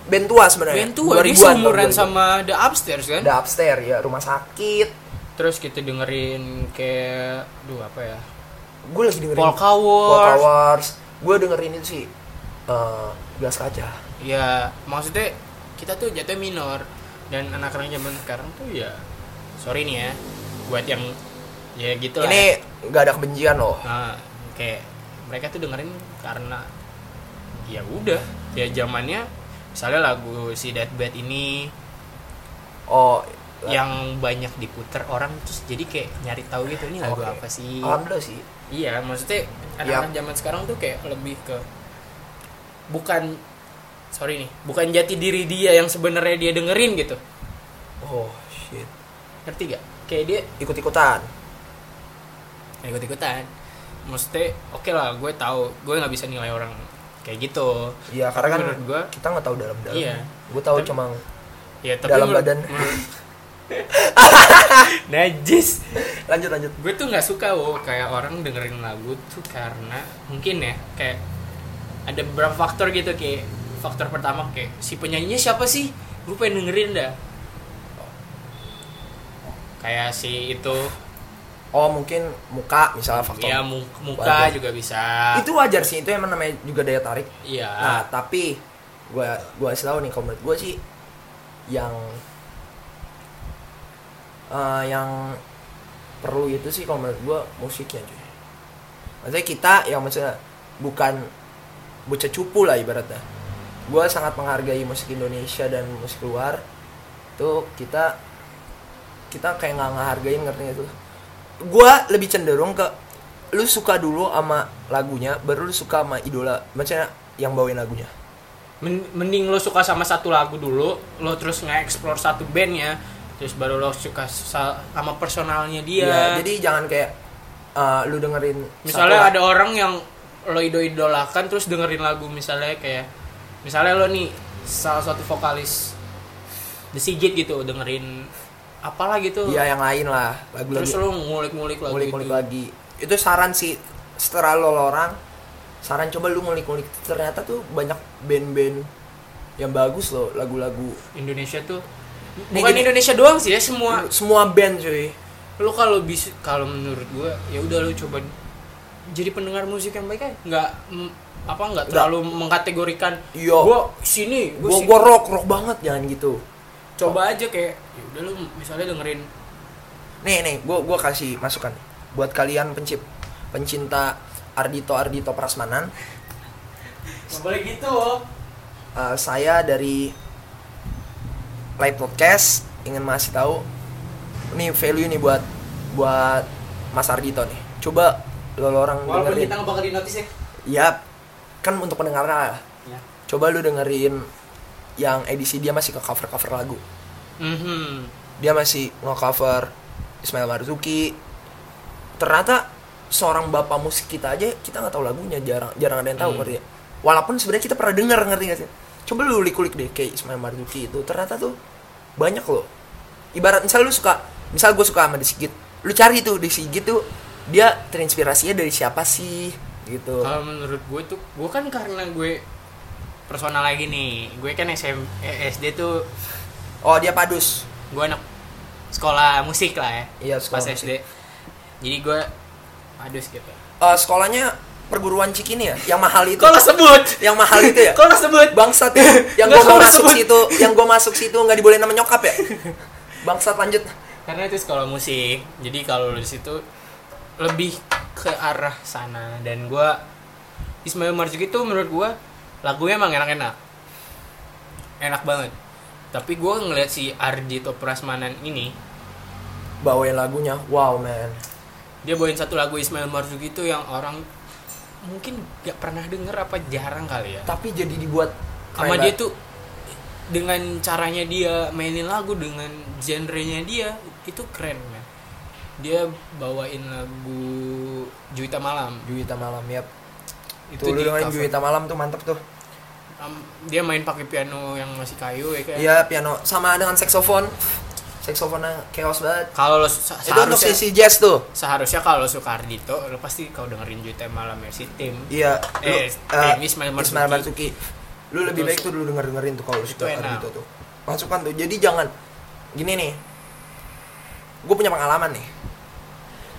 Speaker 2: band tua sebenarnya.
Speaker 1: Ben tua, dia
Speaker 2: 2000-an,
Speaker 1: seumuran
Speaker 2: 2000-an.
Speaker 1: sama The Upstairs kan?
Speaker 2: ada upstairs ya, rumah sakit.
Speaker 1: Terus kita dengerin kayak, duh apa ya?
Speaker 2: Gue lagi dengerin
Speaker 1: Polka
Speaker 2: Polka
Speaker 1: Wars.
Speaker 2: Wars. Gue dengerin itu sih eh gelas kaca.
Speaker 1: Ya, maksudnya kita tuh jatuh minor dan anak-anak zaman sekarang tuh ya sorry nih ya buat yang ya gitu lah.
Speaker 2: Ini nggak ada kebencian loh.
Speaker 1: Nah, kayak mereka tuh dengerin karena ya udah ya zamannya misalnya lagu si Deathbed ini
Speaker 2: Oh,
Speaker 1: yang banyak diputer orang terus jadi kayak nyari tahu gitu ini lagu
Speaker 2: Oke.
Speaker 1: apa sih
Speaker 2: alhamdulillah sih.
Speaker 1: Iya, maksudnya anak-anak
Speaker 2: Iya.
Speaker 1: zaman sekarang tuh kayak lebih ke bukan sorry nih, bukan jati diri dia yang sebenarnya dia dengerin gitu.
Speaker 2: Oh shit,
Speaker 1: Ngerti gak? Kayak dia
Speaker 2: ikut-ikutan.
Speaker 1: ikut-ikutan. Maksudnya oke lah, gue tahu, gue nggak bisa nilai orang kayak gitu.
Speaker 2: Iya, karena kan
Speaker 1: menurut gue
Speaker 2: kita nggak tahu dalam-dalam.
Speaker 1: Iya.
Speaker 2: Gue tahu
Speaker 1: Tapi-
Speaker 2: cuma
Speaker 1: ya tapi
Speaker 2: dalam
Speaker 1: menurut-
Speaker 2: badan.
Speaker 1: menurut- najis.
Speaker 2: lanjut lanjut.
Speaker 1: gue tuh nggak suka wo kayak orang dengerin lagu tuh karena mungkin ya kayak ada beberapa faktor gitu kayak faktor pertama kayak si penyanyinya siapa sih gue pengen dengerin dah kayak si itu
Speaker 2: Oh mungkin muka misalnya faktor.
Speaker 1: ya mu- muka
Speaker 2: Wajar.
Speaker 1: juga bisa
Speaker 2: Itu wajar sih, itu emang namanya juga daya tarik. Nah,
Speaker 1: iya
Speaker 2: tapi gua gua kasih tahu nih kalau menurut gua sih yang eh, yang perlu itu sih kalau menurut gua musiknya cuy. Maksudnya kita yang maksudnya bukan bocah cupu lah ibaratnya. Gua sangat menghargai musik Indonesia dan musik luar. Tuh kita kita kayak nggak ngehargain ngerti nggak tuh Gua lebih cenderung ke lu suka dulu sama lagunya baru lu suka sama idola maksudnya yang bawain lagunya
Speaker 1: Men- mending lo suka sama satu lagu dulu lo terus nge-explore satu bandnya terus baru lo suka sa- sama personalnya dia
Speaker 2: Iya, jadi jangan kayak uh, lu dengerin
Speaker 1: misalnya ada orang yang lo idol-idolakan terus dengerin lagu misalnya kayak misalnya lo nih salah satu vokalis The Sigit gitu dengerin apalah gitu
Speaker 2: dia iya, yang lain lah
Speaker 1: terus
Speaker 2: lagu-lagu
Speaker 1: lo ngulik-ngulik lagu
Speaker 2: ngulik-ngulik
Speaker 1: itu.
Speaker 2: lagi itu saran sih setelah lo orang saran coba lu ngulik-ngulik ternyata tuh banyak band-band yang bagus loh lagu-lagu
Speaker 1: Indonesia tuh
Speaker 2: Nih,
Speaker 1: bukan
Speaker 2: gini.
Speaker 1: Indonesia doang sih ya semua
Speaker 2: semua band cuy
Speaker 1: lo kalau bisa kalau menurut gua ya udah lo coba jadi pendengar musik yang baik aja nggak mm, apa nggak terlalu mengkategorikan
Speaker 2: Iya.
Speaker 1: gua sini
Speaker 2: gua,
Speaker 1: sini.
Speaker 2: gua rock rock banget jangan gitu
Speaker 1: coba aja kayak ya udah lo misalnya dengerin
Speaker 2: nih nih gua gua kasih masukan buat kalian pencip pencinta Ardito Ardito Prasmanan
Speaker 1: Nggak boleh gitu Om.
Speaker 2: Uh, saya dari live podcast ingin masih tahu nih value nih buat buat Mas Ardito nih coba lo, lo orang
Speaker 1: Walaupun kita
Speaker 2: dengerin
Speaker 1: nggak bakal di notice ya.
Speaker 2: Yap, kan untuk pendengar lah. coba lu dengerin yang edisi dia masih ke cover cover lagu
Speaker 1: Mhm.
Speaker 2: dia masih nge-cover Ismail Marzuki ternyata seorang bapak musik kita aja kita nggak tahu lagunya jarang jarang ada yang tahu
Speaker 1: Hmm.
Speaker 2: ngerti ya? walaupun sebenarnya kita pernah dengar ngerti gak sih coba lu kulik-kulik deh kayak Ismail Marzuki itu ternyata tuh banyak loh ibarat misal lu suka misal gue suka sama The Sigit lu cari tuh The Sigit tuh dia terinspirasinya dari siapa sih gitu
Speaker 1: kalau menurut gue tuh gue kan karena gue personal lagi nih gue kan SM, eh, SD tuh
Speaker 2: oh dia padus
Speaker 1: gue anak sekolah musik lah ya
Speaker 2: Iya, sekolah
Speaker 1: pas
Speaker 2: musik.
Speaker 1: SD jadi gue padus gitu
Speaker 2: Eh, sekolahnya perguruan Cikini ya yang mahal itu
Speaker 1: kalau sebut
Speaker 2: yang mahal itu ya
Speaker 1: kalau sebut
Speaker 2: bangsat ya yang
Speaker 1: Nggak
Speaker 2: gue mau
Speaker 1: salah
Speaker 2: masuk
Speaker 1: sebut.
Speaker 2: situ yang gue masuk situ nggak dibolehin sama nyokap ya bangsat lanjut
Speaker 1: karena itu sekolah musik jadi kalau di situ lebih ke arah sana dan gua Ismail Marzuki itu menurut gua lagunya emang enak-enak enak banget tapi gua ngeliat si Ardhito Prasmanan ini
Speaker 2: bawain lagunya wow man
Speaker 1: dia bawain satu lagu Ismail Marzuki itu yang orang mungkin gak pernah denger apa jarang kali ya
Speaker 2: tapi jadi dibuat
Speaker 1: sama
Speaker 2: keren
Speaker 1: dia
Speaker 2: banget.
Speaker 1: tuh dengan caranya dia mainin lagu dengan genrenya dia itu keren man. dia bawain lagu Juwita Malam
Speaker 2: Juwita malam ya
Speaker 1: itu
Speaker 2: itu lu
Speaker 1: di
Speaker 2: dengerin
Speaker 1: cover.
Speaker 2: Juwita malam tuh mantep tuh
Speaker 1: Am- dia main pakai piano yang masih kayu ya kan
Speaker 2: Iya piano sama dengan saksofon saksofonnya chaos banget
Speaker 1: kalau lo se-
Speaker 2: itu untuk
Speaker 1: seharusnya
Speaker 2: sisi jazz tuh
Speaker 1: seharusnya kalau lo suka Ardhito lo pasti kau dengerin Juwita Malam ya si tim
Speaker 2: iya lu,
Speaker 1: Eh,
Speaker 2: eh,
Speaker 1: tim Ismail
Speaker 2: Ismail
Speaker 1: Marzuki.
Speaker 2: Marzuki lu lebih
Speaker 1: Betul
Speaker 2: baik
Speaker 1: sih.
Speaker 2: tuh dulu denger dengerin tuh kalau lu
Speaker 1: Itu
Speaker 2: suka
Speaker 1: enak.
Speaker 2: Ardhito tuh masukan tuh jadi jangan gini nih gue punya pengalaman nih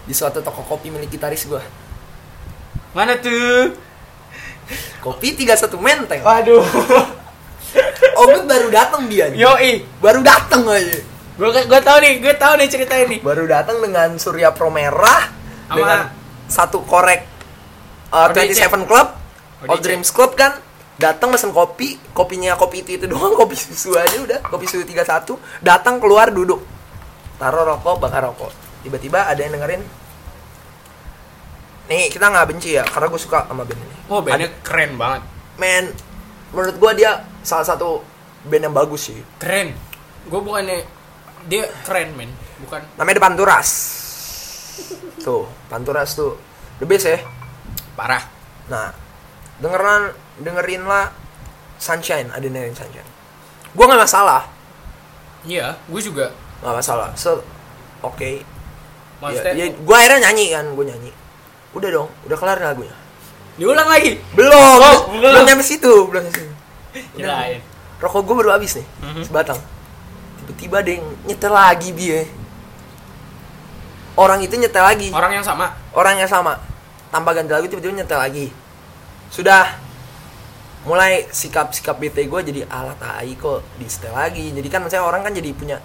Speaker 2: di suatu toko kopi milik gitaris gue
Speaker 1: mana tuh
Speaker 2: kopi 31 menteng
Speaker 1: waduh
Speaker 2: Ogut baru datang dia nih
Speaker 1: yoi
Speaker 2: baru datang aja
Speaker 1: gue gue tau nih gue tau nih cerita ini
Speaker 2: baru datang dengan Surya Pro Merah
Speaker 1: Sama-
Speaker 2: dengan satu korek uh,
Speaker 1: ODC.
Speaker 2: 27 Club
Speaker 1: ODC.
Speaker 2: All Dreams Club kan datang pesen kopi kopinya kopi itu itu doang kopi susu aja udah kopi susu 31 datang keluar duduk taruh rokok bakar rokok tiba-tiba ada yang dengerin nih kita nggak benci ya karena gue suka sama band ini
Speaker 1: oh bandnya keren banget
Speaker 2: men menurut gue dia salah satu band yang bagus sih
Speaker 1: keren gue bukannya dia keren men bukan
Speaker 2: namanya The Panturas tuh Panturas tuh the best ya
Speaker 1: parah
Speaker 2: Nah, dengeran dengerinlah Sunshine, ada yang dengerin Sunshine. Gua nggak masalah,
Speaker 1: iya gue juga
Speaker 2: nggak masalah. So, oke.
Speaker 1: Oh, maksudnya
Speaker 2: Ya, ya, gua akhirnya nyanyi kan, gua nyanyi. Udah dong, udah kelar lagunya.
Speaker 1: diulang lagi
Speaker 2: Belum,
Speaker 1: Oh,
Speaker 2: belum,
Speaker 1: belum.
Speaker 2: belum nyampe situ, belum nyampe situ.
Speaker 1: kirain
Speaker 2: Iya. Rokok gua baru habis nih,
Speaker 1: Mhm.
Speaker 2: sebatang. Tiba-tiba ada yang nyetel lagi dia. Orang itu nyetel lagi.
Speaker 1: orang yang sama
Speaker 2: orang yang sama tanpa ganti lagu tiba-tiba nyetel lagi sudah mulai sikap-sikap BT gue jadi alat AI kok di setel lagi jadi kan maksudnya orang kan jadi punya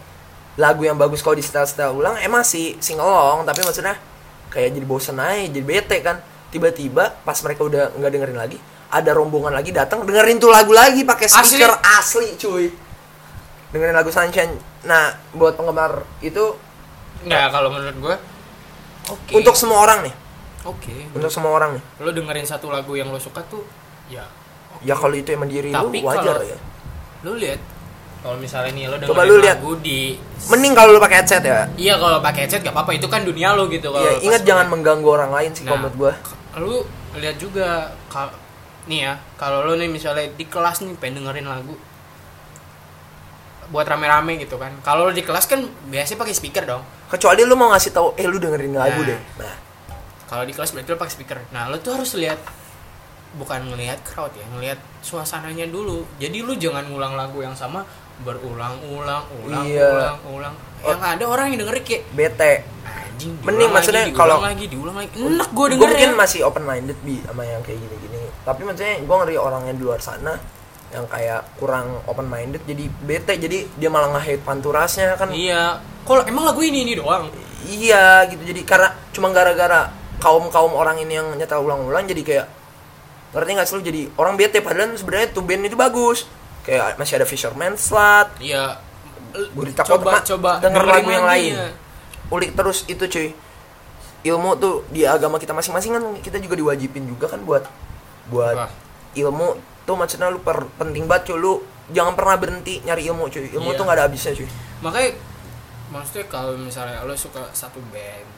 Speaker 2: lagu yang bagus kalau di setel-setel ulang Eh, emang sih sing along tapi maksudnya kayak jadi bosen aja jadi bete kan tiba-tiba pas mereka udah nggak dengerin lagi ada rombongan lagi datang dengerin tuh lagu lagi pakai
Speaker 1: Asli.
Speaker 2: speaker asli. cuy dengerin lagu Sunshine nah buat penggemar itu
Speaker 1: nggak kalau menurut gue oke
Speaker 2: untuk semua orang nih
Speaker 1: oke
Speaker 2: untuk semua orang nih
Speaker 1: lo dengerin satu lagu yang lo suka tuh ya
Speaker 2: Ya kalau itu emang diri
Speaker 1: Tapi
Speaker 2: lu wajar
Speaker 1: kalau-
Speaker 2: ya.
Speaker 1: lo lihat kalau misalnya nih lo dengerin
Speaker 2: Coba lu lihat.
Speaker 1: lagu di
Speaker 2: Mending kalau lu pakai headset ya.
Speaker 1: iya kalau pakai headset gak apa-apa itu kan dunia lo gitu kalau
Speaker 2: Iya,
Speaker 1: pas-
Speaker 2: ingat jangan mengganggu orang lain sih
Speaker 1: Nah,
Speaker 2: kalau menurut gua.
Speaker 1: lu lihat juga kal nih ya kalau lu nih misalnya di kelas nih pengen dengerin lagu buat rame-rame gitu kan kalau lu di kelas kan biasanya pakai speaker dong
Speaker 2: Kecuali lu mau ngasih tahu eh lu dengerin lagu
Speaker 1: Nah.
Speaker 2: deh. Nah,
Speaker 1: kalau di kelas berarti lu pakai speaker nah lu tuh harus lihat bukan ngelihat crowd ya ngelihat suasananya dulu jadi lu jangan ngulang lagu yang sama berulang-ulang ulang
Speaker 2: Iya.
Speaker 1: ulang ulang yang ada orang yang denger kayak
Speaker 2: bete.
Speaker 1: anjing diulang
Speaker 2: Mending
Speaker 1: lagi,
Speaker 2: maksudnya
Speaker 1: diulang
Speaker 2: kalau-
Speaker 1: lagi diulang lagi enak gue
Speaker 2: Gua
Speaker 1: denger
Speaker 2: mungkin masih open minded bi sama yang kayak gini-gini. Tapi maksudnya gua ngeri orang yang di luar sana yang kayak kurang open minded jadi bete jadi dia malah nge-hate panturasnya kan
Speaker 1: iya kalau emang lagu ini ini doang
Speaker 2: iya gitu jadi karena cuma gara-gara kaum kaum orang ini yang nyetel ulang-ulang jadi kayak ngerti nggak sih lu jadi orang bete padahal sebenarnya tuh band itu bagus kayak masih ada Fisherman Slut
Speaker 1: Iya.
Speaker 2: Gurita
Speaker 1: coba
Speaker 2: Kotak, Mak.
Speaker 1: coba
Speaker 2: Denger
Speaker 1: dengerin
Speaker 2: lagu yang
Speaker 1: lagi
Speaker 2: lain.
Speaker 1: ya.
Speaker 2: ulik terus itu cuy ilmu tuh di agama kita masing-masing kan kita juga diwajibin juga kan buat buat
Speaker 1: Apa?
Speaker 2: ilmu tuh maksudnya lu per, penting banget cuy lu jangan pernah berhenti nyari ilmu cuy ilmu
Speaker 1: Iya.
Speaker 2: tuh nggak ada habisnya cuy
Speaker 1: Makanya maksudnya kalau misalnya lo suka satu band,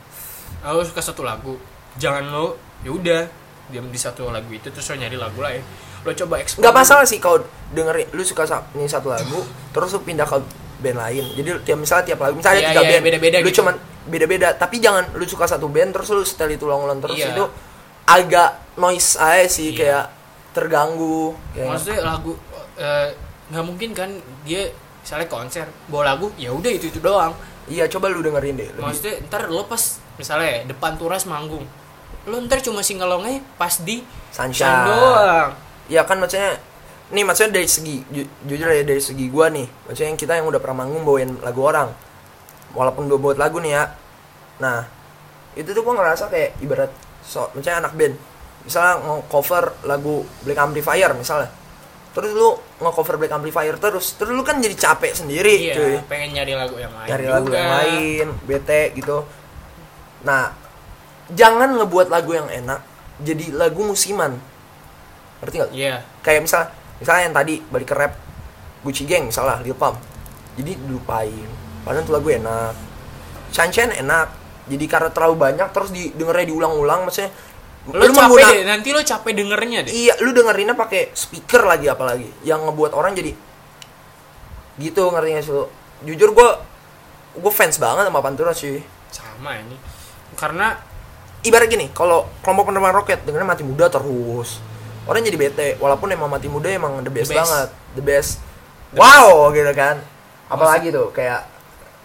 Speaker 1: eh, lo suka satu lagu, jangan lo ya udah diam di satu lagu itu terus lo nyari lagu lain. lo coba eksplor
Speaker 2: nggak masalah sih kalau dengerin lu suka sa- nih satu lagu terus lu pindah ke band lain jadi tiap misalnya tiap lagu misalnya
Speaker 1: Iya,
Speaker 2: tiga
Speaker 1: iya,
Speaker 2: band
Speaker 1: beda-beda
Speaker 2: lu
Speaker 1: gitu.
Speaker 2: cuman beda-beda tapi jangan lu suka satu band terus lu setel itu ulang-ulang terus
Speaker 1: Iya.
Speaker 2: itu agak noise aja sih
Speaker 1: Iya.
Speaker 2: kayak terganggu kayak
Speaker 1: maksudnya lagu eh, nggak mungkin kan dia misalnya konser bawa lagu ya udah itu itu doang
Speaker 2: iya coba lu dengerin deh lebih.
Speaker 1: maksudnya ntar lo pas misalnya depan turas manggung lo ntar cuma singalongnya pas di
Speaker 2: Sunshine.
Speaker 1: Sun doang
Speaker 2: ya kan maksudnya nih maksudnya dari segi ju- jujur ya dari segi gua nih maksudnya yang kita yang udah pernah manggung bawain lagu orang walaupun gua buat lagu nih ya nah itu tuh gua ngerasa kayak ibarat so misalnya anak band misalnya nge-cover lagu Black Amplifier misalnya terus lu nge-cover Black Amplifier terus terus lu kan jadi capek sendiri
Speaker 1: iya
Speaker 2: cuy
Speaker 1: pengen nyari lagu yang lain
Speaker 2: cari
Speaker 1: juga.
Speaker 2: lagu yang lain bete gitu nah jangan ngebuat lagu yang enak jadi lagu musiman ngerti nggak
Speaker 1: iya
Speaker 2: kayak misal misalnya yang tadi balik ke rap Gucci Gang misalnya Lil Pump jadi dilupain padahal tuh lagu enak Sunshine enak jadi karena terlalu banyak terus didengarnya diulang-ulang maksudnya
Speaker 1: lo capek
Speaker 2: mengguna-
Speaker 1: deh nanti lo capek dengernya deh
Speaker 2: iya lu dengerinnya pakai speaker lagi apalagi yang ngebuat orang jadi gitu ngerti nggak sih lu jujur gue gue fans banget sama Pantura sih
Speaker 1: sama ini karena
Speaker 2: ibarat gini kalau kelompok penerbang roket dengerin mati muda terus orang jadi bete walaupun emang mati muda emang the best,
Speaker 1: The best.
Speaker 2: banget the best wow gitu kan apalagi tuh kayak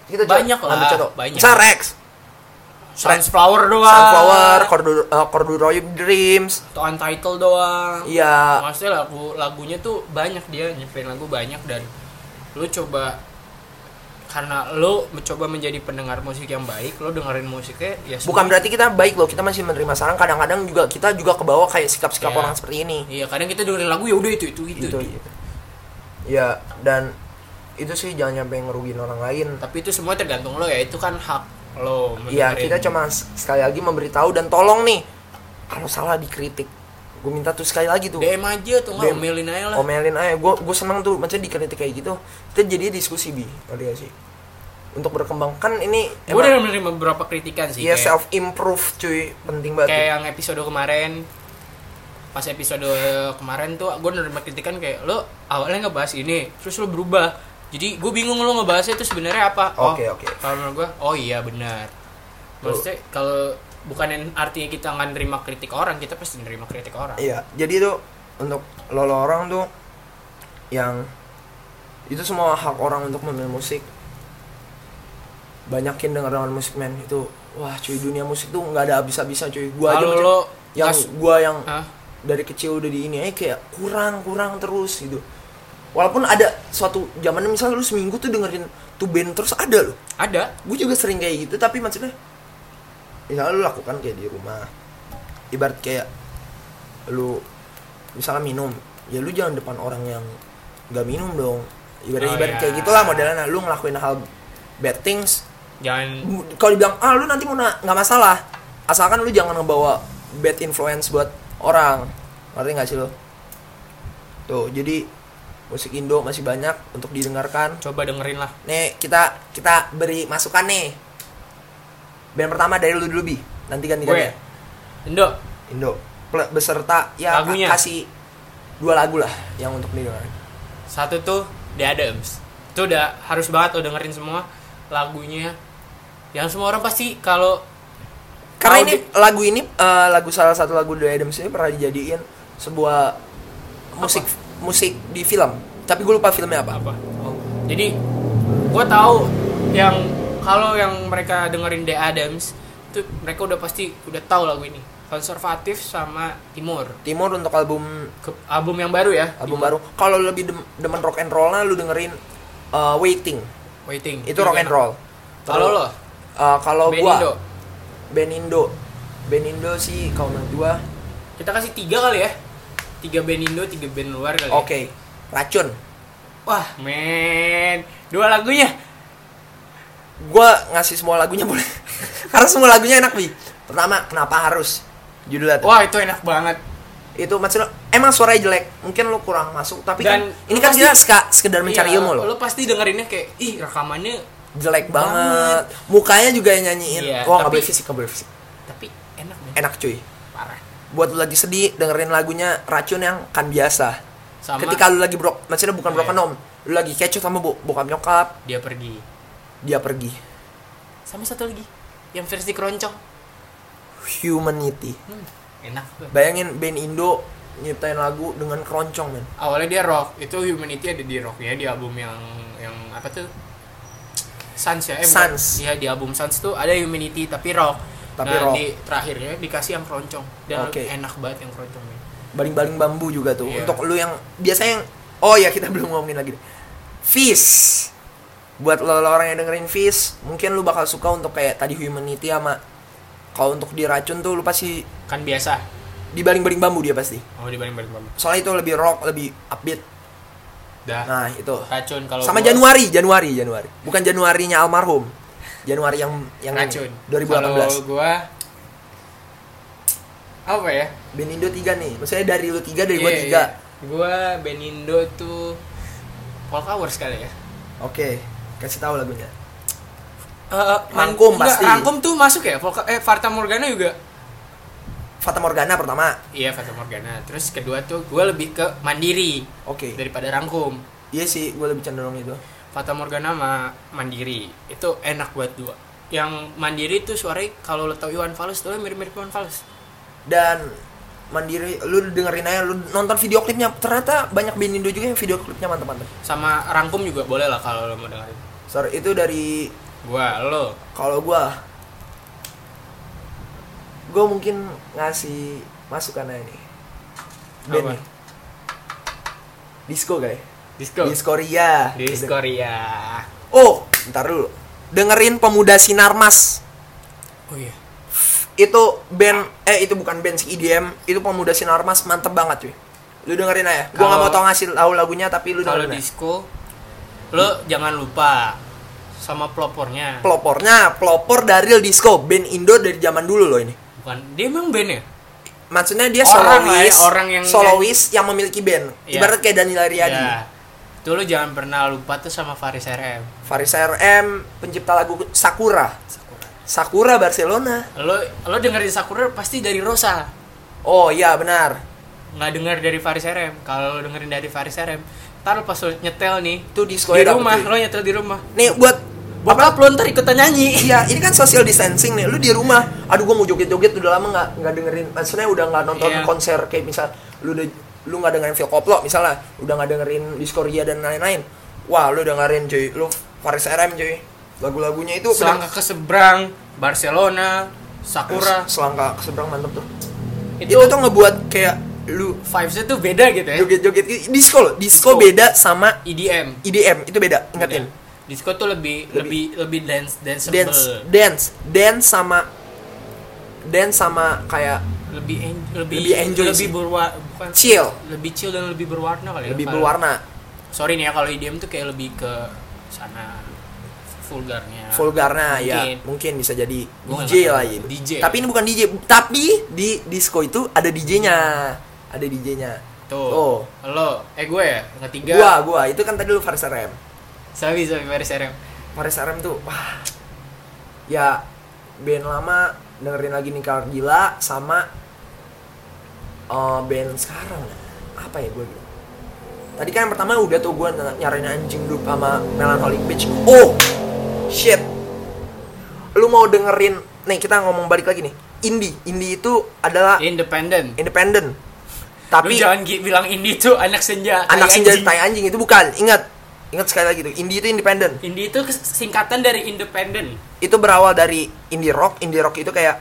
Speaker 2: kita coba
Speaker 1: Banyak lah,
Speaker 2: ambil contoh
Speaker 1: banyak.
Speaker 2: Misal Rex
Speaker 1: sunflower doang
Speaker 2: Sunflower Cordu- eh, Corduroy Dreams
Speaker 1: atau untitled doang
Speaker 2: iya
Speaker 1: maksudnya lagu lagunya tuh banyak dia nyimpen lagu banyak dan lu coba karena lu mencoba menjadi pendengar musik yang baik lu dengerin musiknya ya
Speaker 2: bukan
Speaker 1: semua-
Speaker 2: berarti kita baik loh kita masih menerima saran kadang-kadang juga kita juga kebawa kayak sikap-sikap
Speaker 1: Iya.
Speaker 2: orang seperti ini
Speaker 1: iya kadang kita dengerin lagu ya udah itu itu itu,
Speaker 2: itu,
Speaker 1: itu.
Speaker 2: ya dan itu sih jangan nyampe ngerugiin orang lain
Speaker 1: tapi itu semua tergantung lo ya itu kan hak lo
Speaker 2: Iya,
Speaker 1: mendengerin.
Speaker 2: kita cuma s- sekali lagi memberitahu dan tolong nih kalau salah dikritik. Gue minta tuh sekali lagi tuh.
Speaker 1: DM aja tuh nggak
Speaker 2: DM.
Speaker 1: omelin aja lah
Speaker 2: Omelin aja, gue gue seneng tuh macam dikritik kayak gitu. Kita jadi diskusi bi, ngerti gak sih? Untuk berkembang kan ini
Speaker 1: gue udah menerima beberapa kritikan sih
Speaker 2: iya
Speaker 1: kayak-
Speaker 2: self improve cuy, penting banget.
Speaker 1: kayak yang episode kemarin pas episode kemarin tuh gue nerima kritikan kayak lo awalnya ngebahas ini terus lo berubah jadi gue bingung lo ngebahasnya itu sebenarnya apa
Speaker 2: Oke, oke.
Speaker 1: kalau menurut gue oh iya benar maksudnya kalau bukan yang artinya kita nggak nerima kritik orang kita pasti nerima kritik orang
Speaker 2: Iya, jadi tuh untuk lo lo orang tuh yang itu semua hak orang untuk memilih musik. Banyakin dengerin musik men itu wah cuy dunia musik tuh nggak ada habis-habisnya cuy. Gua aja
Speaker 1: kalau
Speaker 2: macam-
Speaker 1: lo
Speaker 2: yang
Speaker 1: ngas-
Speaker 2: gua yang
Speaker 1: Hah?
Speaker 2: dari kecil udah di ini aja kayak kurang kurang terus gitu walaupun ada suatu zamannya misalnya lu seminggu tuh dengerin tuh band terus ada loh
Speaker 1: ada
Speaker 2: gue juga sering kayak gitu tapi maksudnya misalnya lu lakukan kayak di rumah ibarat kayak lu misalnya minum ya lu jangan depan orang yang gak minum dong ibarat
Speaker 1: Oh,
Speaker 2: ibarat
Speaker 1: iya.
Speaker 2: kayak gitulah modelnya nah, lu ngelakuin hal bad things
Speaker 1: jangan
Speaker 2: kalau dibilang ah lu nanti mau na- nggak masalah asalkan lu jangan ngebawa bad influence buat orang ngerti nggak sih lu tuh jadi musik Indo masih banyak untuk didengarkan
Speaker 1: coba dengerin lah
Speaker 2: nih kita kita beri masukan nih band pertama dari lu dulu bi nanti ganti
Speaker 1: gue
Speaker 2: ganti
Speaker 1: Indo
Speaker 2: Indo Ple- beserta ya
Speaker 1: Lagunya.
Speaker 2: kasih dua lagu lah yang untuk didengarkan
Speaker 1: satu tuh The Adams itu udah harus banget lo dengerin semua lagunya yang semua orang pasti kalau Mau
Speaker 2: karena ini lagu ini eh, lagu salah satu lagu The Adams ini pernah dijadiin sebuah musik musik di film tapi gue lupa filmnya apa
Speaker 1: apa Oh, jadi gue tahu yang kalau yang mereka dengerin The Adams itu mereka udah pasti udah tahu lagu ini konservatif sama timur
Speaker 2: Timur untuk album
Speaker 1: Ke- album yang baru ya
Speaker 2: album baru kalau lebih dem- demen rock and roll lu dengerin eh, Waiting
Speaker 1: waiting
Speaker 2: itu rock and roll
Speaker 1: kalau lo
Speaker 2: Eh, kalau
Speaker 1: band
Speaker 2: gua
Speaker 1: Indo.
Speaker 2: band Indo band Indo sih kalau menurut gua
Speaker 1: kita kasih tiga kali ya tiga band Indo tiga band luar kali ya.
Speaker 2: oke racun
Speaker 1: wah men dua lagunya
Speaker 2: gua ngasih semua lagunya boleh karena semua lagunya enak bi pertama kenapa harus judulnya tuh.
Speaker 1: wah itu enak banget
Speaker 2: itu maksudnya emang suaranya jelek mungkin lo kurang masuk tapi
Speaker 1: Dan
Speaker 2: kan ini
Speaker 1: lu
Speaker 2: kan
Speaker 1: pasti-
Speaker 2: kita ska- sekedar mencari
Speaker 1: Iya,
Speaker 2: ilmu lo
Speaker 1: lo pasti dengerinnya kayak ih rekamannya
Speaker 2: jelek banget mukanya juga yang nyanyiin
Speaker 1: Iya,
Speaker 2: wah nggak
Speaker 1: tapi-
Speaker 2: boleh fisik nggak boleh fisik
Speaker 1: tapi enak men
Speaker 2: enak cuy
Speaker 1: parah
Speaker 2: buat lu lagi sedih dengerin lagunya racun yang kan biasa
Speaker 1: sama
Speaker 2: ketika lu lagi brok maksudnya bukan
Speaker 1: Iya.
Speaker 2: broken home lu lagi kecoh sama bo- bokap nyokap
Speaker 1: dia pergi
Speaker 2: dia pergi
Speaker 1: sama satu lagi yang versi keroncong
Speaker 2: humanity
Speaker 1: hmm, enak tuh.
Speaker 2: bayangin band indo nyiptain lagu dengan keroncong men
Speaker 1: awalnya dia rock itu humanity ada di rocknya di album yang yang apa tuh Suns ya eh, bukan.
Speaker 2: Suns.
Speaker 1: Iya, di album Suns tuh ada humanity tapi rock
Speaker 2: Tapi
Speaker 1: nah,
Speaker 2: rock.
Speaker 1: di terakhirnya dikasih yang keroncong dan
Speaker 2: Oke.
Speaker 1: enak banget yang keroncong men.
Speaker 2: baling-baling bambu juga tuh
Speaker 1: Iya.
Speaker 2: untuk lu yang biasanya yang oh ya kita belum ngomongin lagi fish buat lo, lo orang yang dengerin fish mungkin lu bakal suka untuk kayak tadi humanity sama kalau untuk diracun tuh lu pasti
Speaker 1: kan biasa Oh,
Speaker 2: dibaling-baling bambu dia pasti
Speaker 1: mau dibanding balik balik
Speaker 2: soalnya itu lebih rock lebih upbeat
Speaker 1: dah
Speaker 2: nah itu
Speaker 1: racun kalau
Speaker 2: sama
Speaker 1: gua-
Speaker 2: Januari Januari Januari bukan Januarinya almarhum Januari yang yang ini,
Speaker 1: racun
Speaker 2: 2018
Speaker 1: kalau gua apa ya
Speaker 2: Ben Indo 3 nih maksudnya dari lu 3 dari gua
Speaker 1: Iya,
Speaker 2: 3
Speaker 1: iya. gua Benindo tuh Folk Hours kali ya
Speaker 2: oke kasih tahu lagunya
Speaker 1: Eh, man-
Speaker 2: Rangkum
Speaker 1: enggak,
Speaker 2: pasti.
Speaker 1: Rangkum tuh masuk ya Folk- eh Fata Morgana juga
Speaker 2: Fata Morgana pertama
Speaker 1: Iya Fata Morgana. Terus kedua tuh gue lebih ke mandiri
Speaker 2: oke
Speaker 1: daripada rangkum.
Speaker 2: Iya sih, gue lebih cenderung itu.
Speaker 1: Fata Morgana sama mandiri itu enak buat dua. Yang mandiri tuh suaranya kalau lo tau Iwan Fals tuh mirip-mirip Iwan Fals.
Speaker 2: Dan mandiri, lu dengerin aja, lu nonton video klipnya. Ternyata banyak band Indo juga yang video klipnya mantep-mantep.
Speaker 1: Sama rangkum juga boleh lah kalau lo mau dengerin.
Speaker 2: Sorry, itu dari
Speaker 1: Gua lo
Speaker 2: kalau gua gue mungkin ngasih masukan aja nih. Band
Speaker 1: Apa?
Speaker 2: nih. Disco guys.
Speaker 1: disco.
Speaker 2: Disco Ria. gitu.
Speaker 1: Dis Korea.
Speaker 2: Oh, ntar dulu. Dengerin Pemuda Sinarmas.
Speaker 1: Oh iya.
Speaker 2: Itu band eh itu bukan band si IDM, itu Pemuda Sinarmas mantep banget cuy. Lu dengerin aja. Gua
Speaker 1: Kalau-
Speaker 2: nggak mau tau ngasih tahu lagunya tapi lu
Speaker 1: Kalau
Speaker 2: dengerin. aja.
Speaker 1: disco lo jangan lupa sama pelopornya.
Speaker 2: pelopornya pelopor dari Real Disco band Indo dari zaman dulu loh ini
Speaker 1: Bukan dia emang band ya?
Speaker 2: maksudnya dia
Speaker 1: Orang lah ya,
Speaker 2: solois
Speaker 1: orang yang-
Speaker 2: solois yang memiliki band
Speaker 1: Iya.
Speaker 2: ibarat kayak Danila Riyadi
Speaker 1: Iya. Tuh lo jangan pernah lupa tuh sama Faris RM.
Speaker 2: Faris RM pencipta lagu Sakura
Speaker 1: Sakura.
Speaker 2: Sakura Barcelona
Speaker 1: lo lo dengerin Sakura pasti dari Rosa
Speaker 2: oh iya benar
Speaker 1: nggak denger dari Faris RM kalau lo dengerin dari Faris RM ntar lo pas lo nyetel nih
Speaker 2: itu disco
Speaker 1: di rumah lo nyetel di rumah
Speaker 2: nih buat
Speaker 1: bakal lo ntar ikutan nyanyi
Speaker 2: iya ini kan social distancing nih lu di rumah aduh gua mau joget-joget udah lama nggak nggak dengerin maksudnya udah nggak nonton
Speaker 1: Iya.
Speaker 2: konser kayak misal lu udah lu nggak dengerin Phil Koplo misalnya udah nggak dengerin Discordia dan lain-lain wah lu dengerin cuy lu Faris RM cuy lagu-lagunya itu
Speaker 1: selangkah ke seberang Barcelona Sakura
Speaker 2: selangkah ke seberang mantep tuh itu,
Speaker 1: itu
Speaker 2: tuh ngebuat kayak lu
Speaker 1: vibesnya tuh beda gitu ya E
Speaker 2: joget-joget gitu. disco loh
Speaker 1: Disco.
Speaker 2: disco
Speaker 1: Iya.
Speaker 2: beda sama
Speaker 1: EDM
Speaker 2: IDM itu beda
Speaker 1: Beda.
Speaker 2: ingetin
Speaker 1: ya? disco tuh lebih lebih
Speaker 2: Iya. Lebih-
Speaker 1: lebih dance danceable
Speaker 2: dance dance dance sama dance sama kayak
Speaker 1: lebih en- lebih
Speaker 2: Lebih enjoy
Speaker 1: lebih
Speaker 2: sih.
Speaker 1: berwa- bukan
Speaker 2: chill
Speaker 1: lebih chill dan lebih berwarna kali ya,
Speaker 2: lebih
Speaker 1: kalau-
Speaker 2: berwarna
Speaker 1: sorry nih ya kalau IDM tuh kayak lebih ke sana vulgarnya
Speaker 2: vulgarnya ya
Speaker 1: Mungkin.
Speaker 2: mungkin bisa jadi
Speaker 1: Gua nggak
Speaker 2: DJ
Speaker 1: tahu.
Speaker 2: lah ya.
Speaker 1: DJ.
Speaker 2: Tapi ini bukan DJ, tapi di disco itu ada DJ-nya. Ada DJ-nya.
Speaker 1: tuh
Speaker 2: Oh.
Speaker 1: lo eh gue ya yang ketiga
Speaker 2: Gua, gua itu kan tadi lu Faris RM.
Speaker 1: Sabi Sabi Paris RM
Speaker 2: Faris RM tuh wah. Ya band lama dengerin lagi nih kalau gila sama eh, band sekarang apa ya gue bilang? Tadi kan yang pertama udah tuh gue nyariin anjing dulu sama Melancholic Beach. Oh, shit. Lu mau dengerin? Nih kita ngomong balik lagi nih. Indie, indie itu adalah
Speaker 1: independen
Speaker 2: independen.
Speaker 1: tapi
Speaker 2: Tapi
Speaker 1: Iya. jangan gi- bilang indie tuh anak senja
Speaker 2: anak
Speaker 1: tai
Speaker 2: senja
Speaker 1: anjing.
Speaker 2: tai anjing itu bukan. Ingat, ingat sekali lagi tuh. Indie itu independen.
Speaker 1: indie itu kes- singkatan dari independen
Speaker 2: itu berawal dari indie rock indie rock itu kayak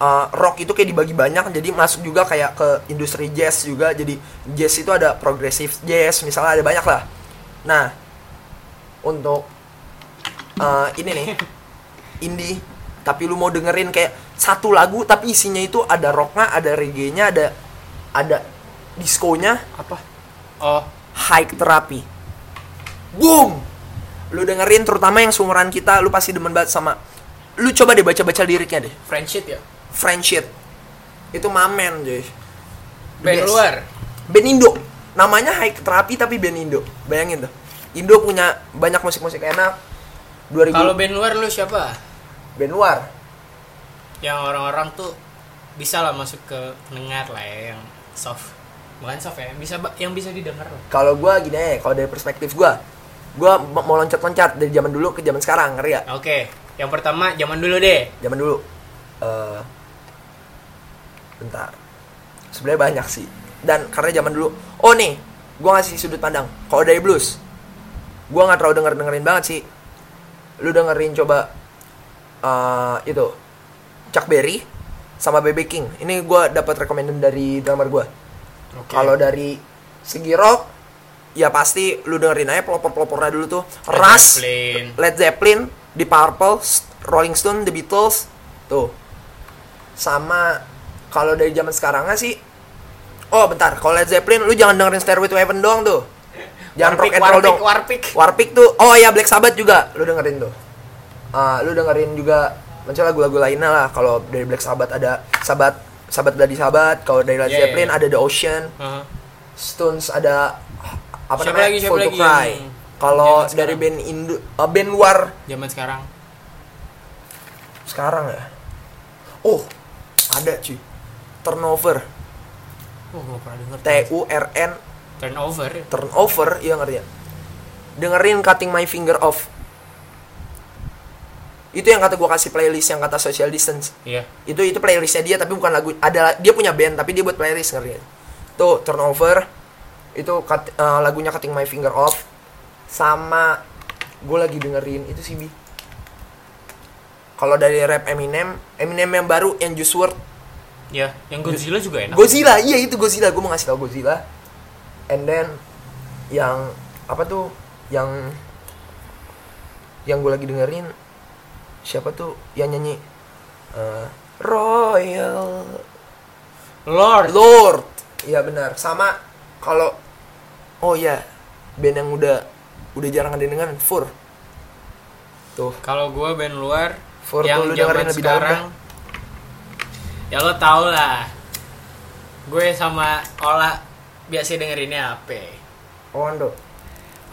Speaker 2: uh, rock itu kayak dibagi banyak jadi masuk juga kayak ke industri jazz juga jadi jazz itu ada progresif jazz misalnya ada banyak lah nah untuk uh, ini nih indie tapi lu mau dengerin kayak satu lagu tapi isinya itu ada rocknya ada reggae-nya ada ada diskonya
Speaker 1: apa oh
Speaker 2: high therapy. Boom. Lu dengerin terutama yang seumuran kita, lu pasti demen banget sama lu coba deh baca-baca liriknya deh.
Speaker 1: friendship ya
Speaker 2: Friendship. Itu mamen, cuy.
Speaker 1: band
Speaker 2: Best.
Speaker 1: luar
Speaker 2: Band Indo. Namanya high therapy tapi band Indo. Bayangin tuh. Indo punya banyak musik-musik enak. 2000
Speaker 1: kalau band luar lu siapa
Speaker 2: band luar.
Speaker 1: yang orang-orang tuh bisa lah masuk ke pendengar lah ya yang soft bukan soft ya bisa ba- yang bisa didengar lah
Speaker 2: Kalau gua gini aja, kalau dari perspektif gua, gua m- mau loncat-loncat dari zaman dulu ke zaman sekarang, ya? ngerti gak?
Speaker 1: oke yang pertama zaman dulu deh
Speaker 2: Zaman dulu. eh bentar. Sebenarnya banyak sih. Dan karena zaman dulu, oh nih, gua ngasih sudut pandang. Kalau dari blues, gua nggak terlalu denger dengerin banget sih. Lu dengerin coba eh itu Chuck Berry sama BB King. Ini gua dapat rekomendasi dari drummer gua.
Speaker 1: oke
Speaker 2: Kalau dari segi rock, ya pasti lu dengerin aja pelopor-pelopornya dulu tuh. Rush,
Speaker 1: Zeppelin.
Speaker 2: Led Zeppelin, The Purple, S- Rolling Stone, The Beatles, tuh. Sama kalau dari zaman sekarangnya sih, oh bentar, kalau Led Zeppelin lu jangan dengerin Stairway to Heaven doang tuh. Jangan rock and roll
Speaker 1: warpik,
Speaker 2: dong.
Speaker 1: warpik
Speaker 2: Warpik tuh, oh ya Black Sabbath juga, lu dengerin tuh. Ah, lu dengerin juga macam lagu-lagu lainnya lah. Kalau dari Black Sabbath ada Sabat, Sabat Bloody Sabat. Kalau dari Led
Speaker 1: Iya, iya,
Speaker 2: Zeppelin
Speaker 1: iya.
Speaker 2: ada The Ocean.
Speaker 1: Heeh.
Speaker 2: Stones ada apa
Speaker 1: Siapa
Speaker 2: namanya
Speaker 1: lagi, siapa
Speaker 2: Fall to
Speaker 1: lagi
Speaker 2: Cry.
Speaker 1: yang-
Speaker 2: Kalau
Speaker 1: yang
Speaker 2: dari
Speaker 1: sekarang?
Speaker 2: band Indo, eh, band luar
Speaker 1: zaman sekarang
Speaker 2: sekarang ya. Oh, ada cuy. Turnover,
Speaker 1: oh gue pernah denger
Speaker 2: T U R N
Speaker 1: turnover
Speaker 2: turnover, iya ngerti ya. Dengerin Cutting My Finger Off. Itu yang kata gua kasih playlist yang kata social distance.
Speaker 1: iya
Speaker 2: itu itu playlistnya dia tapi bukan lagu ada dia punya band tapi dia buat playlist ngerti tuh turnover itu cut- eh, lagunya cutting my finger off sama gue lagi dengerin itu sih bi kalau dari rap Eminem Eminem yang baru yang Juice WRLD
Speaker 1: iya yang Godzilla juga enak
Speaker 2: Godzilla iya itu Godzilla gue mau ngasih tau Godzilla and then yang apa tuh yang yang gue lagi dengerin siapa tuh yang nyanyi Eh, Royal
Speaker 1: Lord
Speaker 2: Lord. Iya benar. Sama kalau oh ya band yang udah udah jarang ada yang dengerin Fur. Tuh.
Speaker 1: Kalau gue band luar
Speaker 2: For
Speaker 1: yang zaman
Speaker 2: dulu dengerin lebih dalam
Speaker 1: sekarang, ya lo tau lah. Gue sama Ola biasa dengerinnya apa?
Speaker 2: Oh Ando.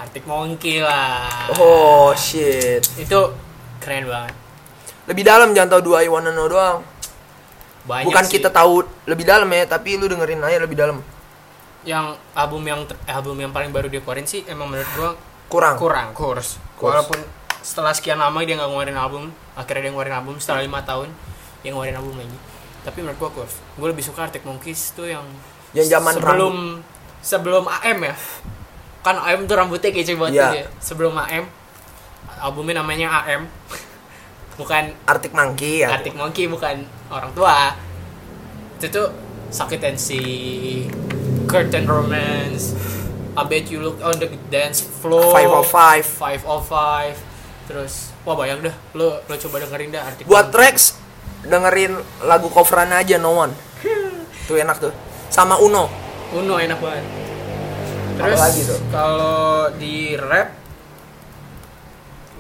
Speaker 1: Arctic Monkey lah.
Speaker 2: Oh shit.
Speaker 1: Itu keren banget.
Speaker 2: Lebih dalam jangan tahu dua I wanna know doang.
Speaker 1: Banyak
Speaker 2: Bukan
Speaker 1: sih.
Speaker 2: kita tahu lebih dalam ya, tapi lu dengerin aja lebih dalam.
Speaker 1: yang album yang ter- eh, album yang paling baru dia keluarin sih emang menurut gue
Speaker 2: Kurang.
Speaker 1: kurang kurs.
Speaker 2: Kurs.
Speaker 1: Walaupun setelah sekian lama dia nggak ngeluarin album, akhirnya dia ngeluarin album setelah lima tahun dia ngeluarin album lagi. Tapi menurut gue kurs. Gue lebih suka Arctic Monkeys tuh yang
Speaker 2: Yang zaman
Speaker 1: sebelum sebelum AM ya. Kan AM tuh rambutnya kece banget
Speaker 2: Iya.
Speaker 1: tuh dia. Sebelum AM albumnya namanya AM. bukan
Speaker 2: Arctic Monkey ya.
Speaker 1: Arctic Monkey bukan orang tua. Itu tuh Sakit and See, Curtain Romance, I Bet You Look on the Dance Floor,
Speaker 2: 505.
Speaker 1: 505, terus wah bayang dah, lo lo coba dengerin dah Arctic
Speaker 2: Buat
Speaker 1: Monkey.
Speaker 2: tracks dengerin lagu coveran aja No One. tuh enak tuh. Sama Uno.
Speaker 1: Uno enak banget.
Speaker 2: Apa
Speaker 1: Terus
Speaker 2: lagi tuh?
Speaker 1: kalau di rap,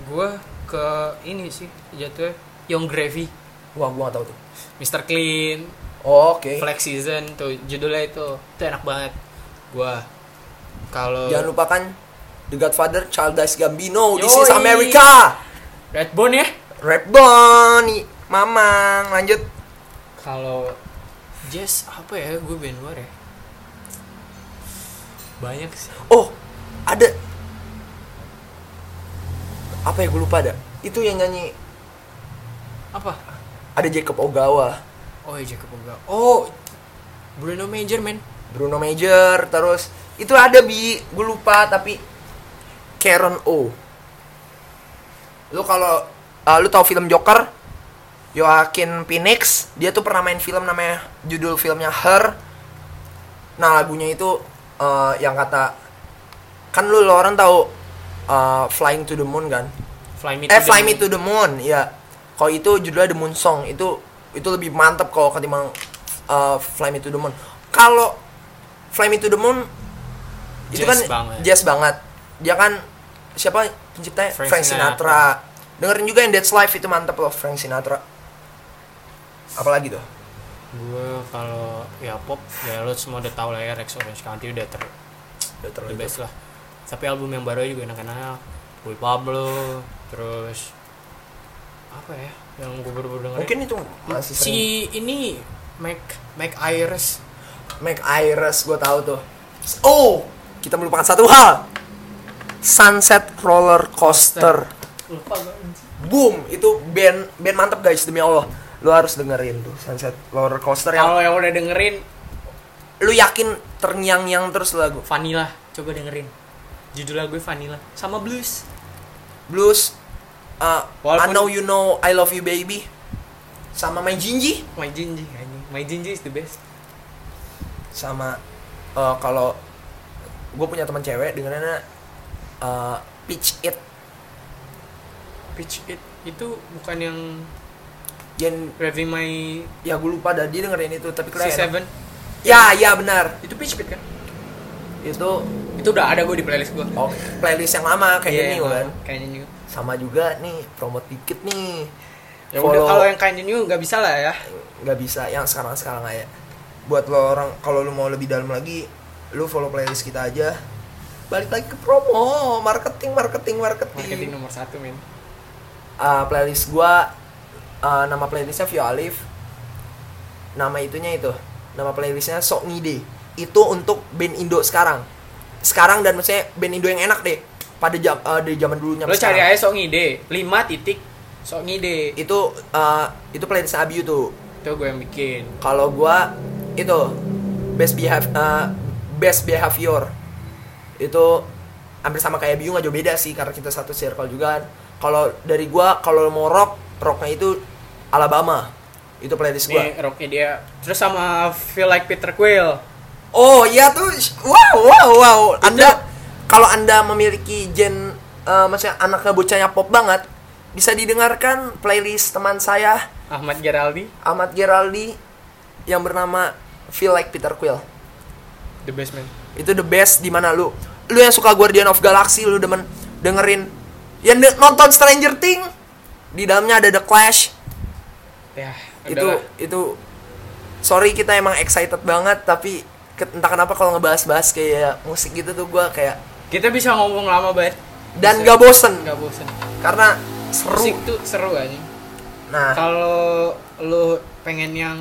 Speaker 1: gue ke ini sih jatuhnya Young Gravy,
Speaker 2: Wah, gua gak tahu tuh.
Speaker 1: Mr. Clean,
Speaker 2: Oke.
Speaker 1: Flex Season tuh judulnya itu itu enak banget gua kalau
Speaker 2: Jangan lupakan The Godfather, Charles Gambino, This is
Speaker 1: Yoi.
Speaker 2: America,
Speaker 1: Redbone ya
Speaker 2: Red Bonnie, Mamang, lanjut.
Speaker 1: kalau jazz apa ya gue band luar ya banyak sih
Speaker 2: Oh, ada apa ya gue lupa ada. Itu yang nyanyi
Speaker 1: apa
Speaker 2: ada Jacob Ogawa,
Speaker 1: oh iya Jacob Oga oh Bruno Major man
Speaker 2: Bruno Major, terus itu ada bi, gue lupa tapi Karen O. Lu kalau eh, lu tahu film Joker? Joaquin Phoenix, dia tuh pernah main film namanya judul filmnya Her. Nah, lagunya itu eh, yang kata kan lu orang tahu eh, Flying to the Moon kan?
Speaker 1: Fly Me
Speaker 2: eh
Speaker 1: the
Speaker 2: Fly Me
Speaker 1: Moon.
Speaker 2: to the Moon, ya. Kalau itu judulnya The Moon Song, itu itu lebih mantep kalau ketimbang uh, Fly Me to the Moon. Kalau Fly Me to the Moon itu
Speaker 1: Jazz
Speaker 2: kan
Speaker 1: banget.
Speaker 2: jazz banget. Dia kan siapa penciptanya?
Speaker 1: Frank
Speaker 2: Frank,
Speaker 1: Sinatra.
Speaker 2: Sinatra. Dengerin juga yang That's Life itu mantep loh Frank Sinatra. Apalagi tuh?
Speaker 1: gue kalau ya pop ya lo semua udah tau lah ya Rex Orange County udah ter the
Speaker 2: Udah terlalu
Speaker 1: best lah tapi album yang baru juga enak-enak Boy Pablo terus apa ya yang gue baru-baru dengerin
Speaker 2: Mungkin itu masih sering.
Speaker 1: si ini Mac Mac Iris
Speaker 2: Mac Iris gue tahu tuh oh kita melupakan satu hal Sunset Roller Coaster
Speaker 1: lupa gue anjing.
Speaker 2: boom itu band band mantep guys demi Allah lu harus dengerin tuh Sunset Roller Coaster yang
Speaker 1: kalau yang udah dengerin
Speaker 2: lu yakin terngiang-ngiang terus lagu
Speaker 1: Vanilla coba dengerin judul lagu Vanilla sama Blues
Speaker 2: Blues uh, I
Speaker 1: Walaupun-
Speaker 2: Know You Know I Love You Baby sama My Jinji
Speaker 1: My Jinji anjing. My Jinji is the best
Speaker 2: sama eh, kalau gue punya teman cewek dengerannya eh, Pitch It
Speaker 1: Pitch It itu bukan yang
Speaker 2: yang
Speaker 1: Revving My
Speaker 2: ya gue lupa dah dia dengerin itu tapi keren
Speaker 1: C7
Speaker 2: ya ya benar
Speaker 1: itu Pitch It kan
Speaker 2: itu
Speaker 1: itu udah ada gue di playlist gue
Speaker 2: oh, playlist yang lama
Speaker 1: Iya,
Speaker 2: kayaknya nih kan
Speaker 1: kayaknya new
Speaker 2: sama juga nih promote dikit nih
Speaker 1: ya udah
Speaker 2: Follow-
Speaker 1: kalau yang kayaknya new nggak bisa lah ya
Speaker 2: nggak bisa yang sekarang sekarang aja buat lo orang kalau lo mau lebih dalam lagi lo follow playlist kita aja balik lagi ke promo marketing marketing marketing,
Speaker 1: marketing nomor satu men
Speaker 2: Ah, playlist gua ah, nama playlistnya Vio Alif nama itunya itu nama playlistnya Sok Ngide itu untuk band Indo sekarang sekarang dan maksudnya band Indo yang enak deh pada jam ah, dari zaman dulunya
Speaker 1: lo cari aja sok ngide lima titik sok ngide
Speaker 2: itu ah, itu playlist Abiu tuh
Speaker 1: itu gue yang bikin
Speaker 2: kalau gua itu best behavior best behavior itu hampir sama kayak Biu nggak jauh beda sih karena kita satu circle juga kan. kalau dari gua kalau mau rock rocknya itu Alabama itu playlist gua
Speaker 1: ini rocknya dia terus sama feel like Peter Quill
Speaker 2: oh iya tuh wow wow wow anda kalau anda memiliki gen eh, maksudnya anaknya bocahnya pop banget bisa didengarkan playlist teman saya
Speaker 1: Ahmad Geraldi
Speaker 2: Ahmad Geraldi yang bernama Feel Like Peter Quill
Speaker 1: the best man
Speaker 2: itu the best di mana lu lu yang suka Guardian of Galaxy lu demen dengerin yang de- nonton Stranger Things di dalamnya ada The Clash
Speaker 1: ya
Speaker 2: itu itu sorry kita emang excited banget tapi ke- entah kenapa kalau ngebahas-bahas kayak musik gitu tuh gua kayak
Speaker 1: kita bisa ngomong lama banget
Speaker 2: dan
Speaker 1: Bisa.
Speaker 2: gak bosen
Speaker 1: nggak bosen
Speaker 2: karena
Speaker 1: musik
Speaker 2: seru
Speaker 1: tuh seru aja
Speaker 2: nah
Speaker 1: kalau lo pengen yang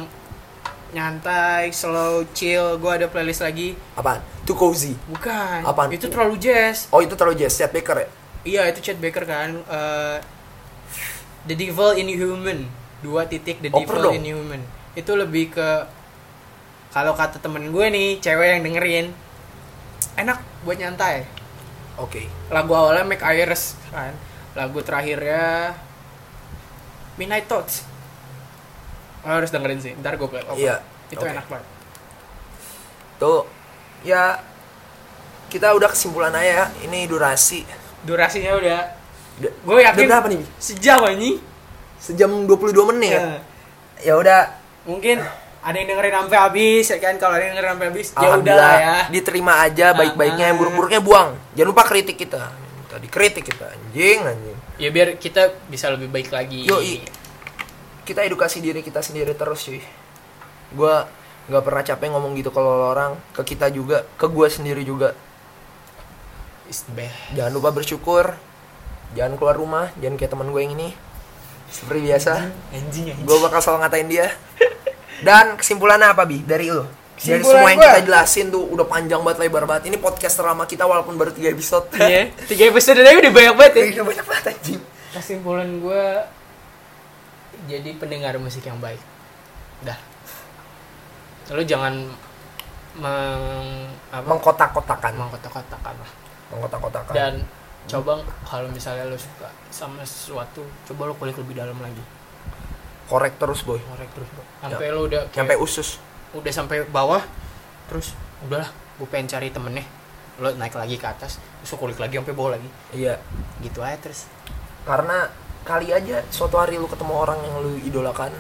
Speaker 1: nyantai slow chill gue ada playlist lagi
Speaker 2: apaan too cozy
Speaker 1: bukan
Speaker 2: Apaan?
Speaker 1: itu terlalu jazz
Speaker 2: oh itu terlalu jazz Chet Baker ya
Speaker 1: Iya itu Chet Baker kan eh, The Devil in Human dua titik The
Speaker 2: Oper
Speaker 1: Devil
Speaker 2: dong.
Speaker 1: in Human itu lebih ke kalau kata temen gue nih cewek yang dengerin enak buat nyantai
Speaker 2: oke
Speaker 1: lagu awalnya Make Iris kan lagu terakhirnya Midnight Thoughts Lo harus dengerin sih ntar gue play oper.
Speaker 2: Iya,
Speaker 1: itu
Speaker 2: oke.
Speaker 1: enak banget
Speaker 2: tuh ya kita udah kesimpulan aja ya ini durasi
Speaker 1: durasinya udah
Speaker 2: Udah-
Speaker 1: gue
Speaker 2: udah
Speaker 1: yakin
Speaker 2: berapa nih Bi?
Speaker 1: sejam ini
Speaker 2: sejam 22 menit
Speaker 1: Iya.
Speaker 2: ya udah
Speaker 1: mungkin ada yang dengerin sampai habis ya kan kalau ada yang dengerin sampai habis ya udah
Speaker 2: Alhamdulillah
Speaker 1: lah ya
Speaker 2: diterima aja baik-baiknya yang buruk-buruknya buang jangan lupa kritik kita tadi kritik kita anjing anjing
Speaker 1: ya biar kita bisa lebih baik lagi
Speaker 2: Yoi. kita edukasi diri kita sendiri terus cuy gua nggak pernah capek ngomong gitu kalau orang ke kita juga ke gua sendiri juga
Speaker 1: It's the best.
Speaker 2: jangan lupa bersyukur jangan keluar rumah jangan kayak teman gue yang ini seperti biasa
Speaker 1: anjing anjing
Speaker 2: gua bakal selalu ngatain dia dan kesimpulannya apa bi dari lo
Speaker 1: Kesimpulan
Speaker 2: dari semua yang
Speaker 1: gua-
Speaker 2: kita jelasin tuh udah panjang banget lebar banget ini podcast terlama kita walaupun baru 3 episode
Speaker 1: iya tiga episode aja udah banyak banget ya
Speaker 2: Iya, banyak banget anjing.
Speaker 1: kesimpulan gue jadi pendengar musik yang baik dah lu jangan meng apa
Speaker 2: Mengkotak-kotakan.
Speaker 1: mengkotak-kotakan lah
Speaker 2: Mengkotak-kotakan.
Speaker 1: dan coba kalau misalnya lu suka sama sesuatu coba lu kulik lebih dalam lagi
Speaker 2: korek terus, boy.
Speaker 1: ngorek terus bro sampai lu udah kayak-
Speaker 2: Sampai usus.
Speaker 1: udah sampai bawah terus udahlah gue pengen cari temennya lo naik lagi ke atas terus lo kulik lagi sampai bawah lagi
Speaker 2: Iya.
Speaker 1: gitu aja terus
Speaker 2: Karena kali aja suatu hari lu ketemu orang yang lu idolakan.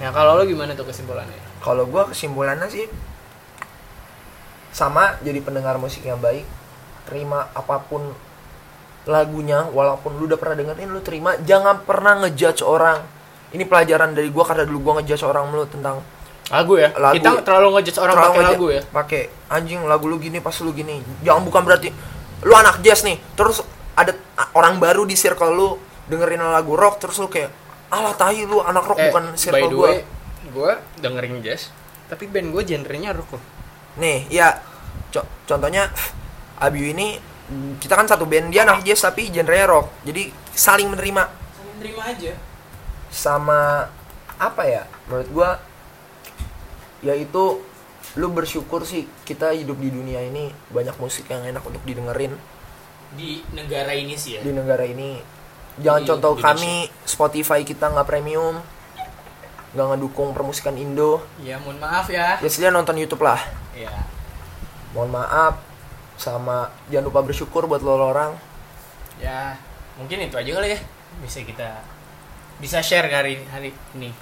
Speaker 1: nah kalau lo gimana tuh kesimpulannya
Speaker 2: Kalau gua kesimpulannya sih sama jadi pendengar musik yang baik. Terima apapun lagunya walaupun lu udah pernah dengerin lu terima jangan pernah ngejudge orang ini pelajaran dari gua karena dulu gua ngejudge orang mulu tentang
Speaker 1: lagu ya
Speaker 2: Lagu.
Speaker 1: kita terlalu ngejudge orang
Speaker 2: Terlalu
Speaker 1: pakai
Speaker 2: aja
Speaker 1: lagu ya
Speaker 2: pakai anjing lagu lu gini pas lu gini jangan bukan berarti lu anak jazz nih terus ada a- orang baru di circle lu dengerin lagu rock terus lu kayak alah tahi lu anak rock
Speaker 1: Eh,
Speaker 2: bukan
Speaker 1: by
Speaker 2: circle
Speaker 1: the
Speaker 2: gua
Speaker 1: way gue dengerin jazz tapi band gue genrenya rock loh
Speaker 2: Nih, ya co- contohnya Abiu ini kita kan satu band dia anak jazz tapi genre rock. Jadi saling menerima
Speaker 1: Saling terima aja
Speaker 2: sama apa ya? Menurut gua yaitu lu bersyukur sih kita hidup di dunia ini banyak musik yang enak untuk didengerin
Speaker 1: di negara ini sih ya
Speaker 2: di negara ini. Jangan
Speaker 1: Di
Speaker 2: contoh
Speaker 1: Indonesia.
Speaker 2: kami Spotify kita nggak premium, nggak ngedukung permusikan Indo.
Speaker 1: ya mohon maaf ya
Speaker 2: Ya sekalian nonton YouTube lah.
Speaker 1: ya
Speaker 2: Mohon maaf sama jangan lupa bersyukur buat lo orang.
Speaker 1: ya mungkin itu aja kali ya bisa kita bisa share hari hari ini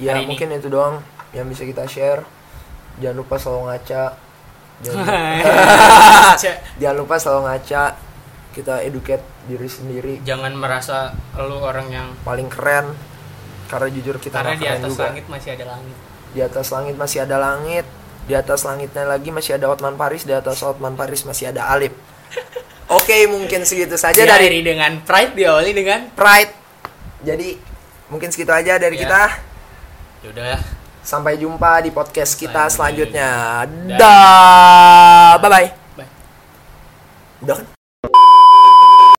Speaker 2: Ya
Speaker 1: Hari ini.
Speaker 2: mungkin itu doang yang bisa kita share. Jangan lupa selalu ngaca. Jangan,
Speaker 1: Cek,
Speaker 2: jangan lupa selalu ngaca. Kita educate diri sendiri
Speaker 1: jangan merasa lu orang yang
Speaker 2: paling keren. Karena jujur kita
Speaker 1: karena
Speaker 2: nggak
Speaker 1: di
Speaker 2: keren
Speaker 1: atas
Speaker 2: juga.
Speaker 1: langit masih ada langit
Speaker 2: Di atas langit masih ada langit. Di atas langitnya lagi masih ada Otman Paris. Di atas Otman Paris masih ada Alip. Oke mungkin segitu saja
Speaker 1: Diakhiri
Speaker 2: dari
Speaker 1: dengan pride diawali dengan
Speaker 2: Pride. Jadi mungkin segitu aja dari
Speaker 1: Ya.
Speaker 2: kita. Ya
Speaker 1: yaudah
Speaker 2: Sampai jumpa di podcast kita
Speaker 1: Selanjutnya.
Speaker 2: selanjutnya. Dah. Bye bye.
Speaker 1: bye
Speaker 2: Udah kan?